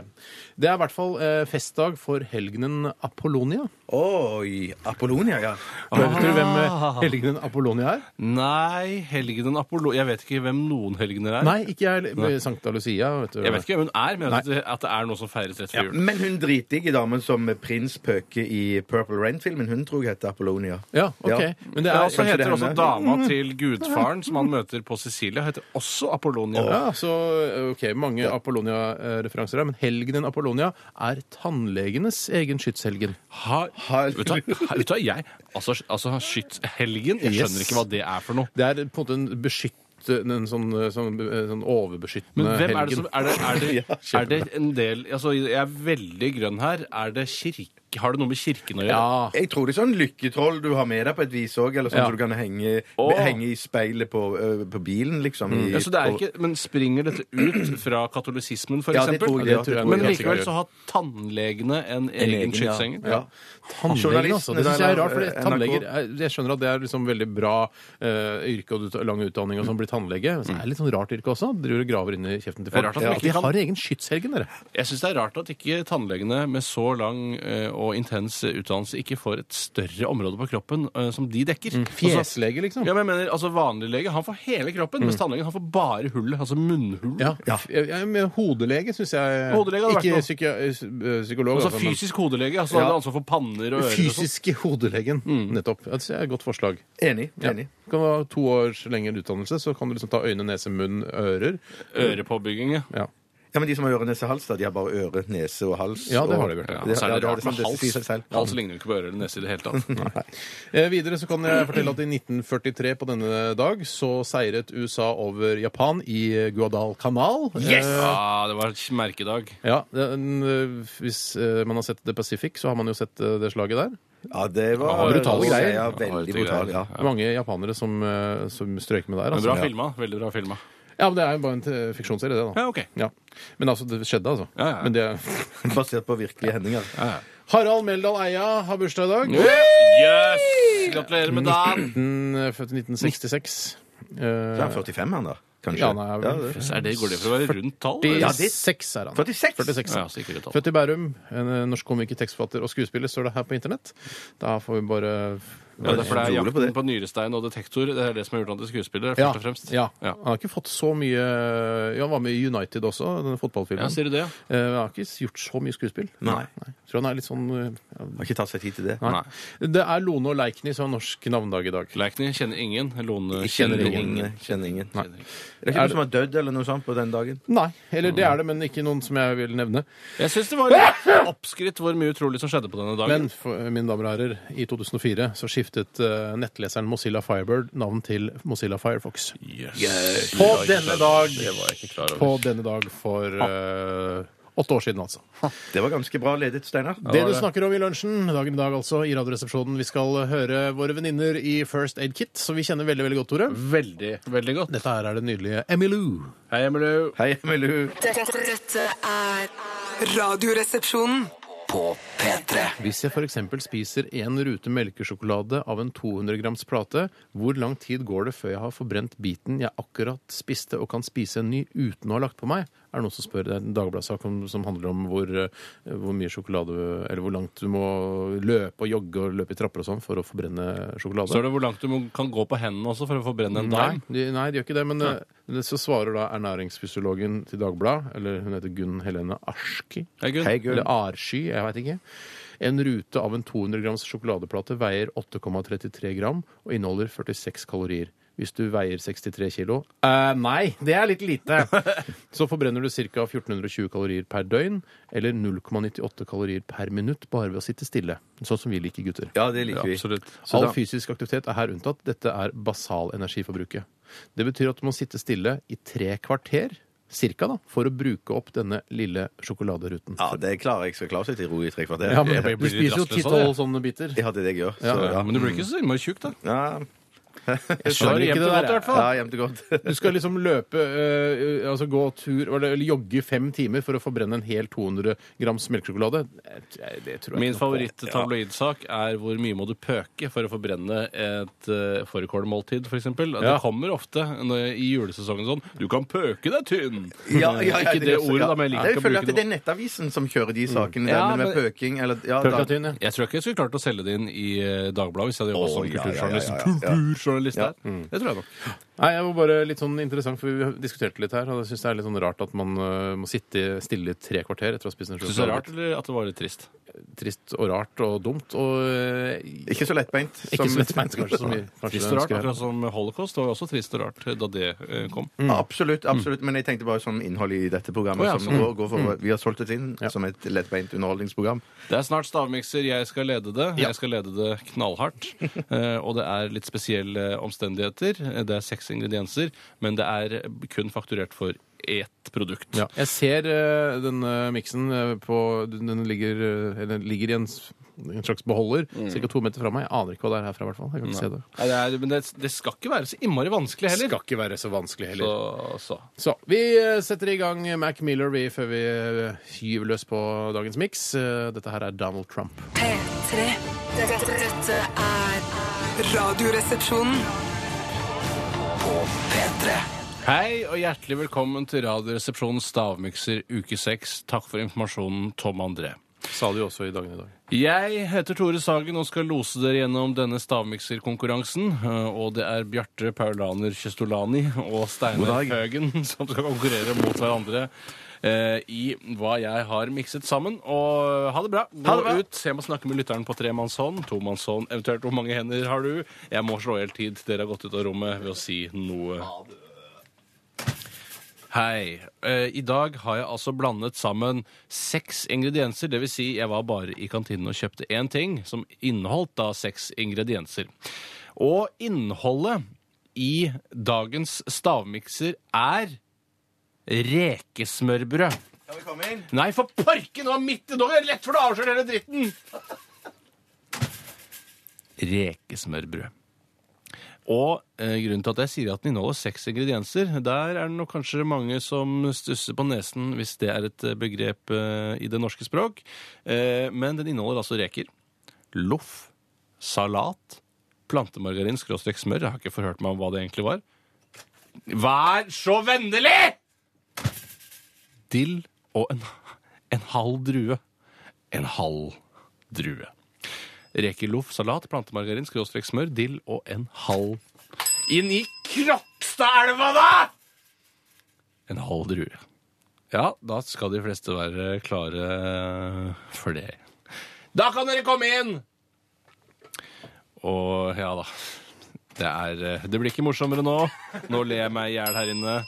[SPEAKER 3] Det er i hvert fall eh, festdag for helgenen Apollonia.
[SPEAKER 5] Oi, Apollonia, ja.
[SPEAKER 3] Vet du hvem
[SPEAKER 4] Ah.
[SPEAKER 3] eh, helgenen Apollonia er?
[SPEAKER 4] Nei, helgenen Apollo Jeg vet ikke hvem noen helgener er.
[SPEAKER 3] Nei, ikke jeg heller. Sankta Lucia, vet du.
[SPEAKER 4] Jeg vet ikke hvem hun er, men jeg vet at det- at det er noe som feires rett før jul.
[SPEAKER 5] Men hun dritdigge damen som prins pøker i Purple Rain-filmen, hun tror jeg heter Apollonia.
[SPEAKER 3] Ja, ok.
[SPEAKER 5] Ja.
[SPEAKER 3] Men det
[SPEAKER 4] Ja,
[SPEAKER 3] er
[SPEAKER 4] og så
[SPEAKER 5] kanskje
[SPEAKER 4] heter
[SPEAKER 5] det
[SPEAKER 4] også
[SPEAKER 5] henne.
[SPEAKER 4] dama til gudfaren som han møter på Sicilia, heter også Apollonia.
[SPEAKER 3] ja, så ok, mange Apollonia-referanser her, men helgenen Apollonia er tannlegenes egen skytshelgen.
[SPEAKER 4] Ha,
[SPEAKER 5] Har-
[SPEAKER 4] vet du hva- vet du hva, jeg Altså, altså skytshelgen? Jeg
[SPEAKER 3] Yes.
[SPEAKER 4] skjønner ikke hva det er for noe.
[SPEAKER 3] Det er på en måte en beskyttende, en sånn, sånn, sånn overbeskyttende
[SPEAKER 4] Men hvem er det
[SPEAKER 3] helgen.
[SPEAKER 4] som Er det, er
[SPEAKER 5] *laughs*
[SPEAKER 4] det,
[SPEAKER 3] Ja,
[SPEAKER 4] er det en del Altså, jeg er veldig grønn her. Er det kirke Har det noe med kirken å gjøre?
[SPEAKER 3] Ja,
[SPEAKER 5] Jeg tror det er sånn lykketroll du har med deg på et vis òg, eller sånn
[SPEAKER 3] Ah. Ja.
[SPEAKER 5] så du kan henge,
[SPEAKER 4] Å.
[SPEAKER 5] henge i speilet på, ø, på bilen, liksom.
[SPEAKER 3] Mm.
[SPEAKER 5] I,
[SPEAKER 4] Ja, så det er ikke, men springer dette ut fra katolisismen, for
[SPEAKER 5] Ja, det
[SPEAKER 4] eksempel?
[SPEAKER 5] tror jeg, ja, det tror jeg.
[SPEAKER 4] Men
[SPEAKER 5] Helt
[SPEAKER 4] likevel
[SPEAKER 3] sikkert.
[SPEAKER 4] så har tannlegene en
[SPEAKER 5] en
[SPEAKER 4] egen
[SPEAKER 5] ja.
[SPEAKER 4] skytsengel?
[SPEAKER 5] Ja.
[SPEAKER 3] Tannlegen, altså. Det syns jeg er rart. For det-
[SPEAKER 5] NRK.
[SPEAKER 3] tannleger er- Jeg skjønner at det er liksom veldig bra eh, yrke og ut- lang utdanning og sånn, blir tannlege. Men så er det litt sånn rart yrke også. Driver og graver inn i kjeften til
[SPEAKER 4] Det er
[SPEAKER 3] folk.
[SPEAKER 4] rart at de
[SPEAKER 3] Ja.
[SPEAKER 4] ikke
[SPEAKER 3] De
[SPEAKER 4] kan-
[SPEAKER 3] har egen skytshelgen, dere.
[SPEAKER 4] Jeg syns det er rart at ikke tannlegene med så lang eh, og intens utdannelse ikke får et større område på kroppen eh, som de
[SPEAKER 5] Mm.
[SPEAKER 4] dekker. Altså,
[SPEAKER 3] Fjeslege, liksom.
[SPEAKER 4] ja, men jeg mener, altså Vanlig lege han får hele kroppen, mens tannlegen han får bare hullet. Altså munnhullet.
[SPEAKER 3] Ja. ja. men Hodelege syns jeg
[SPEAKER 4] Hodelege hadde vært
[SPEAKER 3] Ikke
[SPEAKER 4] noe.
[SPEAKER 3] psyki øh, psykolog,
[SPEAKER 4] Altså
[SPEAKER 3] altså, men
[SPEAKER 4] fysisk hodelege. altså Han
[SPEAKER 3] Ja.
[SPEAKER 4] har ansvar for panner og sånn. ører. og sånt.
[SPEAKER 3] Fysiske hodelegen, nettopp. Mm. Det synes jeg er et godt forslag.
[SPEAKER 5] Enig.
[SPEAKER 3] Ja.
[SPEAKER 5] enig.
[SPEAKER 3] Du kan ha to års lengre utdannelse, så kan du liksom ta øyne, nese, munn, ører.
[SPEAKER 4] Ørepåbygging, ja.
[SPEAKER 3] Ja.
[SPEAKER 5] Ja, men De som har øre, nese, hals, da, de har bare øre, nese og hals.
[SPEAKER 3] Ja, det
[SPEAKER 5] og-
[SPEAKER 3] har de, Bjarte.
[SPEAKER 4] Ja,
[SPEAKER 5] Det-
[SPEAKER 4] så er det
[SPEAKER 5] ja,
[SPEAKER 4] rart
[SPEAKER 5] som
[SPEAKER 4] med
[SPEAKER 5] det sier seg
[SPEAKER 4] hals.
[SPEAKER 5] selv.
[SPEAKER 4] Hals ligner jo ikke på ører eller nese i det hele tatt.
[SPEAKER 3] Eh, videre så kan jeg fortelle at i 1943 på denne dag så seiret USA over Japan i Guadalcanal. Eh,
[SPEAKER 4] Ja, det var en merkedag.
[SPEAKER 3] ja, den, eh, Hvis eh, man har sett The Pacific, så har man jo sett eh, det slaget der.
[SPEAKER 5] Ja, det var
[SPEAKER 3] Ja, brutale
[SPEAKER 5] Ja,
[SPEAKER 3] greier.
[SPEAKER 5] Ja,
[SPEAKER 4] Ja,
[SPEAKER 5] veldig
[SPEAKER 4] brutale
[SPEAKER 5] brutale. Ja.
[SPEAKER 4] greier.
[SPEAKER 3] Det er Mange japanere som, eh, som strøyk med der.
[SPEAKER 4] Men
[SPEAKER 3] Altså.
[SPEAKER 4] bra
[SPEAKER 3] Ja.
[SPEAKER 4] filma. Veldig bra filma.
[SPEAKER 3] Ja, men det er jo bare en eh, fiksjonsserie, det, da.
[SPEAKER 4] Ja, ok.
[SPEAKER 3] Ja. Men altså, det skjedde, altså.
[SPEAKER 4] Ja, ja.
[SPEAKER 3] Men det...
[SPEAKER 5] Basert på virkelige hendinger.
[SPEAKER 3] *laughs* Harald Meldal Eia har bursdag i dag.
[SPEAKER 4] Yes! Gratulerer med dagen!
[SPEAKER 3] *clears throat* Nitten- eh, Født i 1966.
[SPEAKER 5] Så er han
[SPEAKER 3] Eh,
[SPEAKER 5] 45, han da? Kanskje?
[SPEAKER 3] Ja, han er-
[SPEAKER 5] det.
[SPEAKER 4] Er det, går det for å være rundt tall? eller?
[SPEAKER 5] Ja, det-
[SPEAKER 3] 46 er han.
[SPEAKER 5] 46?
[SPEAKER 3] 46
[SPEAKER 4] Ja, sikkert et tall.
[SPEAKER 3] Født i Bærum. En eh, norsk komiker, tekstforfatter og skuespiller, står det her på internett. Da får vi bare
[SPEAKER 4] Ja, det er for det er
[SPEAKER 5] Utrolig på
[SPEAKER 4] jakten
[SPEAKER 5] det.
[SPEAKER 4] på nyrestein og detektor. Det er det som har gjort han til skuespiller,
[SPEAKER 3] ja,
[SPEAKER 4] først og fremst.
[SPEAKER 3] ja.
[SPEAKER 4] Ja.
[SPEAKER 3] Han har ikke fått så mye Ja, han var med i United også, denne
[SPEAKER 4] Ja,
[SPEAKER 3] fotballfilmen.
[SPEAKER 4] sier du det, ja?
[SPEAKER 3] Eh, Han har ikke gjort så mye skuespill.
[SPEAKER 5] Nei.
[SPEAKER 3] Tror han er litt sånn eh, ja,
[SPEAKER 5] Har ikke tatt seg tid til det.
[SPEAKER 3] Nei. Det er Lone og Leikny som har norsk navnedag i dag.
[SPEAKER 4] Leikny kjenner ingen. Lone
[SPEAKER 5] Jeg Kjenner
[SPEAKER 4] kjenner ingen.
[SPEAKER 5] ingen. eh, Kjenner ingen.
[SPEAKER 4] Nei.
[SPEAKER 5] Det er ikke noen som har dødd eller noe sånt på den dagen?
[SPEAKER 3] Nei. Eller det er det, men ikke noen som jeg vil nevne.
[SPEAKER 4] Jeg syns det var litt oppskritt hvor mye utrolig som skjedde på denne dagen.
[SPEAKER 3] Men for, mine damer og herrer, i 2004 så skiftet eh, nettleseren Mozilla Firebird navn til Mozilla Firefox.
[SPEAKER 4] yes.
[SPEAKER 3] På denne dag
[SPEAKER 4] Det var jeg ikke klar over.
[SPEAKER 3] På denne dag for eh, åtte år siden, altså.
[SPEAKER 5] Det var ganske bra ledet, Steinar.
[SPEAKER 3] Det du snakker om i lunsjen, dagen i dag altså, i Radioresepsjonen. Vi skal høre våre venninner i First Aid Kit, som vi kjenner veldig veldig godt, Tore.
[SPEAKER 4] Veldig, veldig godt.
[SPEAKER 3] Dette her er det nydelige Emilou.
[SPEAKER 4] Hei, Emilu.
[SPEAKER 5] Hei, Emilu.
[SPEAKER 6] Dette, dette er Radioresepsjonen.
[SPEAKER 2] På P3.
[SPEAKER 3] Hvis jeg f.eks. spiser en rute melkesjokolade av en 200 grams plate, hvor lang tid går det før jeg har forbrent biten jeg akkurat spiste, og kan spise en ny uten å ha lagt på meg? Er det noen som spør Det er en Dagbladet-sak om- som handler om hvor, eh, hvor mye sjokolade Eller hvor langt du må løpe og jogge og løpe i trapper og sånn for å forbrenne sjokolade?
[SPEAKER 4] Står det hvor langt du må- kan gå på hendene også for å forbrenne en
[SPEAKER 3] Nei,
[SPEAKER 4] dime?
[SPEAKER 3] de, nei, de gjør ikke det. Men eh, det- så svarer da ernæringsfysiologen til Dagbladet, eller hun heter Gunn Helene Arski.
[SPEAKER 4] Hei, Gunn.
[SPEAKER 5] Hei, Gunn.
[SPEAKER 3] Eller Arsky, jeg veit ikke. En rute av en 200 grams sjokoladeplate veier 8,33 gram og inneholder 46 kalorier. Hvis du veier 63 kilo eh, Nei, det er
[SPEAKER 4] *laughs*
[SPEAKER 3] litt lite! Så forbrenner du ca. 1420 kalorier per døgn, eller 0,98 kalorier per minutt bare ved å sitte stille. Sånn som vi liker gutter.
[SPEAKER 5] Ja, det liker vi.
[SPEAKER 4] Absolutt.
[SPEAKER 5] Så
[SPEAKER 3] All
[SPEAKER 5] da-
[SPEAKER 3] fysisk aktivitet er her unntatt. Dette er basal energiforbruket. Det betyr at du må sitte stille i tre kvarter, cirka, da, for å bruke opp denne lille sjokoladeruten.
[SPEAKER 5] Ja, det klarer jeg. Skal klare seg til ro i tre kvarter.
[SPEAKER 3] Ja, men
[SPEAKER 4] Jeg
[SPEAKER 3] du
[SPEAKER 4] blir litt
[SPEAKER 3] spiser jo
[SPEAKER 4] rastløs av
[SPEAKER 3] ti-tolv sånne biter.
[SPEAKER 5] Jeg hadde det jeg gjør. Så,
[SPEAKER 4] Ja,
[SPEAKER 5] ja.
[SPEAKER 4] Men du blir ikke så innmari tjukk, da.
[SPEAKER 5] Ja,
[SPEAKER 3] Jeg
[SPEAKER 4] skjønner ikke det der,
[SPEAKER 5] ja, jevnt og godt.
[SPEAKER 3] Du skal liksom løpe, eh, altså gå tur eller, eller jogge fem timer for å forbrenne en hel 200 grams melkesjokolade. Det, det tror jeg
[SPEAKER 4] Min
[SPEAKER 3] ikke noe på.
[SPEAKER 4] favoritt-tabloidsak er hvor mye må du pøke for å forbrenne et uh, fårikålmåltid, f.eks. Det
[SPEAKER 3] Ja.
[SPEAKER 4] kommer ofte når, i julesesongen sånn 'Du kan pøke deg tynn'.
[SPEAKER 5] Ja,
[SPEAKER 4] Ikke det ordet, da, men jeg liker ikke å
[SPEAKER 5] jeg føler
[SPEAKER 4] bruke
[SPEAKER 5] at det er Nettavisen som kjører de sakene der,
[SPEAKER 4] Ja,
[SPEAKER 5] men med
[SPEAKER 4] men-
[SPEAKER 5] pøking eller ja,
[SPEAKER 3] Pølka
[SPEAKER 5] da-
[SPEAKER 3] tynn, ja.
[SPEAKER 4] Jeg tror ikke jeg skulle klart å selge det inn i eh, Dagbladet hvis jeg hadde jobbet
[SPEAKER 5] Å,
[SPEAKER 4] som
[SPEAKER 5] ja, ja, ja,
[SPEAKER 4] kulturjournalist.
[SPEAKER 5] ja, ja.
[SPEAKER 4] Kulturjournalist
[SPEAKER 5] Ja.
[SPEAKER 4] der. Mm. Det tror jeg nok.
[SPEAKER 3] Nei, jeg var bare litt sånn interessant, for vi diskuterte litt her, og jeg syns det er litt sånn rart at man eh, må sitte stille i tre kvarter etter å ha spist en
[SPEAKER 4] Syns du det er rart,
[SPEAKER 3] sjokolade.
[SPEAKER 4] eller at det var litt trist?
[SPEAKER 3] Trist og rart og dumt og eh,
[SPEAKER 5] Ikke så lettbeint.
[SPEAKER 3] ikke
[SPEAKER 5] som-
[SPEAKER 3] så lettbeint,
[SPEAKER 5] *laughs*
[SPEAKER 3] kanskje. Som vi, kanskje
[SPEAKER 4] Trist og rart,
[SPEAKER 3] ønsker her.
[SPEAKER 4] akkurat sånn. som holocaust. Det var også trist og rart da det eh, kom.
[SPEAKER 5] Absolutt, absolutt, men jeg tenkte bare som innhold i dette programmet.
[SPEAKER 4] Å, ja,
[SPEAKER 5] som går, går for, vi har solgt det inn som et lettbeint underholdningsprogram.
[SPEAKER 4] Det er snart stavmikser. Jeg skal lede det. Jeg skal lede det *laughs* knallhardt. Eh, og det er litt spesielle omstendigheter. Eh, Det er seks ingredienser, men det er kun fakturert for ett produkt.
[SPEAKER 3] Ja. Jeg ser eh, denne miksen eh, på Den den ligger, eh, den ligger i en, s- en slags beholder ca. to meter fra meg. Jeg aner ikke hva det er herfra, i hvert fall. Jeg kan ikke se det.
[SPEAKER 4] Nei, det er, men det, det skal ikke være så innmari vanskelig heller.
[SPEAKER 3] Skal ikke være så vanskelig
[SPEAKER 4] Så,
[SPEAKER 3] heller.
[SPEAKER 4] så.
[SPEAKER 3] Så vi eh, setter i gang Mac Miller vi, før vi eh, gyver løs på dagens miks. Eh, Dette her er Donald Trump.
[SPEAKER 6] P3. Dette, dette er Radioresepsjonen.
[SPEAKER 2] P3.
[SPEAKER 4] Hei og hjertelig velkommen til Radioresepsjonens stavmikser uke seks. Takk for informasjonen, Tom André.
[SPEAKER 3] Sa du jo også i dagen i dag.
[SPEAKER 4] Jeg heter Tore Sagen og skal lose dere gjennom denne stavmikserkonkurransen. eh, Og det er Bjarte Paulaner Kjestolani og Steinar
[SPEAKER 5] God dag.
[SPEAKER 4] Høgen *laughs* som skal konkurrere mot hverandre eh, i hva jeg har mikset sammen. Og ha det bra. Gå
[SPEAKER 5] det bra.
[SPEAKER 4] ut. Jeg må snakke med lytteren på tremannshånd, tomannshånd, eventuelt hvor mange hender har du? Jeg må slå i hjel tid til dere har gått ut av rommet ved å si noe. Hei. Eh, I dag har jeg altså blandet sammen seks ingredienser. Dvs. Si jeg var bare i kantinen og kjøpte én ting som inneholdt da seks ingredienser. Og innholdet i dagens stavmikser er rekesmørbrød.
[SPEAKER 5] Kan vi komme inn?
[SPEAKER 4] Nei, for parken! Det var midt i dagen! Det er Lett for å avsløre hele
[SPEAKER 5] *laughs*
[SPEAKER 4] dritten! Rekesmørbrød. Og eh, grunnen til at jeg sier at den inneholder seks ingredienser, der er det nok kanskje mange som stusser på nesen hvis det er et eh, begrep eh, i det norske språk. Eh, men den inneholder altså reker, loff, salat, plantemargarin, skråstrek smør. Jeg har ikke forhørt meg om hva det egentlig var. Vær så vennlig! dill og en, en halv drue. En halv drue. Rekeloff, salat, plantemargarin, skråstrek smør, dill og en halv Inn i Kropstadelva, da! En halv drue. Ja, da skal de fleste være klare for det. Da kan dere komme inn! Og ja da. Det, er, eh, det blir ikke morsommere nå. Nå ler jeg meg i hjel her inne.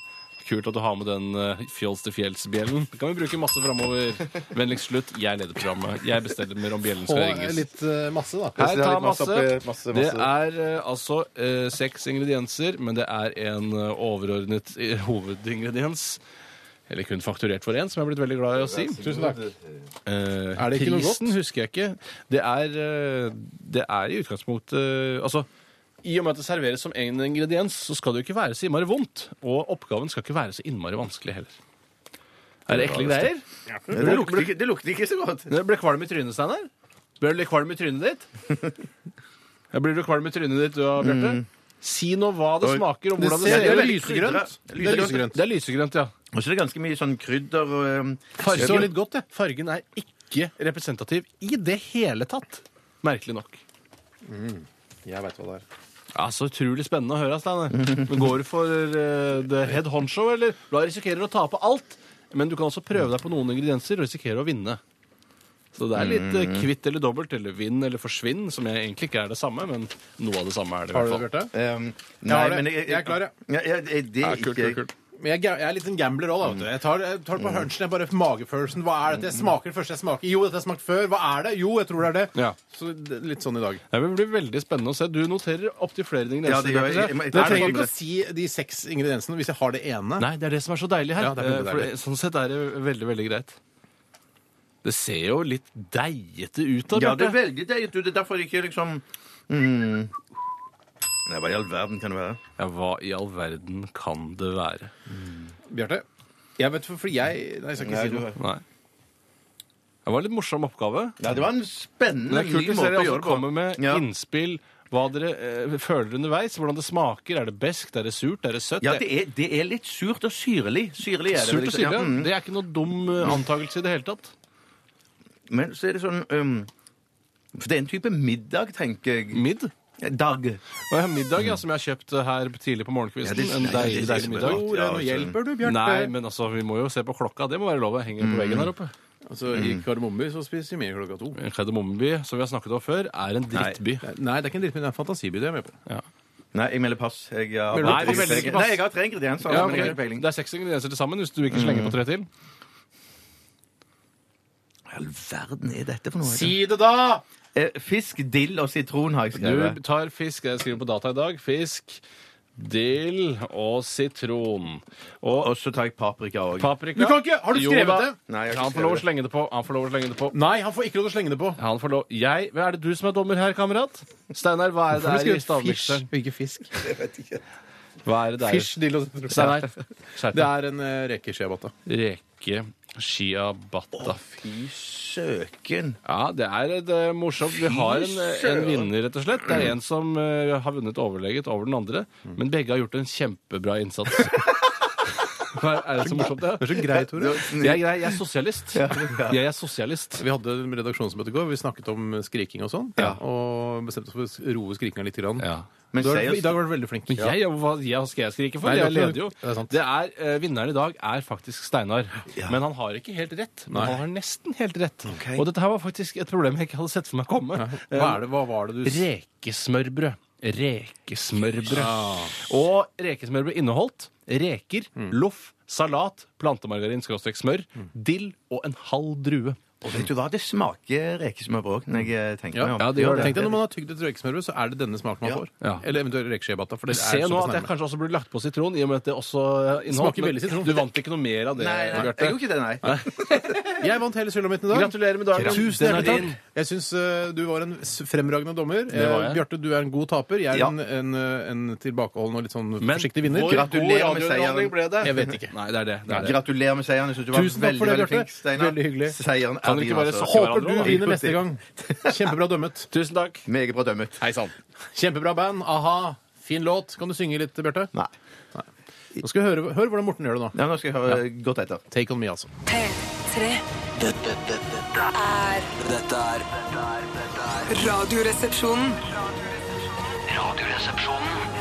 [SPEAKER 4] Kult at du har med den eh, fjols til fjells-bjellen. Det kan vi bruke masse framover. Vennligst slutt. Jeg leder programmet. Jeg bestemmer om bjellen skal
[SPEAKER 3] Og
[SPEAKER 4] ringes.
[SPEAKER 3] litt eh, masse, da.
[SPEAKER 4] Her
[SPEAKER 5] det er
[SPEAKER 4] tar
[SPEAKER 5] litt masse
[SPEAKER 4] masse.
[SPEAKER 5] oppi- masse-
[SPEAKER 4] Det
[SPEAKER 5] masse.
[SPEAKER 4] er eh, altså eh, seks ingredienser, men det er en eh, overordnet eh, hovedingrediens. Eller kun fakturert for én, som jeg er blitt veldig glad i å si.
[SPEAKER 3] Tusen takk.
[SPEAKER 4] Eh,
[SPEAKER 3] Er det ikke noe
[SPEAKER 4] prisen
[SPEAKER 3] godt?
[SPEAKER 4] husker jeg ikke. Det er, eh, det er i utgangspunktet eh, Altså, i og med at det serveres som en ingrediens, så skal det jo ikke være så innmari vondt. Og oppgaven skal ikke være så innmari vanskelig heller. Er det ekle greier?
[SPEAKER 5] Det, lukter ikke, det lukter ikke så godt.
[SPEAKER 4] Det ble kvalm i trynet, Steinar. Ble du litt kvalm i trynet ditt?
[SPEAKER 3] *laughs*
[SPEAKER 4] Ja, Blir du kvalm i trynet ditt, du, Bjarte? Si nå hva det
[SPEAKER 5] Oi.
[SPEAKER 4] smaker, og
[SPEAKER 3] Mm. Det
[SPEAKER 4] hvordan det,
[SPEAKER 3] ser
[SPEAKER 4] ser
[SPEAKER 3] jo
[SPEAKER 4] ut.
[SPEAKER 3] lysegrønt.
[SPEAKER 4] Det er lysegrønt. Det er lysegrønt, ja.
[SPEAKER 5] Og så er det ganske mye sånn krydder og um,
[SPEAKER 4] Fargen, så litt godt, det. Fargen er ikke representativ i det hele tatt. Merkelig nok.
[SPEAKER 3] Mm, Jeg veit hva det er.
[SPEAKER 4] Ja, Så utrolig spennende å høre, Steinar. Men Går du for eh, the head honcho, eller? Da risikerer du å tape alt, men du kan også prøve deg på noen ingredienser og risikere å vinne. Så det er litt eh,
[SPEAKER 3] Mm.
[SPEAKER 4] kvitt eller dobbelt, eller vinn eller forsvinn, som jeg egentlig ikke er det samme, men noe av det samme er det. i
[SPEAKER 3] Har du
[SPEAKER 4] hvert
[SPEAKER 3] det,
[SPEAKER 4] fall.
[SPEAKER 3] Bjarte?
[SPEAKER 5] um,
[SPEAKER 3] har
[SPEAKER 5] Nei,
[SPEAKER 3] det.
[SPEAKER 5] men
[SPEAKER 3] Jeg er klar, ja.
[SPEAKER 5] ja. ja, det, det er
[SPEAKER 4] kult,
[SPEAKER 5] ikke-
[SPEAKER 4] kult, kult.
[SPEAKER 3] Men jeg, er ga- jeg er litt en gambler òg, da. vet du. Jeg tar, jeg tar det på hunchen. Jeg bare magefølelsen. Hva er dette? Jeg smaker det første jeg smaker. Jo, dette har jeg smakt før. Hva er det? Jo, jeg tror det er det.
[SPEAKER 4] Ja.
[SPEAKER 3] Så det, litt sånn i dag.
[SPEAKER 4] Det vil bli veldig spennende å se. Du noterer opptil flere ingredienser.
[SPEAKER 5] Ja, det gjør jeg.
[SPEAKER 4] Bjarte.
[SPEAKER 5] Jeg må-
[SPEAKER 4] Er
[SPEAKER 5] jeg
[SPEAKER 3] Men
[SPEAKER 4] det
[SPEAKER 3] jeg trenger ikke
[SPEAKER 5] gamble.
[SPEAKER 3] å si de seks ingrediensene hvis jeg har det ene.
[SPEAKER 4] Nei, det er det som er så deilig her.
[SPEAKER 3] Ja, det er veldig
[SPEAKER 4] Eh, for
[SPEAKER 3] deilig.
[SPEAKER 4] det- Sånn sett er det veldig, veldig greit. Det ser jo litt deigete ut da,
[SPEAKER 5] Ja, det er
[SPEAKER 4] Bjarte.
[SPEAKER 5] veldig deilig. du. Det er derfor jeg ikke liksom mm. Nei, Hva i all verden kan det være?
[SPEAKER 4] Ja, hva i all verden kan det være?
[SPEAKER 3] Bjarte? Jeg vet for, fordi jeg Nei, jeg skal ikke si noe.
[SPEAKER 4] Nei. Det var en litt morsom oppgave.
[SPEAKER 5] Nei, det var en spennende
[SPEAKER 4] Men det er kult
[SPEAKER 5] ny
[SPEAKER 4] hvis
[SPEAKER 5] måte
[SPEAKER 4] dere
[SPEAKER 5] å gjøre
[SPEAKER 4] også
[SPEAKER 5] det på.
[SPEAKER 4] kommer med
[SPEAKER 5] Ja.
[SPEAKER 4] innspill. Hva dere eh, føler underveis, hvordan det smaker. Er det beskt? Er det surt? Er det søtt?
[SPEAKER 5] Ja, det er, det er litt surt og syrlig. Syrlig er det.
[SPEAKER 4] Surt
[SPEAKER 5] vil
[SPEAKER 4] og
[SPEAKER 5] jeg si.
[SPEAKER 4] syrlig.
[SPEAKER 5] Ja, mm.
[SPEAKER 4] Det er ikke noe dum eh, antakelse i det hele tatt.
[SPEAKER 5] Men så er det sånn um, For det er en type middag, tenker jeg.
[SPEAKER 4] Midd.
[SPEAKER 5] Dag.
[SPEAKER 4] Og jeg har middag ja, som jeg har kjøpt eh, her tidlig på
[SPEAKER 5] Ja,
[SPEAKER 4] morgenkvisten.
[SPEAKER 5] det-
[SPEAKER 4] en
[SPEAKER 5] ja, det-
[SPEAKER 4] deilig,
[SPEAKER 5] det-
[SPEAKER 4] deilig middag.
[SPEAKER 5] det-
[SPEAKER 3] Hvor er nå
[SPEAKER 5] Ja, altså.
[SPEAKER 3] hjelper du, Bjarte?
[SPEAKER 4] Nei, men altså, vi må jo se på klokka. Det må være lov. Jeg henger på veggen her oppe.
[SPEAKER 3] Altså, I Kardemommeby så spiser vi mer klokka to.
[SPEAKER 4] Kardemommeby, som vi har snakket om før, er en drittby.
[SPEAKER 3] Nei, det er ikke en drittby, det er en fantasiby. Det er jeg med på.
[SPEAKER 5] Nei, jeg melder pass. Jeg har,
[SPEAKER 4] Melder
[SPEAKER 5] Nei,
[SPEAKER 4] du pass?
[SPEAKER 5] jeg melder ikke pass. Nei, jeg har tre ingredienser.
[SPEAKER 4] Ja,
[SPEAKER 5] men jeg har
[SPEAKER 4] ok.
[SPEAKER 5] ikke peiling.
[SPEAKER 4] Det er seks ingredienser til sammen, hvis du ikke slenger på tre til.
[SPEAKER 5] Hva i all verden er dette for noe?
[SPEAKER 3] det, da!
[SPEAKER 5] Eh, Fisk, dill og sitron har jeg
[SPEAKER 4] Du
[SPEAKER 5] skrevet.
[SPEAKER 4] tar fisk. Jeg skriver på data i dag. Fisk, dill og sitron. Og
[SPEAKER 5] Og så tar jeg paprika òg.
[SPEAKER 4] paprika.
[SPEAKER 3] Du kan ikke- har du
[SPEAKER 4] Jo
[SPEAKER 3] skrevet
[SPEAKER 4] da.
[SPEAKER 3] det?
[SPEAKER 5] Nei, jeg har ikke
[SPEAKER 4] Han får lov å
[SPEAKER 5] skrevet det.
[SPEAKER 4] slenge det på. Han får lov å slenge det på.
[SPEAKER 3] Nei, han får ikke lov til å slenge det på.
[SPEAKER 4] Han får lov. Jeg, hva er det du som er dommer her, kamerat? Steinar, hva er det det er i stavmikseren?
[SPEAKER 3] og ikke fisk.
[SPEAKER 4] Hva er det det er?
[SPEAKER 3] Fish, dill og *laughs*
[SPEAKER 4] Steinar, skjerp
[SPEAKER 3] Det
[SPEAKER 4] deg.
[SPEAKER 3] er en eh, reke shiabata.
[SPEAKER 4] Reke Shiabata.
[SPEAKER 5] Fy søken.
[SPEAKER 4] Ja, det er et eh, morsomt. Vi har en, eh, en vinner, rett og slett. Det er en som eh, har vunnet overleget over den andre, men begge har gjort en kjempebra
[SPEAKER 3] *laughs*
[SPEAKER 4] innsats. Hva er- er det så morsomt, det?
[SPEAKER 3] Det er så grei, Tore.
[SPEAKER 4] Jeg er grei. Jeg er sosialist. Jeg er sosialist.
[SPEAKER 3] Vi hadde en redaksjonsmøte i går. Vi snakket om skriking og sånn. Og bestemte oss for å roe skrikinga litt. Grann.
[SPEAKER 4] Ja.
[SPEAKER 5] Men
[SPEAKER 3] Du har,
[SPEAKER 5] sier-
[SPEAKER 3] I dag var du veldig flink.
[SPEAKER 4] Men jeg, hva jeg skal jeg skrike for?
[SPEAKER 3] Nei, det er
[SPEAKER 4] jeg leder jo.
[SPEAKER 3] ikke- det er sant.
[SPEAKER 4] Det er, eh, vinneren i dag er faktisk Steinar. Men han har ikke helt rett. Men
[SPEAKER 3] Nei.
[SPEAKER 4] han har nesten helt rett. Og dette her var faktisk et problem jeg ikke hadde sett for meg komme. Eh,
[SPEAKER 3] Hva, er det, hva var det du s-
[SPEAKER 4] Rekesmørbrød. Rekesmørbrød. Og rekesmørbrød inneholdt reker, loff, salat, plantemargarin, skråstrek smør, dill og en halv drue.
[SPEAKER 5] Og vet du hva, det smaker rekesmørbrød når jeg eh, tenker
[SPEAKER 3] Ja,
[SPEAKER 5] meg om.
[SPEAKER 3] det gjør det. Tenk deg Når man har tygd et røykesmørbrød, så er det denne smaken man får.
[SPEAKER 4] Ja.
[SPEAKER 3] Eller eventuelt rekeskjebata. For det
[SPEAKER 4] Se
[SPEAKER 3] er
[SPEAKER 4] nå
[SPEAKER 3] såpass
[SPEAKER 4] at jeg
[SPEAKER 3] nærme.
[SPEAKER 4] kanskje også burde lagt på sitron, i og med at det også inneholdt
[SPEAKER 3] Smaker
[SPEAKER 4] men
[SPEAKER 3] veldig sitron.
[SPEAKER 4] Du vant ikke noe mer av det,
[SPEAKER 5] Nei, nei, jeg
[SPEAKER 4] Bjarte.
[SPEAKER 5] gjorde ikke det, nei.
[SPEAKER 3] Jeg vant hele sylamitten i dag.
[SPEAKER 4] Gratulerer med dagen.
[SPEAKER 3] Tusen
[SPEAKER 4] Den er
[SPEAKER 3] hjertelig takk.
[SPEAKER 4] din.
[SPEAKER 3] Jeg syns eh, du var en s- fremragende dommer.
[SPEAKER 4] var jeg.
[SPEAKER 3] Eh, Bjarte, du er en god taper. Jeg er
[SPEAKER 5] Ja.
[SPEAKER 3] en, en, eh, en tilbakeholden og litt sånn
[SPEAKER 4] Men
[SPEAKER 3] forsiktig vinner.
[SPEAKER 4] hvor
[SPEAKER 5] Gratulerer med
[SPEAKER 4] god radiounderholdning
[SPEAKER 5] seieren.
[SPEAKER 4] ble det?
[SPEAKER 3] Jeg vet ikke.
[SPEAKER 4] Nei, det er det. det, er det.
[SPEAKER 5] Gratulerer med seieren. Jeg synes du var
[SPEAKER 3] Tusen takk for
[SPEAKER 5] veldig,
[SPEAKER 3] det,
[SPEAKER 5] veldig
[SPEAKER 3] Bjarte.
[SPEAKER 5] flink, Steinar.
[SPEAKER 3] Veldig hyggelig.
[SPEAKER 5] Seieren
[SPEAKER 4] Kan
[SPEAKER 5] er
[SPEAKER 4] dere ikke
[SPEAKER 5] din,
[SPEAKER 4] bare
[SPEAKER 5] altså.
[SPEAKER 4] sokke
[SPEAKER 3] Håper du
[SPEAKER 4] hverandre, da?
[SPEAKER 3] vinner neste
[SPEAKER 5] *laughs*
[SPEAKER 3] gang. Kjempebra dømmet.
[SPEAKER 4] Tusen takk.
[SPEAKER 5] Meget bra dømmet.
[SPEAKER 4] Hei sann.
[SPEAKER 3] Kjempebra band. A-ha. Fin låt. Kan du synge litt, Bjarte?
[SPEAKER 5] Nei.
[SPEAKER 3] Nå skal vi høre, hør hvordan Morten gjør det nå.
[SPEAKER 5] Ja, nå skal jeg høre godt etter.
[SPEAKER 3] Take on me, altså.
[SPEAKER 6] P3
[SPEAKER 2] Dette, dette, dette er Dette er dette er- dette er
[SPEAKER 6] Radioresepsjonen
[SPEAKER 2] Radioresepsjonen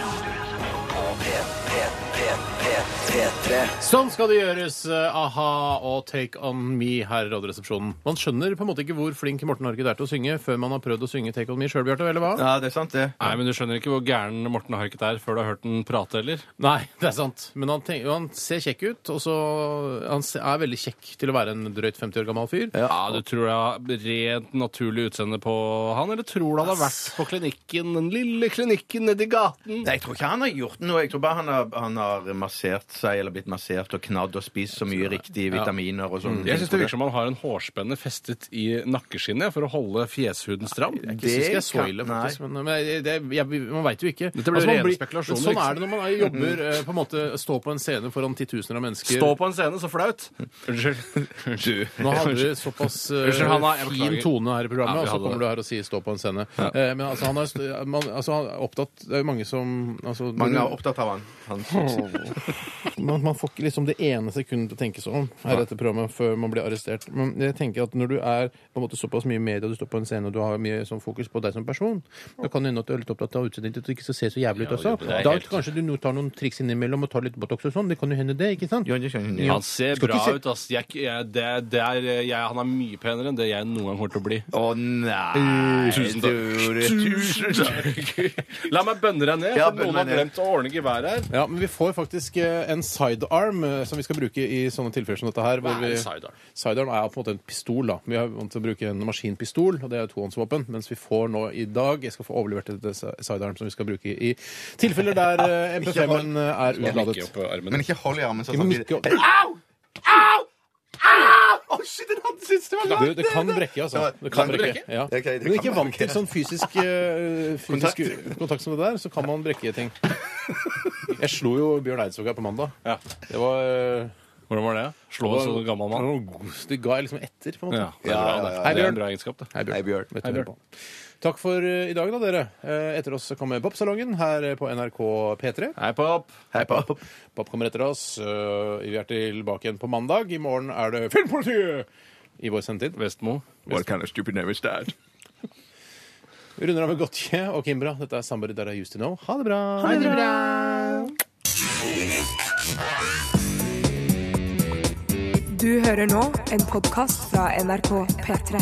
[SPEAKER 2] på P, P, P, P, P3.
[SPEAKER 3] Sånn skal det gjøres. eh, A-ha og Take On Me her i Radioresepsjonen. Man skjønner på en måte ikke hvor flink Morten Harket er til å synge før man har prøvd å synge Take On Me sjøl, Bjarte. Eller hva?
[SPEAKER 5] Ja, det er sant, det.
[SPEAKER 4] Nei, men du skjønner ikke hvor gæren Morten Harket er før du har hørt den prate, heller.
[SPEAKER 3] Nei, det er sant. Men han, tenk, han ser kjekk ut, og så Han se- er veldig kjekk til å være en drøyt 50 år gammel fyr.
[SPEAKER 4] Ja, Du tror det er rent naturlig utseende på han, eller tror du han har vært på klinikken, den lille klinikken nedi gaten?
[SPEAKER 5] Nei, jeg tror ikke han har gjort noe. Jeg tror bare han har, han har massert seg, eller blitt massert og knadd og spist så mye riktige vitaminer og sånn.
[SPEAKER 4] Jeg syns det virker som han har en hårspenne festet i nakkeskinnet for å holde fjeshuden stram.
[SPEAKER 3] Det syns ikke jeg er så
[SPEAKER 5] kan-
[SPEAKER 3] ille, faktisk. Men, men jeg- det, jeg, man veit jo ikke.
[SPEAKER 4] Dette blir
[SPEAKER 3] man
[SPEAKER 4] rene
[SPEAKER 3] blir-
[SPEAKER 4] spekulasjoner,
[SPEAKER 3] men Sånn
[SPEAKER 4] ikke
[SPEAKER 3] er det når man er,
[SPEAKER 4] Mm.
[SPEAKER 3] jobber eh, på en måte Stå på en scene foran titusener av mennesker.
[SPEAKER 4] Stå på en scene, så flaut! Unnskyld. Unnskyld.
[SPEAKER 3] Nå hadde vi såpass eh,
[SPEAKER 4] Unnskyld, Hanna, jeg
[SPEAKER 3] fin
[SPEAKER 4] beklager.
[SPEAKER 3] tone her i programmet,
[SPEAKER 4] Ja, vi
[SPEAKER 3] og så
[SPEAKER 4] hadde
[SPEAKER 3] kommer
[SPEAKER 4] det.
[SPEAKER 3] du her og sier 'stå på en scene'. Eh, men altså, han er, st- man, altså, han er opptatt Det er jo mange som altså,
[SPEAKER 5] Mange er opptatt av han. han
[SPEAKER 3] man, man får ikke liksom det ene sekundet til å tenke seg om her i dette programmet før man blir arrestert. Men jeg tenker at når du er på en måte såpass mye i media, du står på en scene og du har mye sånn fokus på deg som person, da kan det hende at du er litt opptatt av utseendet ditt og ikke skal se så jævlig ut også.
[SPEAKER 4] er
[SPEAKER 3] Da
[SPEAKER 4] helt-
[SPEAKER 3] kanskje du nå tar noen triks innimellom og tar litt Botox og sånn. Det kan jo hende det, ikke sant?
[SPEAKER 5] Ja, det skjønner jeg.
[SPEAKER 4] Han ser
[SPEAKER 3] Skal
[SPEAKER 4] bra
[SPEAKER 3] ikke se-
[SPEAKER 4] ut, ass. Jeg, jeg, det, det er, jeg, han er mye penere enn det jeg noen gang kommer til å bli.
[SPEAKER 5] Å nei! Tusen takk. Tusen takk.
[SPEAKER 4] La meg bønne deg ned,
[SPEAKER 5] Ja,
[SPEAKER 4] for
[SPEAKER 5] bønn
[SPEAKER 4] noen
[SPEAKER 5] meg
[SPEAKER 4] har
[SPEAKER 5] ned.
[SPEAKER 4] glemt å ordne geværet her.
[SPEAKER 3] Ja, men vi får faktisk eh, en sidearm eh, som vi skal bruke i sånne tilfeller som dette her. hvor
[SPEAKER 4] Hva er en
[SPEAKER 3] vi-
[SPEAKER 4] sidearm?
[SPEAKER 3] Sidearm er på en måte en pistol. da. Vi er vant til å bruke en maskinpistol, og det er jo tohåndsvåpen. Mens vi får nå i dag Jeg skal få overlevert et eh, sidearm som vi skal bruke i tilfeller
[SPEAKER 4] *laughs*
[SPEAKER 3] der eh, MP5-en er utladet.
[SPEAKER 4] Ikke opp armen.
[SPEAKER 5] Men ikke hold i armen sånn
[SPEAKER 3] Men
[SPEAKER 5] samtidig.
[SPEAKER 3] ikke-
[SPEAKER 5] Au! Au! Au! Å, shit, den hadde siste var
[SPEAKER 3] Du, det kan brekke, altså. Det kan
[SPEAKER 5] Kan det
[SPEAKER 3] brekke? Ja.
[SPEAKER 5] Ok, det
[SPEAKER 3] Når du
[SPEAKER 5] kan
[SPEAKER 3] ikke er vant
[SPEAKER 5] brekke.
[SPEAKER 3] til sånn fysisk,
[SPEAKER 5] *laughs*
[SPEAKER 3] eh, fysisk kontakt. som det der, så kan man brekke ting. Jeg slo jo Bjørn Eidsvåg her på mandag.
[SPEAKER 4] Ja.
[SPEAKER 3] Det var eh,
[SPEAKER 4] Hvordan var det? Slå en sånn gammel mann?
[SPEAKER 3] Det ga jeg liksom etter, på en måte.
[SPEAKER 4] Ja, det er bra, det.
[SPEAKER 3] Hei,
[SPEAKER 4] Det er
[SPEAKER 3] Bjørn.
[SPEAKER 4] en bra egenskap, det.
[SPEAKER 3] Hei, Bjørn.
[SPEAKER 5] Hei, Bjørn.
[SPEAKER 3] Vet du hva jeg hører på. Takk for eh, i dag, da, dere. Eh, Etter oss kommer Popsalongen her eh, på NRK P3.
[SPEAKER 4] Hei, pop!
[SPEAKER 5] Hei, pop.
[SPEAKER 3] Pop kommer etter oss. eh, Vi er tilbake igjen på mandag. I morgen er det Filmpolitiet! I vår sendetid.
[SPEAKER 4] Vestmo.
[SPEAKER 5] What kind of stupid name is that?
[SPEAKER 3] Vi runder av med Gotje og Kimbra. Dette er Somebody That I Used To Know. Ha det bra! Ha det bra.
[SPEAKER 1] Du hører nå en podkast fra NRK P3.